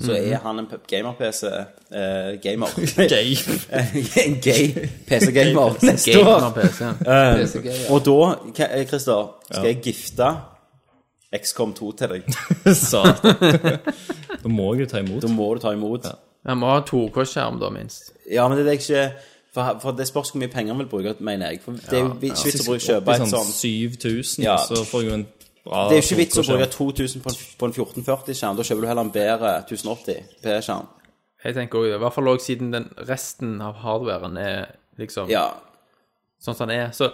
så er han en p- gamer-PC eh, Gamer.
Gay.
en gay PC-gamer neste år. Eh,
Gamer-PC-en.
Det er så gøy, ja.
Og da, K- eh, Christer, skal jeg gifte XCOM 2 til deg.
Satan. Da må jeg jo ta imot.
Da må du ta imot. Ja,
Han må ha 2K-skjerm, da, minst.
men det er det jeg ikke for, for det spørs hvor mye penger han vil bruke, mener jeg. For det er jo ikke vits å bruke kjøpe
Opp i
et
sånn
sånn
7000,
Ja.
så får jeg jo en bra
Det er jo ikke vits å
solskjerm.
bruke 2000 på en, på en 1440-skjerm. Da kjøper du heller en bedre 1080 P-skjerm.
Jeg tenker også, det, I hvert fall også siden den resten av hardwaren er liksom
Ja.
sånn som den er. Så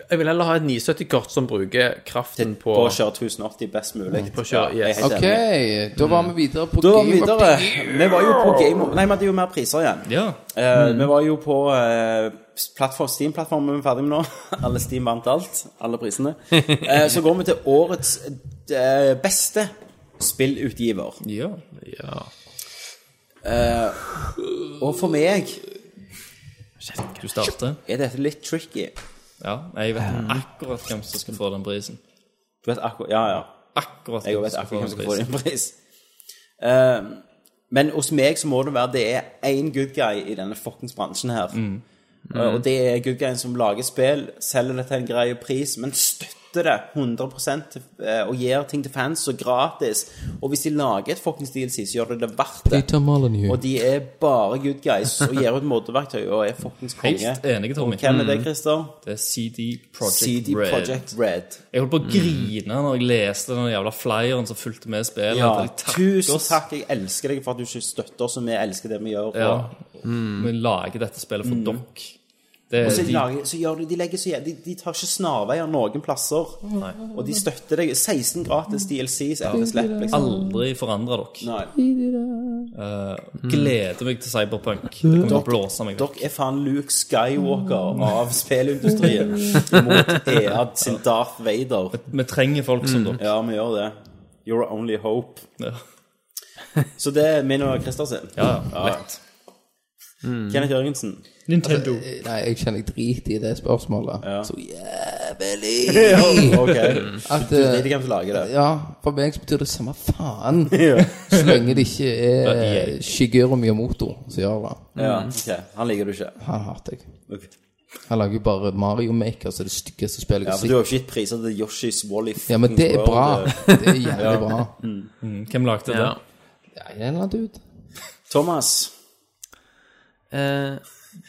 jeg vil heller ha et 970-kort som bruker kraften på,
På å kjøre 1080 best mulig.
på å kjøre,
Jeg er
yes.
helt
Ok,
enig.
da var vi videre på
Da var vi
Game of
videre. Vi var jo på Game of Nei, vi hadde jo mer priser igjen.
Ja.
Eh, Vi var jo på eh, plattform, Steam-plattformen vi er ferdig med nå. Alle Steam vant alt. Alle prisene. Eh, så går vi til årets eh, beste spillutgiver.
ja.
Ja.
Og for meg
Du starter?
er dette litt tricky.
Ja. Jeg vet akkurat hvem som skal få den prisen.
Du vet akkurat Ja, ja.
Akkurat
Jeg
hvem
vet
som
akkurat
skal
hvem
få
som
den
får din
prisen.
pris. Eh, men hos meg så må det være det er én good guy i denne fuckings bransjen her.
Mm.
Eh, og det er good guyen som lager spill, selger det til en grei pris, men støtter det 100 til, eh, og gir ting til fans så gratis. Og hvis de lager et fuckings DLC, så gjør det det verdt det.
Thrones.
Og de er bare good guys og gir ut moddeverktøy og er fuckings konge.
Helt enig, Tommy.
Hvem er det, Christer?
Det er CD Projekt
CD
Red.
Project Mm. Red.
Jeg holdt på å grine når jeg leste den jævla flyeren som fulgte med spillet.
Ja,
at jeg takker
tusen
oss.
takk. Jeg elsker deg for at du ikke støtter oss, og vi elsker det vi gjør.
Ja.
og-
Vi lager dette spillet for dere. Det
Mm. Og
er
så,
de,
lager, så gjør de, de legger så jæv- de, de tar ikke snarveier noen plasser. Og de støtter deg. 16 gratis DLCs etter slipp, liksom.
aldri forandrer dere.
Nei.
Eh, gleder meg til Cyberpunk. Det
Mm.
kommer til å blåse meg vekk.
Dere er faen Luke Skywalker av spillindustrien mot Ead sin Darth Vader.
Vi trenger folk som dere.
Ja, vi gjør det. Your only hope.
Ja.
Så det er min og Christer sin.
Ja, ja, lett.
Kenneth Jørgensen.
Nintendo.
Eh, Nei, jeg kjenner jeg drit i det spørsmålet. Så jævlig!
Ok.
At,
Du vet
eh,
ikke hvem som lager det.
ja, for meg så betyr det samme faen. Så lenge det ikke er eh, Shigeru Miyamoto som gjør det.
Ja, ok. Han liker du ikke.
Han hater jeg.
Ok.
Han lager jo bare Mario Maker, så det styggeste spillet
Ja,
jeg
for du
har sett.
har jo ikke gitt priser til Yoshis Wally
Ja, men det er bra.
eh.
Det er jævlig bra.
Hvem lagde det?
Ja.
Ja, en eller annen dude.
Thomas.
Eh,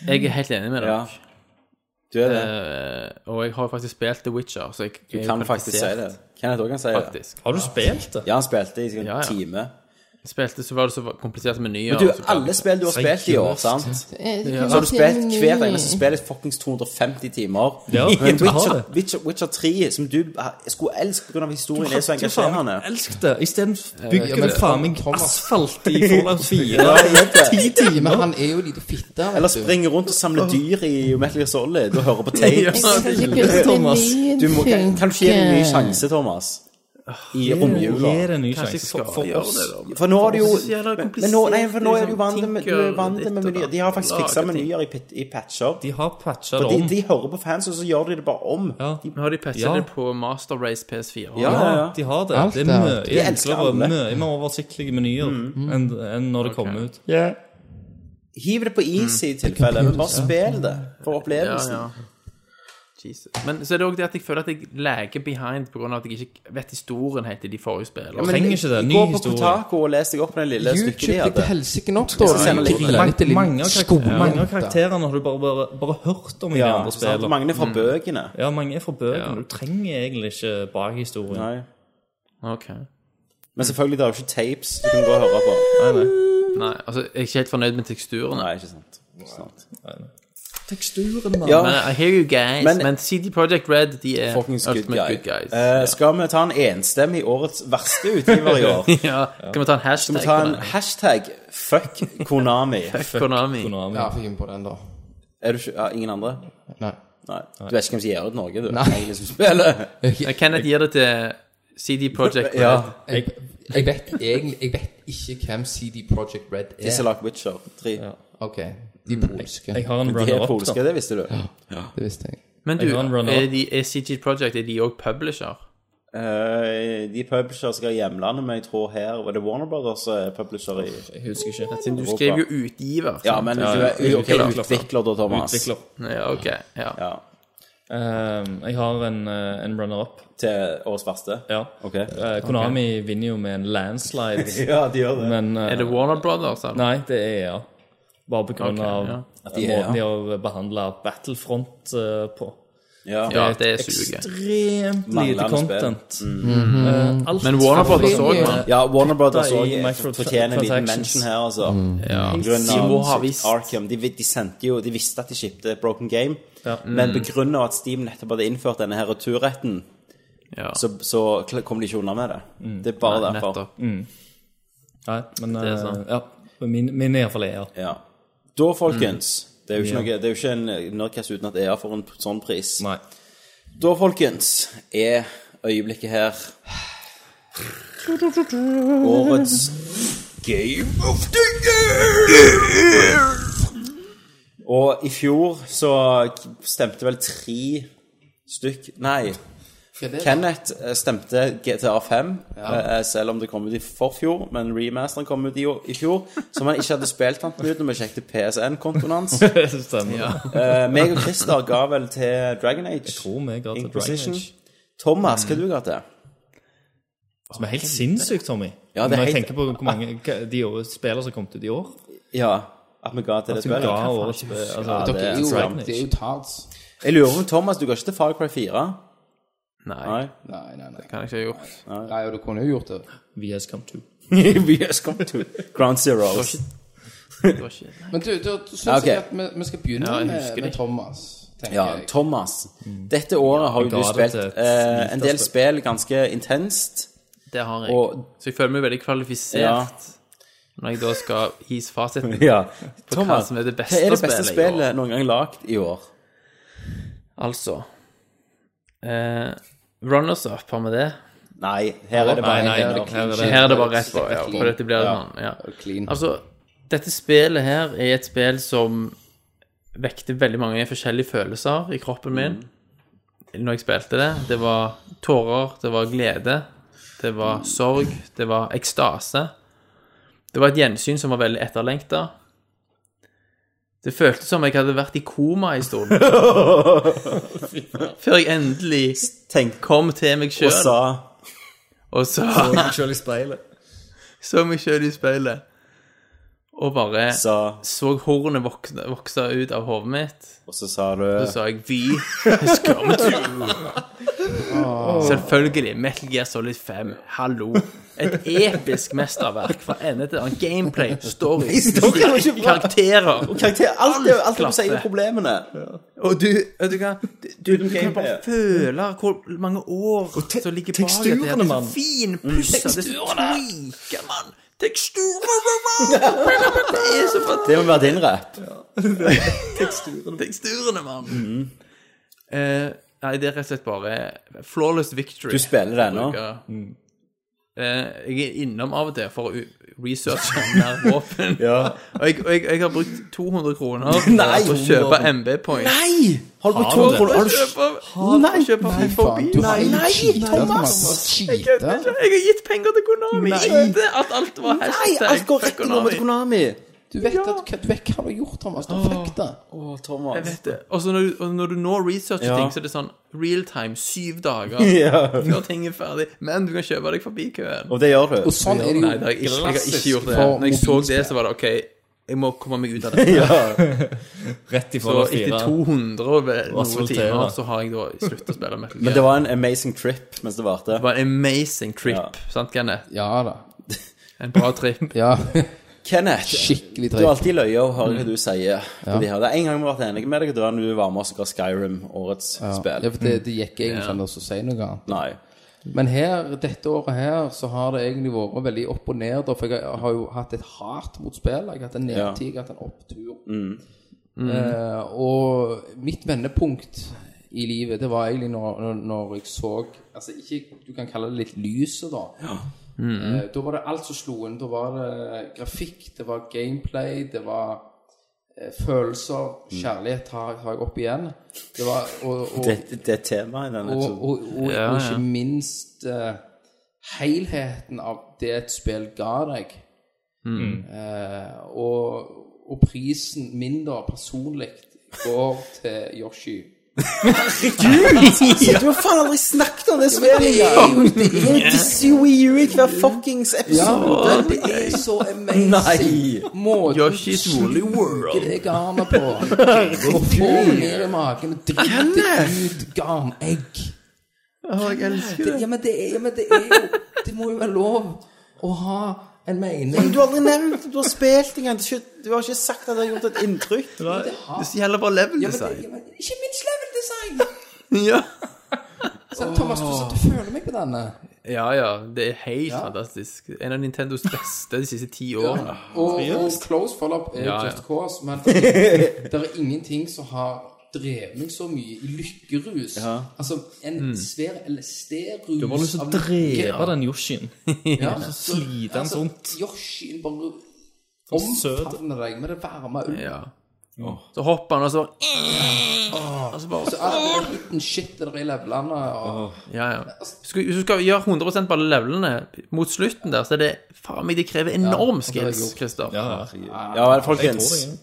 jeg er helt enig med deg.
Ja. Du er det.
Og jeg har faktisk spilt The Witcher, så jeg
Du kan faktisk si det. Kenneth òg kan si det.
Faktisk.
Har du spilt det?
Ja, han spilte i sikkert
Ja, ja.
en time.
Spilte, så var det så kompliserte menyer.
Men du,
og så-
alle spill du har spilt i år, sant?
Ja.
Så har du spilt hvert eneste spill i fuckings 250 timer.
Ja,
I
men du har
Witcher,
det.
Witcher, Witcher 3, som du skulle elske pga. historien, er så
Du faen
engasjerende.
meg elsket det. Isteden bygger
men
du faen meg
Thomas-
asfalt i Fallout 4.
Ja, jeg vet det.
Ti
Ja,
timer!
men han er jo en liten fitte. vet
Eller
du.
springe rundt og samle dyr i Metal Gear Solid og høre på tapes.
Thomas,
Du må, kan, kan du ikke gi det en ny sjanse, Thomas? I romjula.
gi det en ny
Kanskje jeg
sjanse.
skal
For, for
gjøre
oss.
det, da.
For nå er det jo
så jævla
men,
komplisert,
nå, nei, for nå er du
liksom,
vant med, du er vant
tinker og
med
ditt og
menyer. De har faktisk
datt.
fiksa
Lager
menyer i, pit- i patcher.
De har patcha
Og
det
de,
om.
de hører på fans, og så gjør de det bare om.
Ja.
Nå har de patchet
Ja.
det på Master Race PS4.
Ja, ja, ja.
Ja, de har det.
Alt
det er
er-
mye
De
enklere,
elsker alle.
mye mer oversiktlige menyer
Mm.
enn enn når det kommer ut.
Hiv det på is i tilfelle, men bare spill det for
ja,
opplevelsen.
ja. Jesus. Men så er det òg det at jeg føler at jeg leker behind pga. at jeg ikke vet historien helt i de forrige spillene.
men- Trenger ikke det, ny
Gå på
historie.
Kotaku og les deg opp på den lille
YouTube
stykket de
fikk
hadde.
til helsike nok, da.
skal sende litt-
Drit i
Mange,
lille
mange, av karakter,
skole.
mange av karakterene har du bare, bare, bare hørt om i de
Ja,
andre
sant?
spillene.
Mange er fra bøkene.
Ja, mange er fra bøkene. Du trenger egentlig ikke bakhistorien.
Nei.
Ok.
Men selvfølgelig, det er jo ikke tapes du kan gå og høre på.
Nei, nei.
Nei, altså, jeg er ikke helt fornøyd med teksturene.
Nei, ikke sant. Ikke sant.
Teksturen, mann.
Ja,
Men I hear you guys.
Men-
Men, CD Projekt Red, de er
fuckings good,
ultimate
guy.
good guys.
Eh, skal vi ta en enstemmig årets verste utgiver i år?
ja, kan vi ta en
Skal
hashtag?
vi ta
på
en
den?
hashtag fuck Konami?
Konami.
Konami.
Ja, fikk inn på den, da.
Er du ikke ja, Ingen andre?
Nei.
Nei. Du vet ikke hvem som gir ut Norge, du?
Nei.
Egentlig som spiller.
Jeg Kenneth gir det til CD Projekt Red.
Ja.
Jeg, jeg vet egentlig Jeg vet ikke hvem CD Projekt Red
De som
er.
lagde Witcher 3.
Ok, de polske.
Jeg har en
De er
runner-up, da.
polske, det visste du.
Det visste jeg.
Men du,
Jeg har en runner-up.
er, de, er CG Projekt er de òg publisher?
Eh, de publisher skal i hjemlandet, men jeg tror her Var det Warner Brothers som er publisher i
Jeg husker ikke.
Siden du skrev jo utgiver.
Ja,
sant?
men
Ja,
du
ja.
er ok,
Utvikler.
utvikler da, Thomas.
Utvikler.
ja ok. Ja.
Ja.
Ehm, jeg har en, eh, en runner-up.
Til årets verste?
Ja.
Ok.
Eh, Konami vinner jo med en landslide,
Ja, de gjør det.
men eh,
Er det Warner Brothers? eller?
Nei, det er EA. Bare på grunn
Ok,
av
ja.
at
de er E EA.
måten de har behandla Battlefront eh, på.
ja.
Ja, det suger.
Ekstremt lite
Manglende
content.
Mm.
Eh, alt
Men Warner Brothers
fra-
òg, mann.
Ja, Warner Brothers
Da i
òg
microtra-
fortjener en liten
transactions.
mention her, altså.
Ja.
På grunn
De må ha
av
visst.
Arkham. De, de sendte jo De visste at de skipte Broken Game,
Ja. Mm.
men på grunn av at Steam nettopp hadde innført denne her returretten,
Ja.
så, så kl- kom de ikke unna med det.
Mm.
Det er bare
Nei,
derfor. Mm.
nettopp.
Nei, men
er
eh,
sant.
ja, min, min er iallfall EA.
Ja. Da, folkens
Mm.
Det er jo ikke, noe, det er jo ikke en Nerdcast uten at EA får en sånn pris.
Nei.
Da, folkens, er øyeblikket her Årets Game of the Year! Og i fjor så stemte vel tre stykk Nei. Kenneth eh, stemte GTA 5, eh, selv om det kom ut i forfjor. Men remasteren kom ut i, i fjor, som han ikke hadde spilt han ut når vi sjekket PSN-kontoen hans.
Stemmer. Jeg
Eh, meg og Christer ga vel til Dragon Age.
tror vi ga til Dragon
Inquisition.
Age.
Thomas, hva du ga til?
Som er helt sinnssykt, Tommy.
Ja, det er
Når jeg
helt-
tenker på hvor mange hva- de år- spillere som kom ut i år.
Ja, at vi ga til det
Som ga
spillet?
årets spill altså,
Ja, det
Dere
er
er jo,
Dragon
det er jo tards.
Jeg lurer om Thomas, du ga ikke til Far Cry 4?
Nei,
Nei.
Nei, nei, nei.
kan jeg ikke ha gjort.
Nei, og du kunne jo gjort det.
VS Come 2.
VS kom til Ground Zeroes.
Det var ikke...
Men du, da syns
Ok.
jeg at vi, vi skal begynne
Ja, jeg husker
med, med
det.
Thomas, tenker
Ja,
jeg.
Thomas. Dette året har jo
Jeg ga
du
det
spilt
til et
eh, en
lite
del
spill.
spill ganske intenst.
Det har jeg.
Og-
så jeg føler meg veldig kvalifisert.
Ja.
Når jeg da skal his fasiten
Ja.
på hva som er det beste,
Hva er det beste
i år.
spillet noen gang lagd i år?
Altså eh, Runners up, har vi det?
Nei, her er det
Nei,
bare
nei,
her er det
her er det
Her er det bare rett på. Ja, for dette blir det
Ja.
sånn. Ja.
Clean.
Altså, dette spillet her er et spill som vekte veldig mange forskjellige følelser i kroppen min når jeg spilte det. Det var tårer, det var glede, det var sorg, det var ekstase. Det var et gjensyn som var veldig etterlengta. Det føltes som jeg hadde vært i koma en stund. Før jeg endelig
Tenk
kom til meg
og
sjøl
sa
og sa
Selv i speilet.
Så meg sjøl i speilet. Og bare
sa
så hornet vokse, vokse ut av hodet mitt,
Og så sa du
så sa jeg vi skal med tur. Selvfølgelig. Metal Gear Solid 5. Hallo. Et episk mesterverk fra ende til annen. Gameplay, story, musikk, karakterer.
Karakter, alt det alt det du
Klaffe.
sier om problemene.
Og du, vet du hva? Du, du, du kan bare
gameplay.
føle hvor mange år som ligger bak dette. her. Det er så
mann.
finpussa, det er så tweaka, mann. Teksturene, mann! Det er så fantastisk.
Det må være din rap.
teksturene, mann. Mm. Eh, nei, det er rett og slett bare flawless victory.
Du spiller det ennå?
Ja. Eh, jeg er innom av og til for å u- researche mer våpen. og jeg, og jeg, jeg har brukt 200 kroner
Nei!
på å kjøpe MB Point.
Nei! Har du brukt
Har du
to
det?
kroner? Har du
Nei! Kjøpe meg forbi.
Du har jo
Nei,
cheatet,
Thomas.
Cheatet?
Jeg har gitt penger til Konami. Ikke at alt var
Nei, alt går rett i lomma til
Konami.
Konami.
Du vet at du, du vet hva du har gjort, Thomas. Du har fucka.
Å, Thomas.
Jeg vet det. Og så når, du- og når du nå researcher
Ja.
ting, så er det sånn real time, syv dager
Ja.
før ting er ferdig. Men du kan kjøpe deg forbi køen.
Og det gjør du.
Og sånn er det
Nei, det har
jo.
jeg, ikke, jeg har ikke gjort det.
for
Når jeg så det,
mobilspill.
så var det OK, jeg må komme meg ut av det.
Rett i
Så
forhold til
etter
fire.
200 og vel- noen
asfaltere.
timer så har jeg da sluttet å spille Metal Gear.
Men det var en amazing trip mens det varte.
Det var en amazing trip,
Ja.
sant, Kenneth?
Ja da.
En bra trip.
Ja.
Kenneth,
Skikkelig
du har
dritt.
alltid løye og hører hva du sier. på de her. Det er en gang vi har vært enige med deg, og det var når du var med oss og ga Skyrim årets
Ja.
spill.
Ja, for det, det gikk egentlig ikke an å si noe annet.
Nei.
Men her, dette året her så har det egentlig vært veldig opp og ned. da, For jeg har jo hatt et hat mot spill. Jeg har hatt en nedtid, jeg har hatt en opptur. Eh, og mitt vendepunkt i livet, det var egentlig når, når- når jeg så Altså ikke Du kan kalle det litt lyset, da. Eh, da var det alt som slo inn. Da var det grafikk, det var gameplay, det var eh, følelser. Kjærlighet tar, tar jeg opp igjen. Det var og, og,
Det, det er temaet i denne
og,
episoden.
og, og,
Ja,
og
ja.
ikke minst eh, helheten av det et spill ga deg.
Mm.
Eh, og, og prisen mindre personlig går til Yoshi.
Så Du har faen aldri snakket om det som er i hver fuckings episode.
det, det er så amazing.
Nei.
Måten
Yoshi's Woolly
du bruker det garnet på. Og får ned i magen og driter ut garnegg.
jeg elsker
Det, ja, men det er, ja, men det er jo Det må jo være lov å ha en mening.
Du har aldri nevnt Du har spilt engang. Du har ikke- Du har ikke sagt at det har gjort et inntrykk.
Det gjelder bare level
Ja, men det-
design.
ja, men Ikke minst level design!
Ja.
Så, Thomas, du satt og føler meg på denne.
ja ja, det er helt fantastisk. En av Nintendos beste de siste ti årene.
Og, og close follow-up er
Ja, ja.
just cause, men det er ingenting som har drevet meg så mye i lykkerus. Altså en svær LSD-rus
Mm. Du har bare lyst til å
av lykke.
drepe den Yoshien.
Ja,
slite han sånt.
Yoshien bare
søt.
omfavner deg med det varme ulvet.
Ja. Så hopper han, og så Og så bare
Så all den liten shit der i levelene og
Ja, ja. Skal- Hvis du skal gjøre 100 på alle levelene mot slutten der, så er det faen meg det krever enorm
det har jeg
skills,
gjort.
Christer.
Ja,
Ja vel, folkens.
tror det,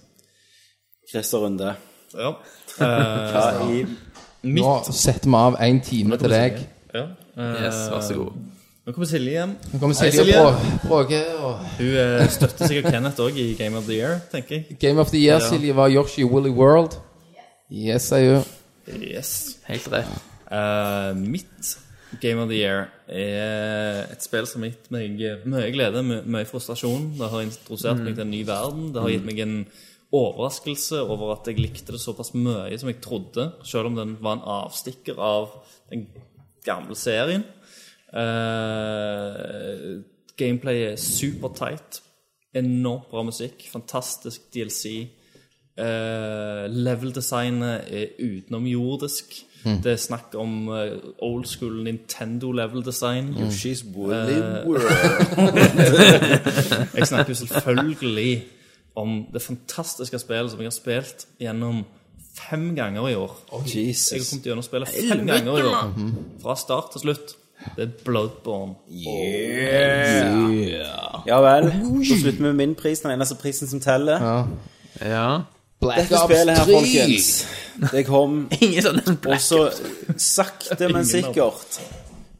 Christer Runde.
ja. Eh,
Hva i
Nå setter vi av én time til deg.
ja. Eh,
Yes, vær så god.
Nå kommer Silje hjem.
Nå kommer
Hei,
Silje og
Silje.
brå- bråke og
Hun eh, støtter sikkert Kenneth òg i Game of the Year, tenker jeg.
Game of the Year, Silje, var Yoshi Willy World. Yes, I do.
Yes.
Helt rett.
Eh, mitt Game of the Year er et spill som har gitt meg mye glede, my- mye frustrasjon. Det har introdusert meg til en ny verden. Det har gitt meg en overraskelse over at jeg likte det såpass mye som jeg trodde, selv om den var en avstikker av den gamle serien. Eh, gameplayet er supertight. Enormt bra musikk, fantastisk DLC. Eh, Level-designet er utenomjordisk.
Mm.
Det er snakk om eh, old school Nintendo-level-design.
Mm.
She's Woolly World.
Jeg snakker jo selvfølgelig om det fantastiske spillet som jeg har spilt gjennom fem ganger i år. Jeg har
Jesus.
kommet gjennom spillet fem ganger i år. Mhm. Fra start til slutt. Det er Bloodborne.
Ja vel. Så slutter vi med min pris, den eneste prisen som teller.
Ja.
Black
Dette spillet her, folkens, det kom
Ingen sånn
Og så sakte, men sikkert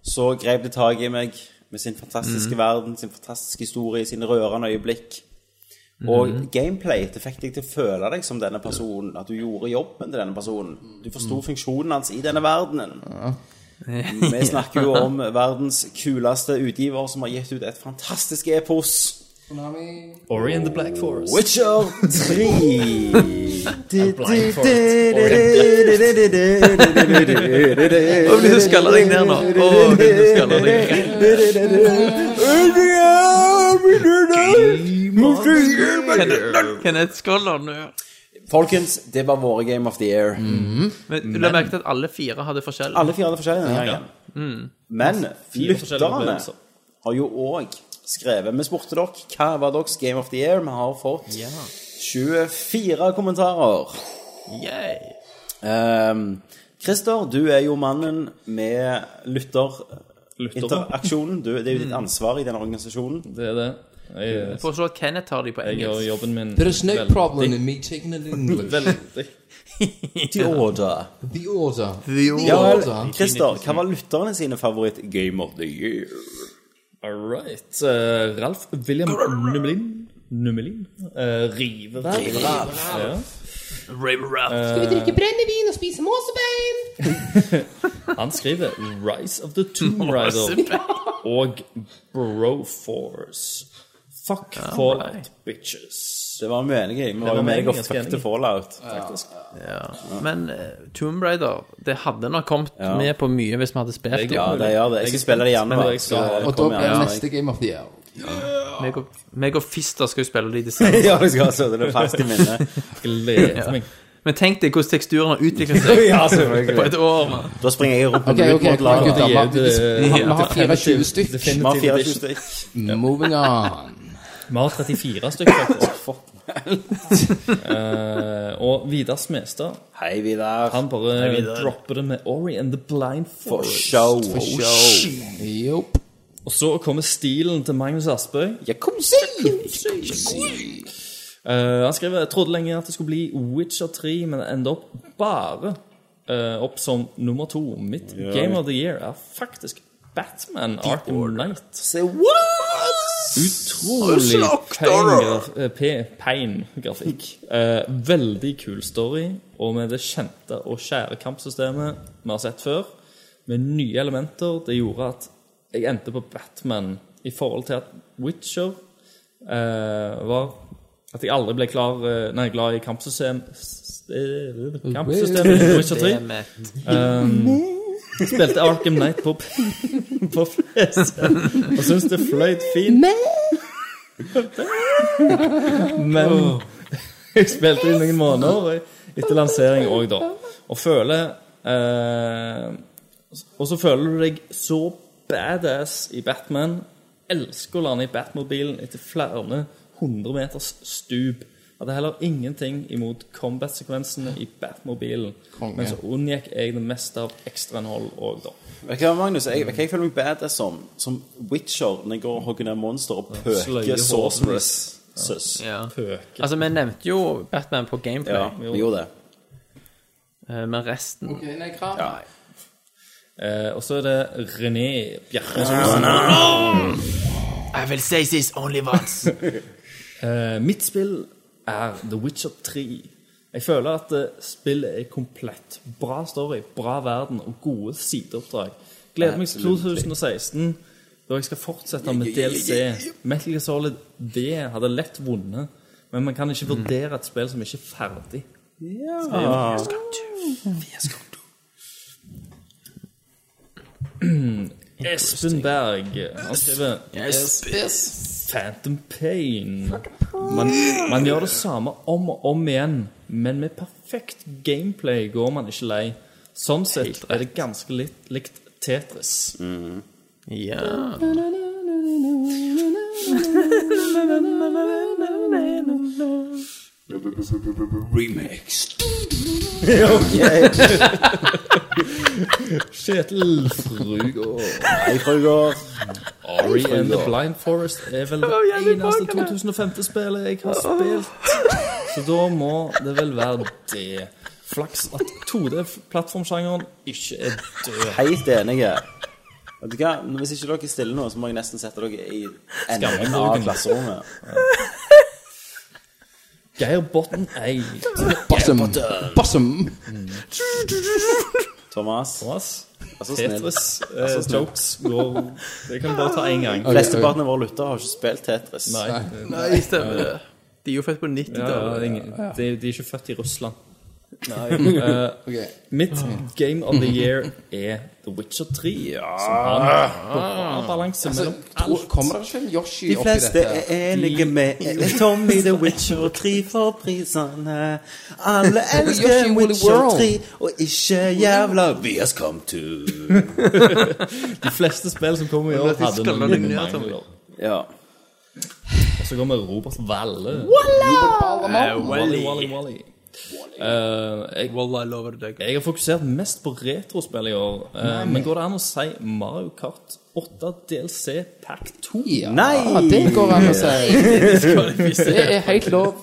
så grep det tak i meg med sin fantastiske verden, sin fantastiske historie, sine rørende øyeblikk. Og gameplay det fikk deg til å føle deg som denne personen, at du gjorde jobben til denne personen. Du forsto funksjonen hans i denne verdenen. Vi snakker jo om verdens kuleste utgiver som har gitt ut et fantastisk epos.
Ori and the Black Forest.
Witcher 3!
Blind Forest.
Å, vil du skalle deg ned nå? Å, vil du skalle deg ned? Kenneth, skåler nå.
Folkens, det var våre Game of the Year.
Mm.
Men du la merke til at alle fire hadde forskjell.
Alle fire hadde forskjellige denne gangen. Men
Mm. forskjellige
lytterne
opplevelser.
har jo òg skrevet Vi spurte dere hva var deres Game of the Year. Vi har fått 24 kommentarer.
Yay.
Ehm, Christer, du er jo mannen med lytterinteraksjonen. Du- Det er jo
Mm.
ditt ansvar i denne organisasjonen.
Det er det. Jeg,
Foreslå at Kenneth tar de på
jeg gjør
engelsk.
jobben min
There is no
veldig-
problem in me taking it in English.
Veldig.
The order.
The order.
Ja,
order.
vel, Christer, hva var lytterne sine favoritt Game of the Year?
All right. Eh, Ralf William Nummelin. Nummelin? Uh, Riveralf. Ja.
River-rap.
Han skriver Rise of the Tomb Rider og Broforce. Fuck Fallout, bitches.
Det var vi enige i. Vi var
var
jo
vi
meg og
ganske enige
fuckte
i.
fallout.
Men eh, Tomb Raider, det hadde nok kommet med på mye hvis vi hadde spilt det.
Ja, det gjør det. Jeg skal spille det igjen.
Men
da.
jeg skal-
Så
Og da
kom
blir
igjen.
det neste Game of the Year.
Meg og- Meg og Fister skal jo spille det i desember.
Ja, jeg skal ha så det er fast i minnet.
Gleder meg.
Men tenk deg hvordan teksturen har utviklet seg
Ja,
på
selvfølgelig.
et år. man.
Da springer jeg rundt på
Ok, ok,
mot laget.
gutta,
Det er jo
vi- vi-
det-
Vi har 24 stykk.
Vi har 24 stykk.
Moving on.
Vi har 34 stykker, faktisk. Eh, og Vidar Smestad,
Hei, Vidar.
han bare dropper det med Ori and the Blind
For
Forest.
show.
Jopp.
Og så kommer stilen til Magnus Aspøy.
Ja, kom si!
Eh, han skriver jeg trodde lenge at det skulle bli Witcher 3, men det ender opp bare eh, opp som nummer to. Mitt Game of the Year er faktisk Batman Arkham Knight.
Say what?
Utrolig pein, graf eh, pe- pein grafikk. Eh, veldig kul story, og med det kjente og kjære kampsystemet vi har sett før, med nye elementer, det gjorde at jeg endte på Batman i forhold til at Witcher eh, var At jeg aldri ble klar, eh, nei, glad i kampsystem, s- eh, kampsystemet i Witcher 3. Spilte Arkham Knight på, på PC og syntes det fløyt fint. Men jeg spilte i noen måneder etter lansering òg, da. Og føler eh, Og så føler du deg så badass i Batman. Elsker å lande i Batmobilen etter flere hundre meters stup. Hadde heller ingenting imot combat-sekvensene i Batmobilen. Men så unngikk jeg det meste av ekstrainnhold òg, da.
Vet du hva, Magnus? Jeg, vet du hva jeg føler meg badass som? Som Witcher når jeg går og hogger ned monster og
Sløyer
pøker
hodet.
sorceress. Søs.
Ja.
Pøke.
Altså, vi nevnte jo Batman på gameplay,
Ja, vi gjorde det.
eh, men resten
Ok, nei, hva?
Eh, og så er det René Bjerre.
I will say this only once.
Eh, mitt spill er The Witcher 3. Jeg føler at eh, spillet er komplett. Bra story, bra verden og gode sideoppdrag. Gleder meg til 2016, da jeg skal fortsette med DLC. Metal Gear Solid D hadde lett vunnet, men man kan ikke vurdere et spill som ikke er ferdig. Espen Berg, han skriver Phantom Pain. Man, man gjør det samme om og om igjen, men med perfekt gameplay går man ikke lei. Sånn sett er det ganske litt likt Tetris.
Ja.
Kjetil Frugård.
Hei, Frugård.
Ori and the Blind Forest er vel det eneste 2005-spillet jeg har spilt. Så da må det vel være det. Flaks at 2D-plattformsjangeren ikke er død.
Helt enige. Vet du hva? Hvis ikke dere stiller nå, så må jeg nesten sette dere i enden av
Skammekroken.
klasserommet.
Geir Botten ei.
Bassum. Bassum.
Thomas.
Thomas,
Vær så snill.
Tetris, eh,
så snill.
jokes går Jeg kan bare ta én gang.
Flesteparten av våre lyttere har ikke spilt Tetris.
Nei,
Nei, stemmer det. De er jo født på 90
ja,
tallet
ingen, de, de er ikke født i Russland.
Ok.
Mitt game of the year er The Witcher 3. Som har bra balanse mellom
Tror- Kommer det ikke en Yoshi
De
oppi
fleste
dette?
er enige med Tommy the Witcher og tre for prisene. Alle elsker
Yoshi Woolly
Witcher
World.
3, og ikke jævla vi has come to.
De fleste spill som kommer i år, hadde
skal
noen
la det ned, Tommy.
mangler.
Ja.
Og så kommer Robert Valle. Wally, Wally, Wally. Eh, jeg,
Wallah, jeg lover det deg.
jeg har fokusert mest på retrospill i år, eh, men går det an å si Mario Kart 8 DLC Pack 2?
Nei!
Ja, det går an å si. Det er helt lov.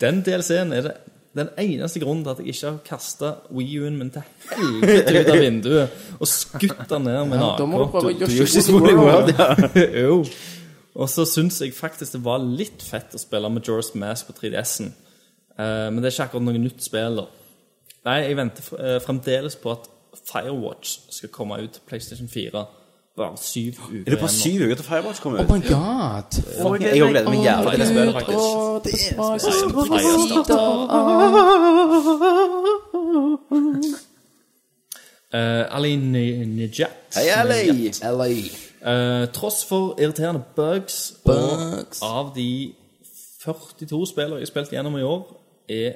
Den DLC-en er det den eneste grunnen til at jeg ikke har kasta Wii-en min til helvete ut av vinduet og skutt den ned med en
Da må du
AK.
prøve
Yoshi's
Yoshi's
Woolly World, ja.
Jo. Og så syns jeg faktisk det var litt fett å spille Majora's Mask på 3DS-en. Eh, men det er ikke akkurat noe nytt spill, da. Nei, jeg venter f- eh, fremdeles på at Firewatch skal komme ut til PlayStation 4. Bare syv uker
Er det bare
igjen nå.
syv uker til Firewatch kommer
Oh
ut?
my god.
Fuck, Jeg òg gleder meg jævlig til det spillet, faktisk.
Å, det var så
Nei, Firestarter. Eh, Ali Ni- Nijat.
Hei, Ali!
LA.
Eh, tross for irriterende bugs, og av de 42 spillene jeg har spilt gjennom i år, er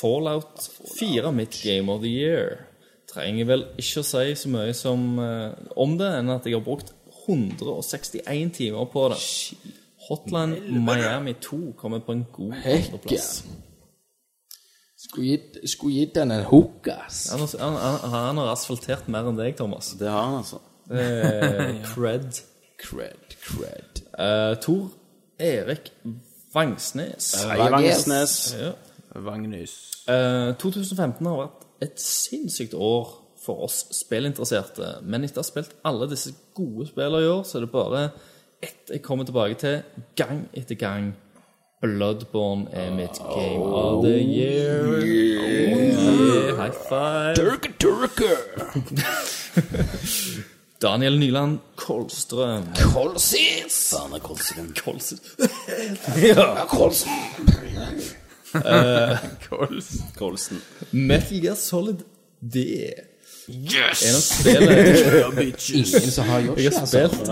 Fallout 4 mitt Game of the Year. Trenger vel ikke å si så mye som, eh, om det, enn at jeg har brukt 161 timer på det. Hotline Miami 2 kommer på en god
Hekke.
andreplass.
Skulle gitt- Skulle gitt den en hook, ass.
Han, har- han, han, han har asfaltert mer enn deg, Thomas.
Det har han, altså.
Eh, cred.
Cred, cred.
Eh, Tor Erik Vangsnes.
Vangsnes.
Ja.
Vagnus.
Eh, 2015 har vært et sinnssykt år for oss spillinteresserte. Men etter å ha spilt alle disse gode spillene i år, så er det bare ett jeg kommer tilbake til gang etter gang. Bloodborne er mitt game of the year. Yeah, High five.
Turker, turker.
Daniel Nyland Kolstrøm.
Kolsis.
Kolstrøm.
Kolsen.
Eh,
Kolsen.
Metal Gear Solid D. Yes! En av spillene
Ingen som har Yoshi,
jeg har
altså.
spilt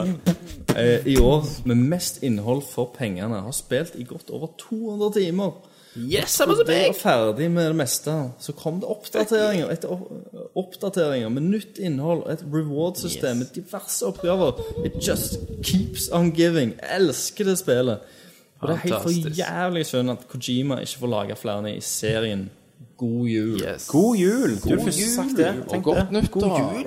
eh, i år med mest innhold for pengene. Har spilt i godt over 200 timer.
Yes, samme som
Da jeg
meg!
var ferdig med det meste, så kom det oppdateringer etter opp- oppdateringer med nytt innhold, et reward-system med diverse oppgaver. It just keeps on giving. Jeg elsker det spillet. Og det er helt for
Fantastisk.
jævlig synd at Kojima ikke får lage flere i serien God jul.
Yes.
God jul! Du har først sagt det.
Og godt nyttår.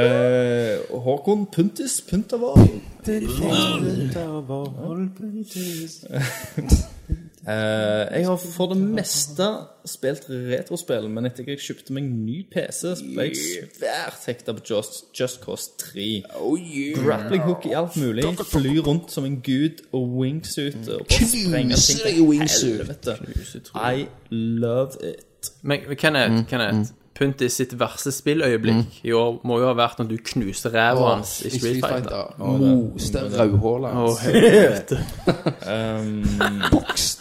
Eh, Håkon Puntis Puntervold. Eh, jeg har for det meste spilt retrospill, men etter at jeg kjøpte meg ny PC, så ble jeg svært hekta på Just, Just Cause 3.
Oh,
Grappling hook i alt mulig, fly rundt som en gud og wingsuit og bare sprenge ting
deg i wingsuit.
til helvete. I love it.
Men men Kenneth, Kenneth Puntis sitt verste spilløyeblikk i år må jo ha vært når du knuste ræva hans i Street Fighter.
Moste rødhåla.
Å, helvete. Han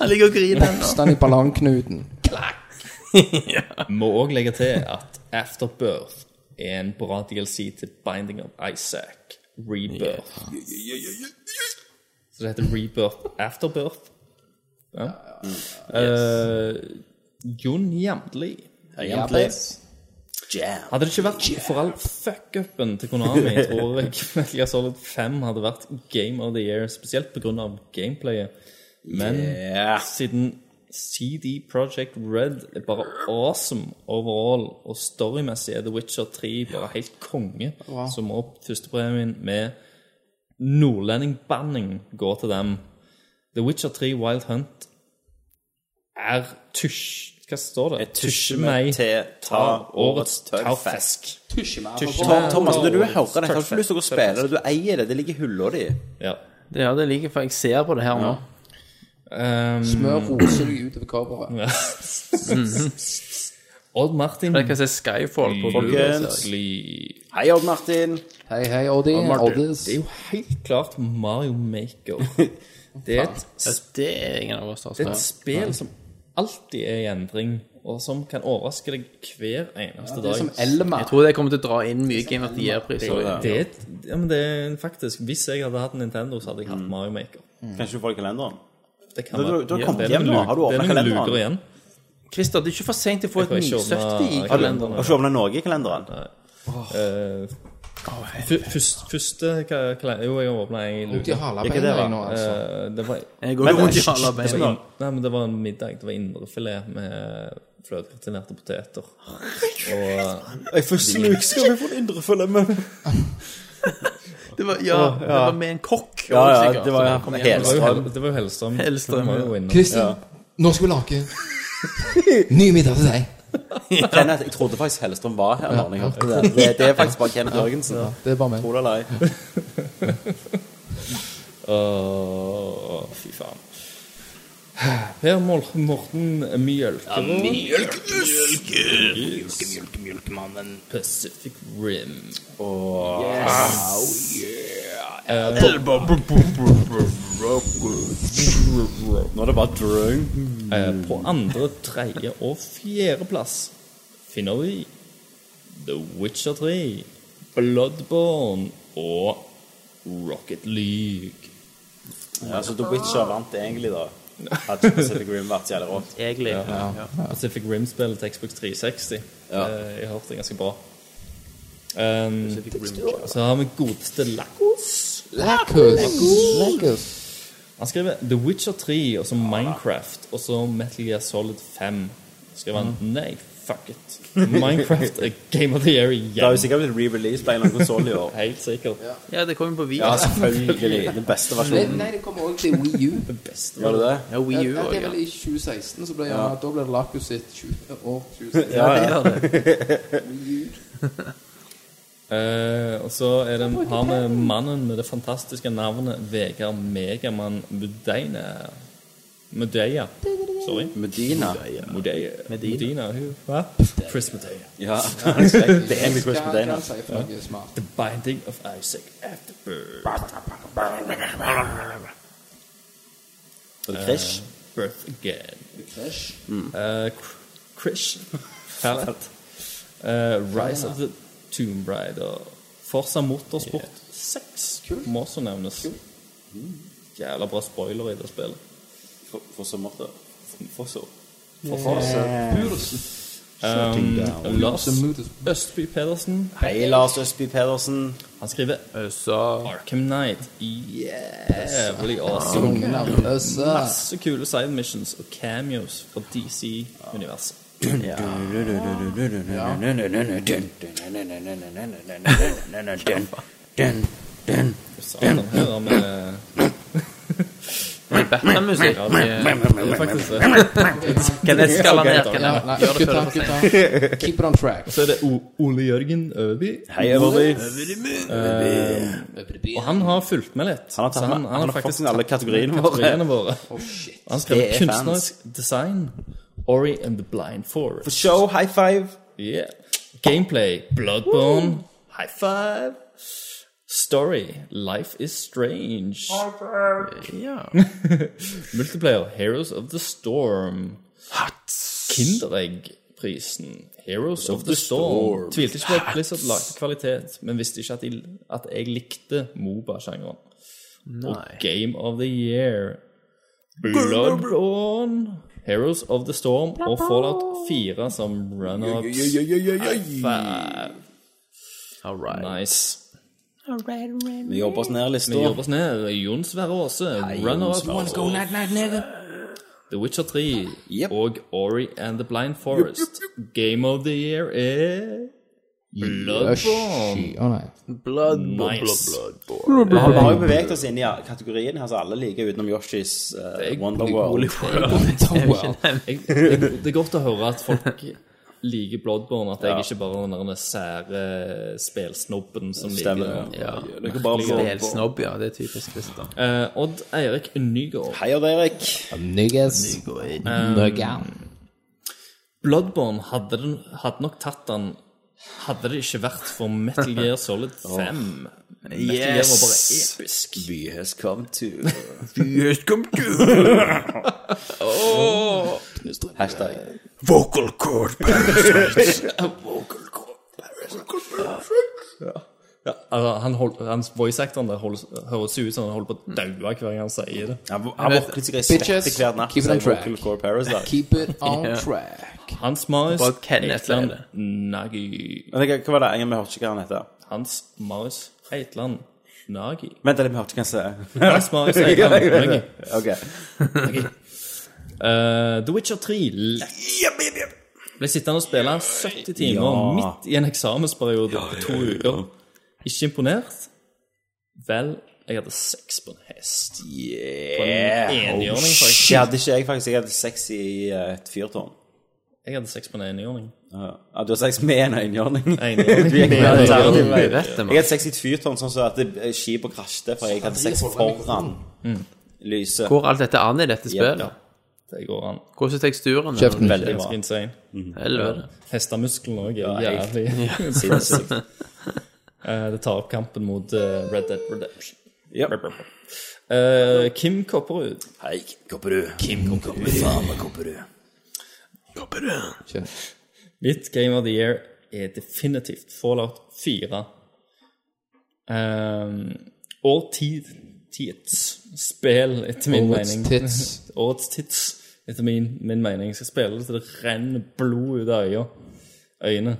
ligger og griner ennå.
Stand i ballongknuten.
Må òg legge til at Afterbirth er en bra DLC til Binding of Isaac. Rebirth. Så det heter Rebirth Afterbirth. Ja. Eh, Jon Jamtli.
Egentlig. Oh,
Hadde det ikke vært for all fuck-upen til Konami, tror jeg Metal Gear Solid 5 hadde vært Game of the Year, spesielt pga. gameplayet. Men
Yeah.
siden CD Project Red er bare awesome overall, og storymessig er The Witcher 3 bare helt konge, så må førstepremien med nordlendingbanning gå til dem. The Witcher 3 Wild Hunt er tusj... Hva står det?
Jeg tusjer meg til ta årets tørrfisk.
Tusje meg.
Tom- Thomas, når du hører dette, har du ikke lyst til å gå og spille det. Du eier det. Det ligger i hylla di.
Ja.
Det, ja, det liker jeg, for jeg ser på det her nå.
Um,
Smør roser deg utover coveret.
Odd Martin
Jeg kan se Skyfall på
Folkens.
Bli-
Hei, Odd Martin.
Hei, hei, Oddi. Oddis.
Det er jo helt klart Mario Maker. Det er et,
Det er ingen av oss som har
det er et
spilt.
spill som alltid er i endring, og som kan overraske deg hver eneste
Det er som
dag.
Elma.
Jeg tror det kommer til å dra inn mye Game of the Year-priser.
Det er, et- ja, men det er faktisk Hvis jeg hadde hatt Nintendo, så hadde jeg hatt Mario Maker.
Kanskje du får i kalenderen?
Det kan
Mm. Du, du,
være-
du har
Det
kommet
er
hjem
noen
nå.
luker-
Har du
det er
åpna
noen luker
kalenderen?
igjen.
Christer, det er ikke for sent til å få et
får ikke åpne
nysøfte i
kalenderen.
kalenderen.
Har du ikke åpna Norge i kalenderen?
Fu- først- Første hva- hva- Jo, jeg åpna ei luke.
De
Ikke det,
halabeina
da.
nå, altså.
Eh, Det var
Jeg går jo
Men-
rundt i alle
Det var,
beina.
in, nei, men det var en middag. Det var indrefilet med fløtegratinerte poteter. Og,
Jeg første luke skal vi få en indre følge med.
Det var, ja, det var med en kokk.
Ja,
også,
ja,
sikkert,
det var
som kom hjem.
det, var jo,
Helstrøm.
Hell- det var jo Hellstrøm.
Hellstrøm,
Han var
ja.
jo innom.
Kristin, nå skal vi lage ny middag til deg.
Kenneth, jeg trodde faktisk Hellstrøm var her når jeg hørte det. det. Det er faktisk bare Kenneth Jørgensen.
Det er bare meg.
Tror det eller ei.
Åh, fy faen. Per Mor Morten Mjølkevold. Pacific Rim.
Nå er det bare drunk.
Eh, På andre, tredje og fjerdeplass finner vi The Witcher 3, Bloodborne og Rocket League.
Ja, så The Witcher vant egentlig, da. At Pacific Rim vært så jævlig rått.
Egentlig. Ja.
Pacific Rim-spillet til Xbox 360. Eh, Jeg har hørt det ganske bra. Um, så har vi godeste Lacos.
Lacus. Lacus.
Han skriver The Witcher 3, og så Minecraft, og så Metal Gear Solid 5. Skriver han nei, fuck it. Minecraft er Game of the Year
Det har jo
igjen.
sikkert blitt re-released på en eller annen konsoll i år.
Helt sikkert.
ja, det kom jo på Wii.
Ja, selvfølgelig. Den beste
Nei,
versjonen.
nei, det kommer også til Wii U.
Var det det?
Ja, Wii U
Ja,
også,
det er
ja.
vel i 2016, så ble, ja, da ble det Lacus sitt 20 år. 2016.
Ja, det gjør det.
Eh, og så er det, har vi mannen med det fantastiske navnet Vegard Megamann Mudeina. Mudeia. Sorry.
Medina.
Mudeia. Medina. hun- Hva? Chris Mudeia.
Ja, han er skrekk. det er egentlig Chris
Hva kan
Medina.
han si for noe smart?
The Binding of Isaac Afterbirth.
Og det er Krish.
Birth Again.
Crash.
Eh, Kr- Krish. Pallet. Eh, Rise of the Tomb Raider. Forsa Motorsport 6 må også nevnes. Jævla bra spoiler i det spillet.
For- For så måte. For så.
Um, Lars Østby Pedersen.
Hei, Lars Østby Pedersen.
Han skriver
Så
Arkham Knight. Jævlig awesome.
Kongen av Øsse.
Masse kule side missions og cameos fra DC-universet. Satan, her har vi
Batman-musikk.
Ja, det- det er faktisk det.
Kenneth skal han ned.
Ja,
Kenneth.
nei, gutta, gutta. Keep it on track.
Så er det O- Ole Jørgen Øby.
Hei, Øverby.
Og han har fulgt med litt.
Han har
Så
tatt med han har
faktisk
faktisk alle kategoriene våre. Oh,
kategoriene våre. Han
Det
skrev
er
kunstnerisk design. Ori and the Blind
For
Forest.
show, high five.
Yeah. Gameplay. Bloodbone. High five. Story. Life is strange.
Ja.
Multiplayer. Heroes of the Storm. Kinderegg. prisen Heroes of the Storm. Tvilte ikke på at Blizzard lagde kvalitet, men visste ikke at, de, at jeg likte Moba-sjangeren. Og Game of the Year. Bloodborne, Heroes of the Storm og Fallout 4 som runner-ups.
All right.
Nice.
Vi jobber oss ned lista.
Vi jobber oss ned. Jon Sverre Aase, runner-up. The Witcher 3
Yep.
og Ori and the Blind Forest. Game of the year er Bloodborne.
Å nei.
Blood,
Nice.
Vi har jo beveget oss inn i kategorien her som alle liker, utenom Yoshis eh, Wonderworld.
Jeg, jeg, det er godt å høre at folk liker Bloodborne, at jeg ikke bare er den der sære spelsnobben som liker
Stemmer.
det.
Ja. Det er bare
Det er helt
blå.
snobb, ja. Det er typisk Christer.
Eh, Odd Eirik Nygaard.
Hei, Odd Erik.
Nuggas. Nuggan.
Bloodborne hadde, den, hadde nok tatt den hadde det ikke vært for Metal Gear Solid 5. Metal Gear var bare episk.
We has come to Hashtag.
Vocal cord
Altså, han hold, hans voice-actoren der hold- høres jo ut som han holder på å daue hver gang han sier det.
Han han våkner sikkert svett i
Bitches,
hver natt.
keep it
sier
on track.
Vocal Core Paris der.
Keep it on track.
Hans Marius
Bare Kenneth sier
Eitland
det.
Nagi.
Men jeg- Hva var det? Jeg vi hørte ikke hva han heter.
Hans Marius Eitland Nagi.
Vent litt, vi hørte ikke hva han sier.
Hans Marius Eitland Nagi.
Ok.
Eh, The Witcher 3 lett. Ble sittende og spille 70 timer
Ja.
midt i en eksamensperiode på to uker. Ikke imponert? Vel, jeg hadde sex på en hest. På en enhjørning, faktisk.
Det hadde ikke jeg, faktisk. Jeg hadde sex i eh, et fyrtårn.
Jeg hadde sex på en enhjørning.
Ja, Ja, du har sex med en øyenhjørning.
Enhjørning.
Du gikk med en alternativ vei.
Vet det,
Jeg
man.
hadde sex i et fyrtårn sånn så at det- skipet krasjte, for jeg hadde sex foran
Mm.
lyset.
Hvor alt dette an i dette spillet?
Ja.
Det går an.
Hvordan er teksturen?
Kjeften.
Veldig
Ganske
bra.
insane.
Helvete.
Hestemusklene òg er
Ja, jeg-
jævlig sinnssykt. Eh, det tar opp kampen mot eh, Red Dead Redemption.
Ja.
Eh, Kim Kopperud.
Hei, Kopperud.
Kim Kopperud.
Faen meg Kopperud.
Mitt Game of the Year er definitivt Fallout 4. Eh, og ti- tids spill, etter min
Årets
mening.
tits.
Årets tids, etter min, min mening. Jeg skal spille det til det renner blod ut av øya. øynene.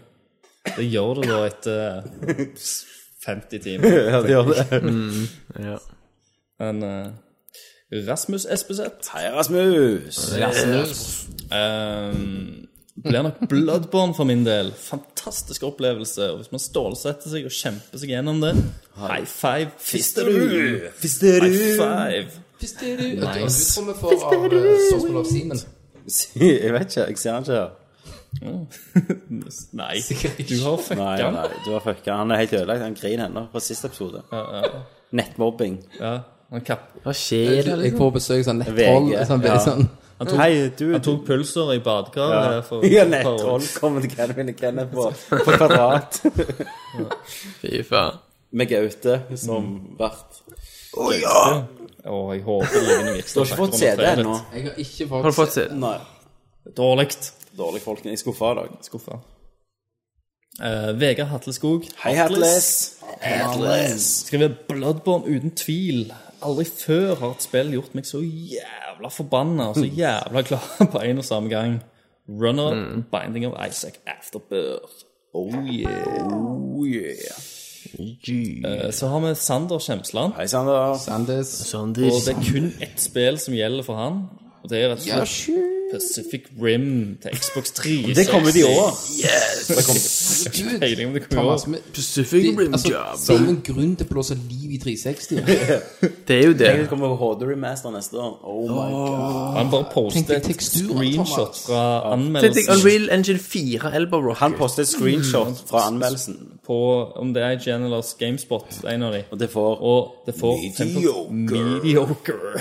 Det gjør det da etter 50 timer.
Ja, det gjør det.
Men eh, Rasmus Espeseth
Hei, Rasmus.
eh, blir nok Bloodborne for min del. Fantastisk opplevelse. Og hvis man stålsetter seg og kjemper seg gjennom det High five, fisterud! High five!
Fisteru. Nice. Spørsmål av eh, Simen.
Jeg vet ikke, jeg ser han ikke.
Mm. Nei, du har fucka
Nei,
den.
nei, du har fucka. Han er helt ødelagt. Han griner ennå fra siste episode. Nettmobbing.
Ja, han, kapp,
Hva skjer?
Jeg får besøk av sånn nettroll.
VG,
Sånn,
ja.
sånn.
Hei, du
han tok pulser i badekar.
Ja,
eh, for-
ja
for-
nettroll kommer til Kenneth Kenneth på, på kvadrat.
Fy faen.
Med Gaute som
Mm.
vert.
Å, jeg håper det ligger noe
Du
ekstra
har ikke fått
faktor
CD
under treet.
ennå.
Jeg har ikke
Har du
fått
fått se?
Nei.
Dårligt.
Dårlig folk. Jeg er skuffa i dag.
Skuffa. Eh, Vegard Hatleskog.
Hei, Atlas. Atlas.
Skriver Bloodborne uten tvil. Aldri før har et spill gjort meg så jævla forbanna og så jævla glad på en og samme gang. Runner Binding of Isaac Afterbirth. Oh yeah. Eh, Så har vi Sander Kjemsland,
Hei, Sander.
Sanders.
Sander.
og det er kun ett spill som gjelder for han. Og det er rett og slett Pacific Rim til Xbox 3.
Det kommer de år.
Gud,
Peiling om det kommer i år.
Thomas, men
Pacific
de- altså, det er jo en grunn til å blåse liv i 360.
Det er jo det.
Det kommer HD Remaster neste år. Oh my god.
Han bare postet
Tenk
et
deg teksturen,
screenshot
Thomas.
fra
Tenk deg
anmeldelsen
Unreal Engine 4 Elbow
Han
Rocket.
postet et screenshot fra anmeldelsen,
på om det er IGN eller Gamespot, en av de.
og det får
Og det får
Mediocre.
Mediocre.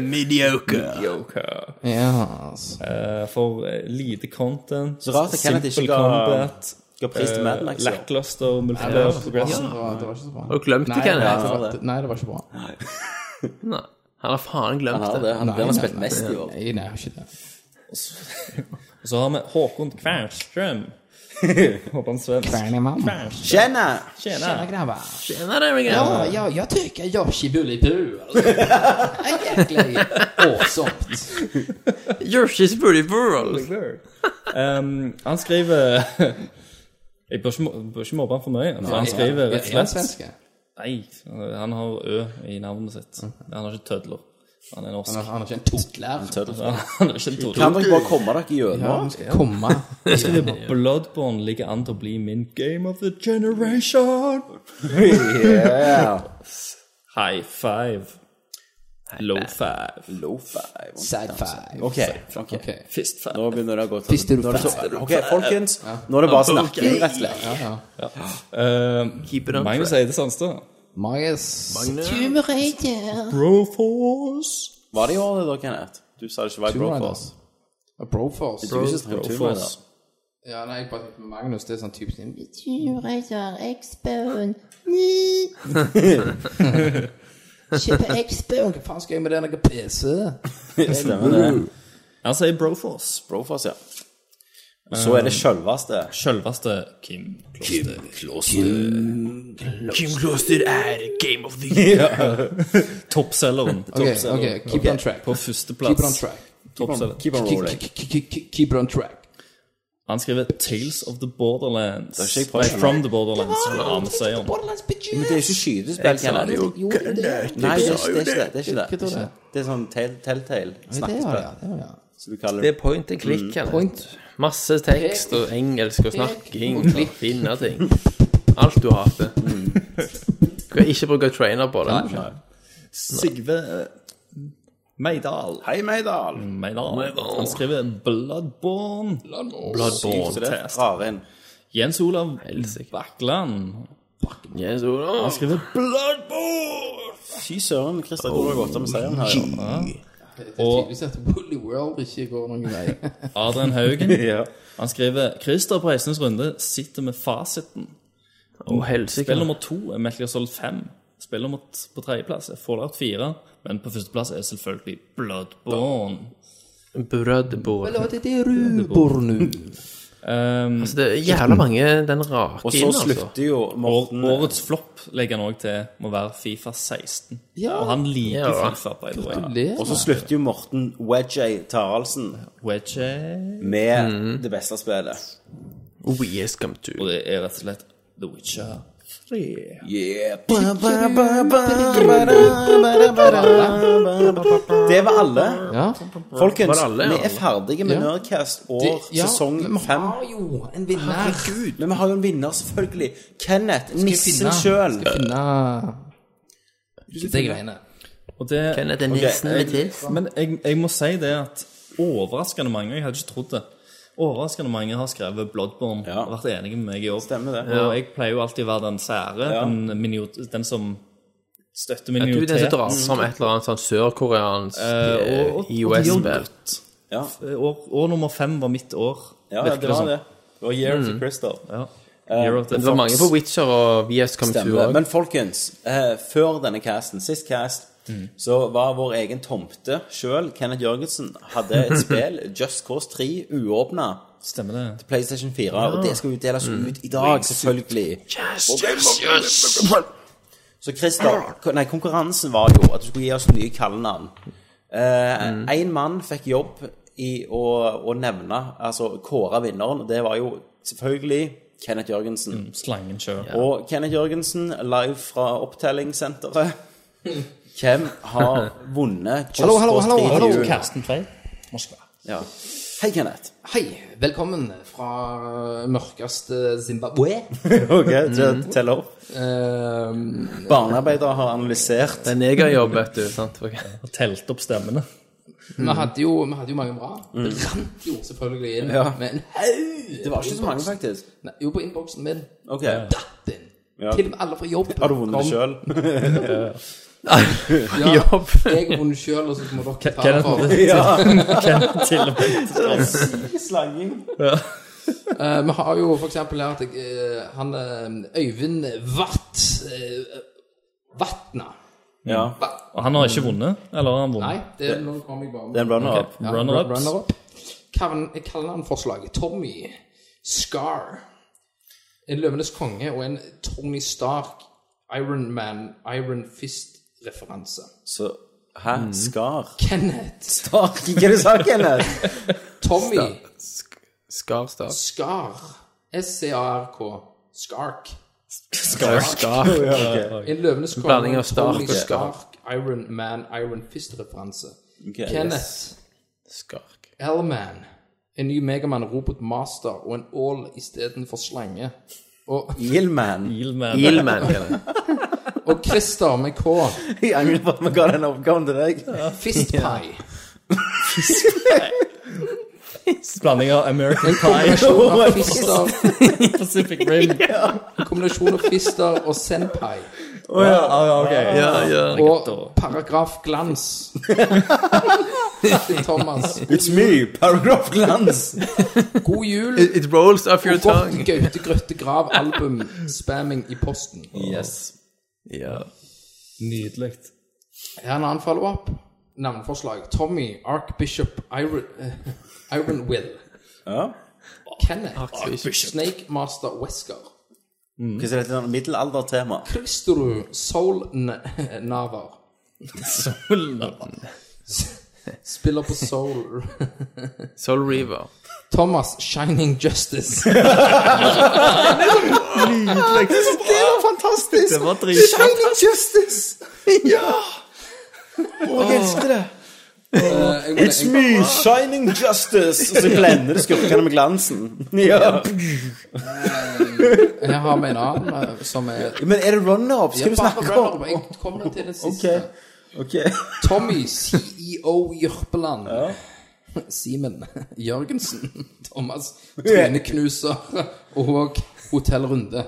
Mediocre.
Mediocre.
Ja, altså.
Eh, for eh, lite content.
Så rart at Kenneth
simple
ikke ga-
combat.
Skal pris til Mad
eh,
Max. ja.
Lackluster multiplayer progression.
Det var, det var ikke så bra.
Og glemte
Nei,
ikke
nei,
han
det
her.
var, nei, det var ikke bra.
Nei, Han har faen
Han
glemt
har
det.
det. Han, den har spilt mest i år.
Nei, nei, jeg har ikke det.
Og så, og så har vi Håkon Kvernstrøm. Håper han svensk. Kvernstrøm.
Tjena!
Tjena.
grabbar.
Tjena, der, Mikael.
Ja, jag, jag tycker Yoshi Bullibu. alltså. Det är Jäkla awsomt.
Yoshi's Booty Burl.
Ehm, han skriver Jeg bør ikke, må- bør ikke mobbe han for mye. For han skriver rett
Är han
og slett
svenska?
Nei, han har Ø i navnet sitt. Han har ikke tødler. Han er norsk.
Han har inte en totlär.
Han er ikke en tødler.
Kan dere bare komme dere gjennom?
Komma.
Bloodborne ligger an til å bli min game of the generation.
Yeah.
High five. Low five.
Low five.
Side five.
Ok, ok.
Okej.
Fist five.
Nå begynner det å gå til
Visste du
Nå er det så-
fast?
Ok, folkens. Nå er det bare snakking, rett og slett.
Ehm,
Keep it on
Magnus
track.
Eide Sandstø.
Magnus.
Broforce.
Var det i år det da, Kenneth? Du sa det ikke var i
Tomb Raider.
Broforce.
Ja, Broforce.
Du synes det var Tomb Raider.
Ja, nei, jeg bare Magnus, det er sånn typisk
Reiser X-Bone. Ni.
Kjøpe X-Bone, hva faen skal jeg med den der PC?
Stemmer det.
Han sier Broforce.
Broforce, ja. Så er det sjølveste.
Sjølveste Kim Kloster.
Kim Kloster er Game of the Year.
Toppselgeren.
Ok,
Toppselgeren.
ok, keep it on track.
På
Keep
førsteplass.
it on track.
Toppselger.
Keep on
Keep-
rolling.
keep- keep- keep- Keep it on track.
Han skriver Tales of the Borderlands.
er ikke jeg
Nei,
prøvd.
From the Borderlands, som Arne sier om.
Borderlands bitches!
Men det er jo ikke skytespill, Kenneth. Det er jo
Jo, det er det.
Nei, det er ikke det. Er ikke det. det, er ikke
Hva tror du?
det. det er sånn tell- telltale.
Det
Snakkespill.
var det, det var det.
Så du kaller
Det
det
er point and click. Kenneth.
Point.
Masse tekst og engelsk og snakking og finne ting. Alt du hater. Du kan ikke bruke trainer på det.
Sigve Meidal.
Hei, Meidal!
Mm. Meidal. Han skriver Bloodborne.
Så
Bloodborne.
det
Test.
drar inn.
Jens Olav Vakland.
Yes, oh, Ola.
Han skriver Bloodborne!
Fy søren, Christer, hvor har du gått av med seieren her? i år?
Det er tydeligvis at Woolly World ikke går noen vei.
Adrian Haugen.
Ja.
Han skriver Christer på Heisnes runde sitter med fasiten.
Å, helsike.
Spill nummer to er Metal Gear Solid 5. Spill nummer t- på tredjeplass er Fallout 4. Men på førsteplass er selvfølgelig Bloodborne.
Brødbord.
Eller det er rubor nå.
Um,
Altså, det er jævla mange den rake
Og så
inn, altså.
slutter jo Morten
årets flopp legger han òg til må være Fifa 16.
Ja.
Og han liker
Ja.
Fifa, by the way.
Og
Gratulerer.
så slutter jo Morten Wedgey Taraldsen
Wedge.
med det beste spillet.
We is Oh, come to.
Og det er rett og slett The Witcher.
Yeah. Det var alle.
Ja.
Folkens,
Var alle, ja?
vi er ferdige med
Ja.
Nerdcast år
Ja,
sesong
men vi
fem.
har jo en vinner.
Men vi har jo en vinner, selvfølgelig. Kenneth, nissen sjøl.
Finne de greiene.
Og det,
Kenneth er nissen med tiss.
men jeg, jeg må si det at overraskende mange Jeg hadde ikke trodd det. Overraskende mange har skrevet Bloodborne
Ja.
og vært enige med meg i år.
Stemmer det.
Og jeg pleier jo alltid å være den sære,
Ja.
den, minoritet- den som støtter
Du er den som
minoritet.
drar som et eller annet sånn sørkoreansk
Eh, og- og-
eh,
og de gjør
IOS-spill.
godt.
Ja,
År, år nummer fem var mitt år.
ja,
virker
det var
som.
det. Det var Year
Mm.
of the Crystal.
Ja. Year of the
Eh, Det var
Fox.
mange på Witcher og VS Come To
Stemmer det.
òg.
Men folkens, eh, før denne casten, sist cast,
Mm.
så var vår egen tomte sjøl, Kenneth Jørgensen, hadde et spill, Just Cause 3, uåpna.
Stemmer det.
PlayStation 4, og det skal jo deles
Mm.
ut i dag, selvfølgelig. Og- Så Christer, nei, konkurransen var jo at du skulle gi oss nye kallenavn. Én
Mm.
mann fikk jobb i å, å nevne, altså kåre vinneren, og det var jo selvfølgelig Kenneth Jørgensen.
Mm.
Slangen sjøl.
Og Kenneth Jørgensen, live fra opptellingssenteret. Hvem har vundet Just
Hallo, hallo,
Cause
hallo,
3
hallo.
til jul?
Karsten Tveit. Moskva.
Ja. Hei, Kenneth.
Hei, velkommen fra mørkeste Zimbabwe.
ok, t- tell opp.
Ehm,
Mm. Barnearbeidere har analysert.
Det er negerjobb, vet du. sant? Ok.
Og telt opp stemmene.
Mm.
vi, hadde jo, vi hadde jo mange bra. Det rant jo selvfølgelig inn
Ja.
med en haug.
Det var ikke så mange, faktisk.
Nei, jo, på innboksen min.
Ok.
Datt inn.
Ja.
Til og med alle fra jobb.
Har du vunnet
kom.
sjøl?
Jobb.
Jeg har vunnet sjøl, og så må dere ta
Kenneth
for.
Til og med.
Slanging.
Eh, Vi har jo for eksempel her at jeg, eh, han eh, Øyvind Vatt eh, Vatna.
Ja.
Og han har ikke vunnet? Eller har han
Nei,
vunnet?
det, nå kom jeg bare med
Det er en runner-up.
Ja,
Runner-ups.
runner-up. kavn- kallenavnforslaget. Tommy, Scar, en løvenes konge og en Tony Stark, Iron Man, Iron Fist-referanse.
Så Hæ? Skar?
Kenneth,
Stark, hva er Mm. det du sa, Kenneth?
Tommy,
Skarstad.
Scar, S-C-A-R-K, Skark.
Skarstad.
En løvenes konge,
Blanding av
og
Stark
Tony
og
Stark, Iron Man, Iron Fist-referanse.
Okay.
Kenneth,
Skark.
L-Man, en ny Megaman Robot Master og en ål istedenfor slange. Og,
Yillman.
Yieldman.
Gilman, heter det.
og Christer med K.
Jeg angrer på at vi ga den oppgaven til deg.
Fistpai.
Blanding av American
En kombinasjon av fister,
Pacific Rim.
en kombinasjon av fister og senpai.
Ah, ok.
Ja, ja.
Og paragraf glans. Til Thomas.
It's me, Paragraph Glans.
God jul
It rolls off your
og godt
tongue.
Gaute Grøtte Grav-album-spamming i posten.
Yes.
Ja.
Nydelig.
Her er en annen follow-up. Navneforslag. Tommy, Archbishop, Iron, eh, Iron Will.
Ja.
Kenneth, Snake Master Wesker.
Mm. Hva er dette middelaldertema?
Kristerud, Soul N- Navar. Spiller på Soul.
Soul Reaver.
Thomas, Shining Justice. Eh, det var fantastisk!
Det var dritbra.
Justice! Ja! Å, jeg elsker det.
Eh, jeg må-
It's me, Shining Justice. Og så blender det skurkene med glansen. Ja.
Jeg har med en annen eh, som er
Men er det runner-up? Skal du snakke om?
Jeg kommer til den siste.
Ok. Ok.
Tommy, CEO Jørpeland. Simen Jørgensen. Thomas, Tryneknuser og Hotell Runde.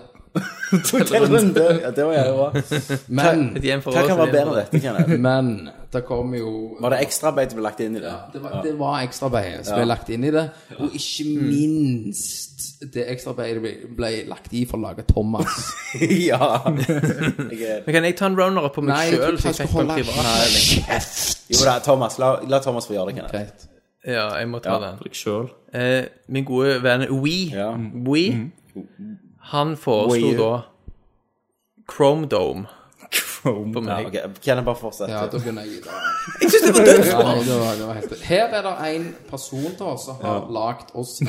Hotellrunde. Ja, det var jævlig bra.
Men,
Et hjem for
Hva
oss,
kan
et
være
hjem
bedre
for
enn
oss.
dette, Kenneth?
men det kommer jo
Var det ekstraarbeid som ble lagt inn i det?
Det var, det var ekstraarbeidet som ble lagt inn i det. Og ikke minst det ekstraarbeidet ble, ble lagt i for å lage Thomas.
Ja.
Men kan jeg ta en runner-up på
Nei, jeg
meg
tror
sjøl?
ikke jeg skal holde kjeft.
Jo da, Thomas. La, la Thomas få gjøre det, Kenneth.
Greit.
Ja, jeg må ta den.
Deg sjøl.
Eh, min gode venn We,
Ja. Mm-hmm.
We han foreslo
Wii U.
da Chrome Dome for
Ja,
meg.
ok. Kenneth, bare fortsett.
Ja, da begynner jeg. Da.
Jeg synes det var dødt!
Ja, nei, det var, det var helt... Her er det en person da som har lagt oss i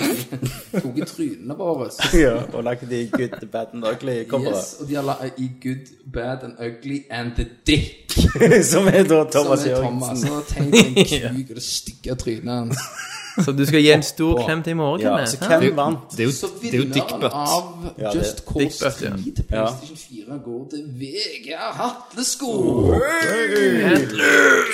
Tok i trynene våre.
Sånn
Ja, og lagt de good, the bad and ugly coveret.
Yes, og de har la i Good, Bad and Ugly and the Dick.
Som er da
Som
Thomas
er Thomas.
Jørgensen.
Og tenk den kuk og det stygge trynet hans.
Så du skal gi en stor klem til i morgen?
Ja, altså,
Kenneth,
så
hæ?
hvem vant?
Det er
Så
jo, det er jo
vinneren
dickbutt.
av
det-
Just Cause 3
Dickbutt, ja.
til PlayStation 4 går til Vegard Hatlesko.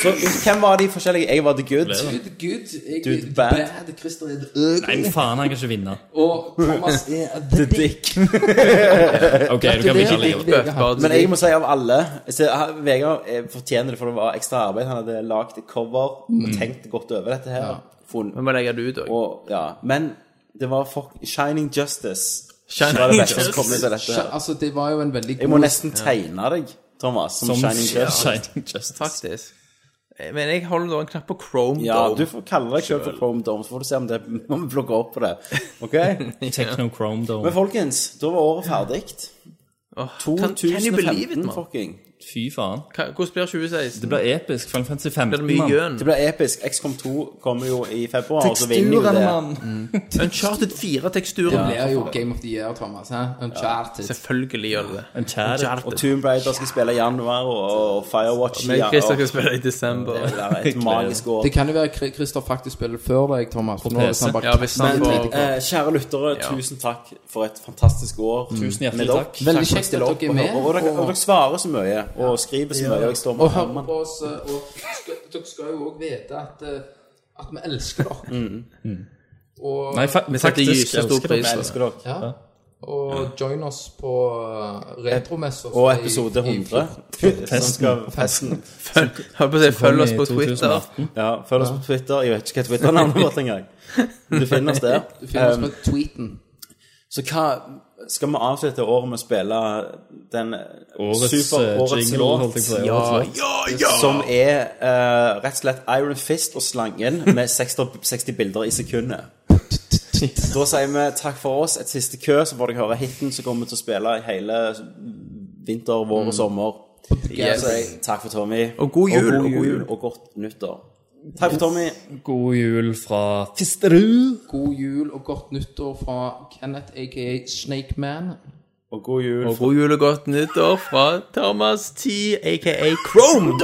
Så hvem var de forskjellige? Jeg var the good.
Good, good. Jeg
Dude,
er
bad.
bad. Christer er the
Nei,
ugly.
faen, han kan ikke vinne.
Og Thomas er the dick.
Ok, du kan vinne
Gratulerer,
livet.
Vegard Hatlesko.
Men jeg må si av alle så, han- Vegard eh, fortjener det for det var ekstra arbeid. Han hadde lagd et cover og tenkt godt over dette her. Funnet-
Vi må legge det ut òg.
Og, ja. Men det var fuck, Shining Justice.
Shining
var det beste som
Justice.
kom ut av dette. her.
Altså, det var jo en veldig
Jeg må
god
nesten tegne deg, Thomas, som,
Som
Shining Justice.
Shining Justice.
Faktisk. Eh, Men jeg holder da en knapp på Chrome
Ja,
Dome.
du får kalle deg selv for Chrome Dome, så får du se om det om vi plukker opp på det. Ok?
Technochrome
Men
Dome.
folkens, da var året ferdig.
Åh, kan, can you believe it,
2015,
mann?
fucking.
Fy faen.
Hva- Hvordan blir 2016?
Det blir episk. Final Fantasy 15,
Blir det mye gjøn?
Det blir episk. XCOM 2 kommer jo i februar, og så vinner jo det.
Uncharted 4 teksturer
Det
blir
er jo Game of the Year, Thomas. Hæ? Uncharted.
Selvfølgelig gjør det det.
En kjære.
Og Tomb Raider skal spille i januar, og og Firewatch
Men
ja, og-
Christer skal spille i desember.
Det er et magisk år.
Det kan jo være Kri- Christer faktisk spiller før deg, Thomas. For nå er det
PC.
sånn bare
Ja, hvis han
Men-
får
Eh, kjære lyttere, tusen takk for et fantastisk år.
Tusen hjertelig
Med dere.
takk.
Veldig
for
kjekt at dere er
og,
med,
hører. og, dere,
og-
og dere svarer så mye, og skriver så mye, og jeg står
Og
med
hør
armene.
på oss, eh, og skal, dere skal jo òg vite at, eh, at vi elsker dere. Og,
Nei, fa
Vi setter
faktisk
gyselig stor
elsker
pris
dere.
på det.
ja, og join oss på eh, retromessa.
Og episode 100. Som skal festen.
Hold på å si, følg oss på
Kom i
Twitter.
2018.
Ja, følg oss på Twitter. Jeg vet ikke hva Twitter-navnet vårt engang. Du finner oss der.
Du finner oss på tweeten.
Så hva skal vi avslutte året med å spille den
Årets,
super-
eh,
årets
jingle,
låt,
holdt jeg på å si,
ja,
årets låt.
ja, ja! som er eh, rett og slett Iron Fist og Slangen med 60, 60 bilder i sekundet. Da sier vi takk for oss. Et siste kø, så får dere høre hiten som kommer vi til å spille i hele vinter,
Mm.
vår og sommer. Jeg sier takk for Tommy.
Og god jul,
Og,
og god jul.
og godt nyttår. Takk for Tommy.
God jul fra Fisterud.
God jul og godt nyttår fra Kenneth, a.k.a. Snake Man.
Og god jul.
Og god jul og godt nyttår fra Thomas T, aka Chrome.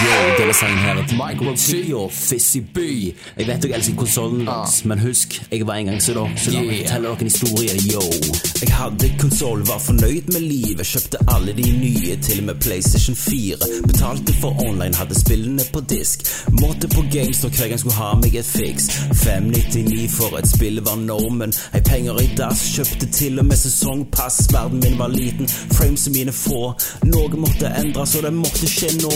Yo, denne sangen her er til Michael Seo, Fizzy by. Jeg vet dere elsker konsollen deres, men husk, jeg var en gang så da. Så la meg fortelle dere en historie, yo. Jeg hadde konsoll, var fornøyd med livet. Kjøpte alle de nye, til og med PlayStation 4. Betalte for online, hadde spillene på disk. Måtte på games når hver gang skulle ha meg et fiks. 599 for et spill var normen. Hei, penger i dass, kjøpte til og med sesongpass. Verden min var liten, frames mine få. Noe måtte endres, og det måtte skje nå.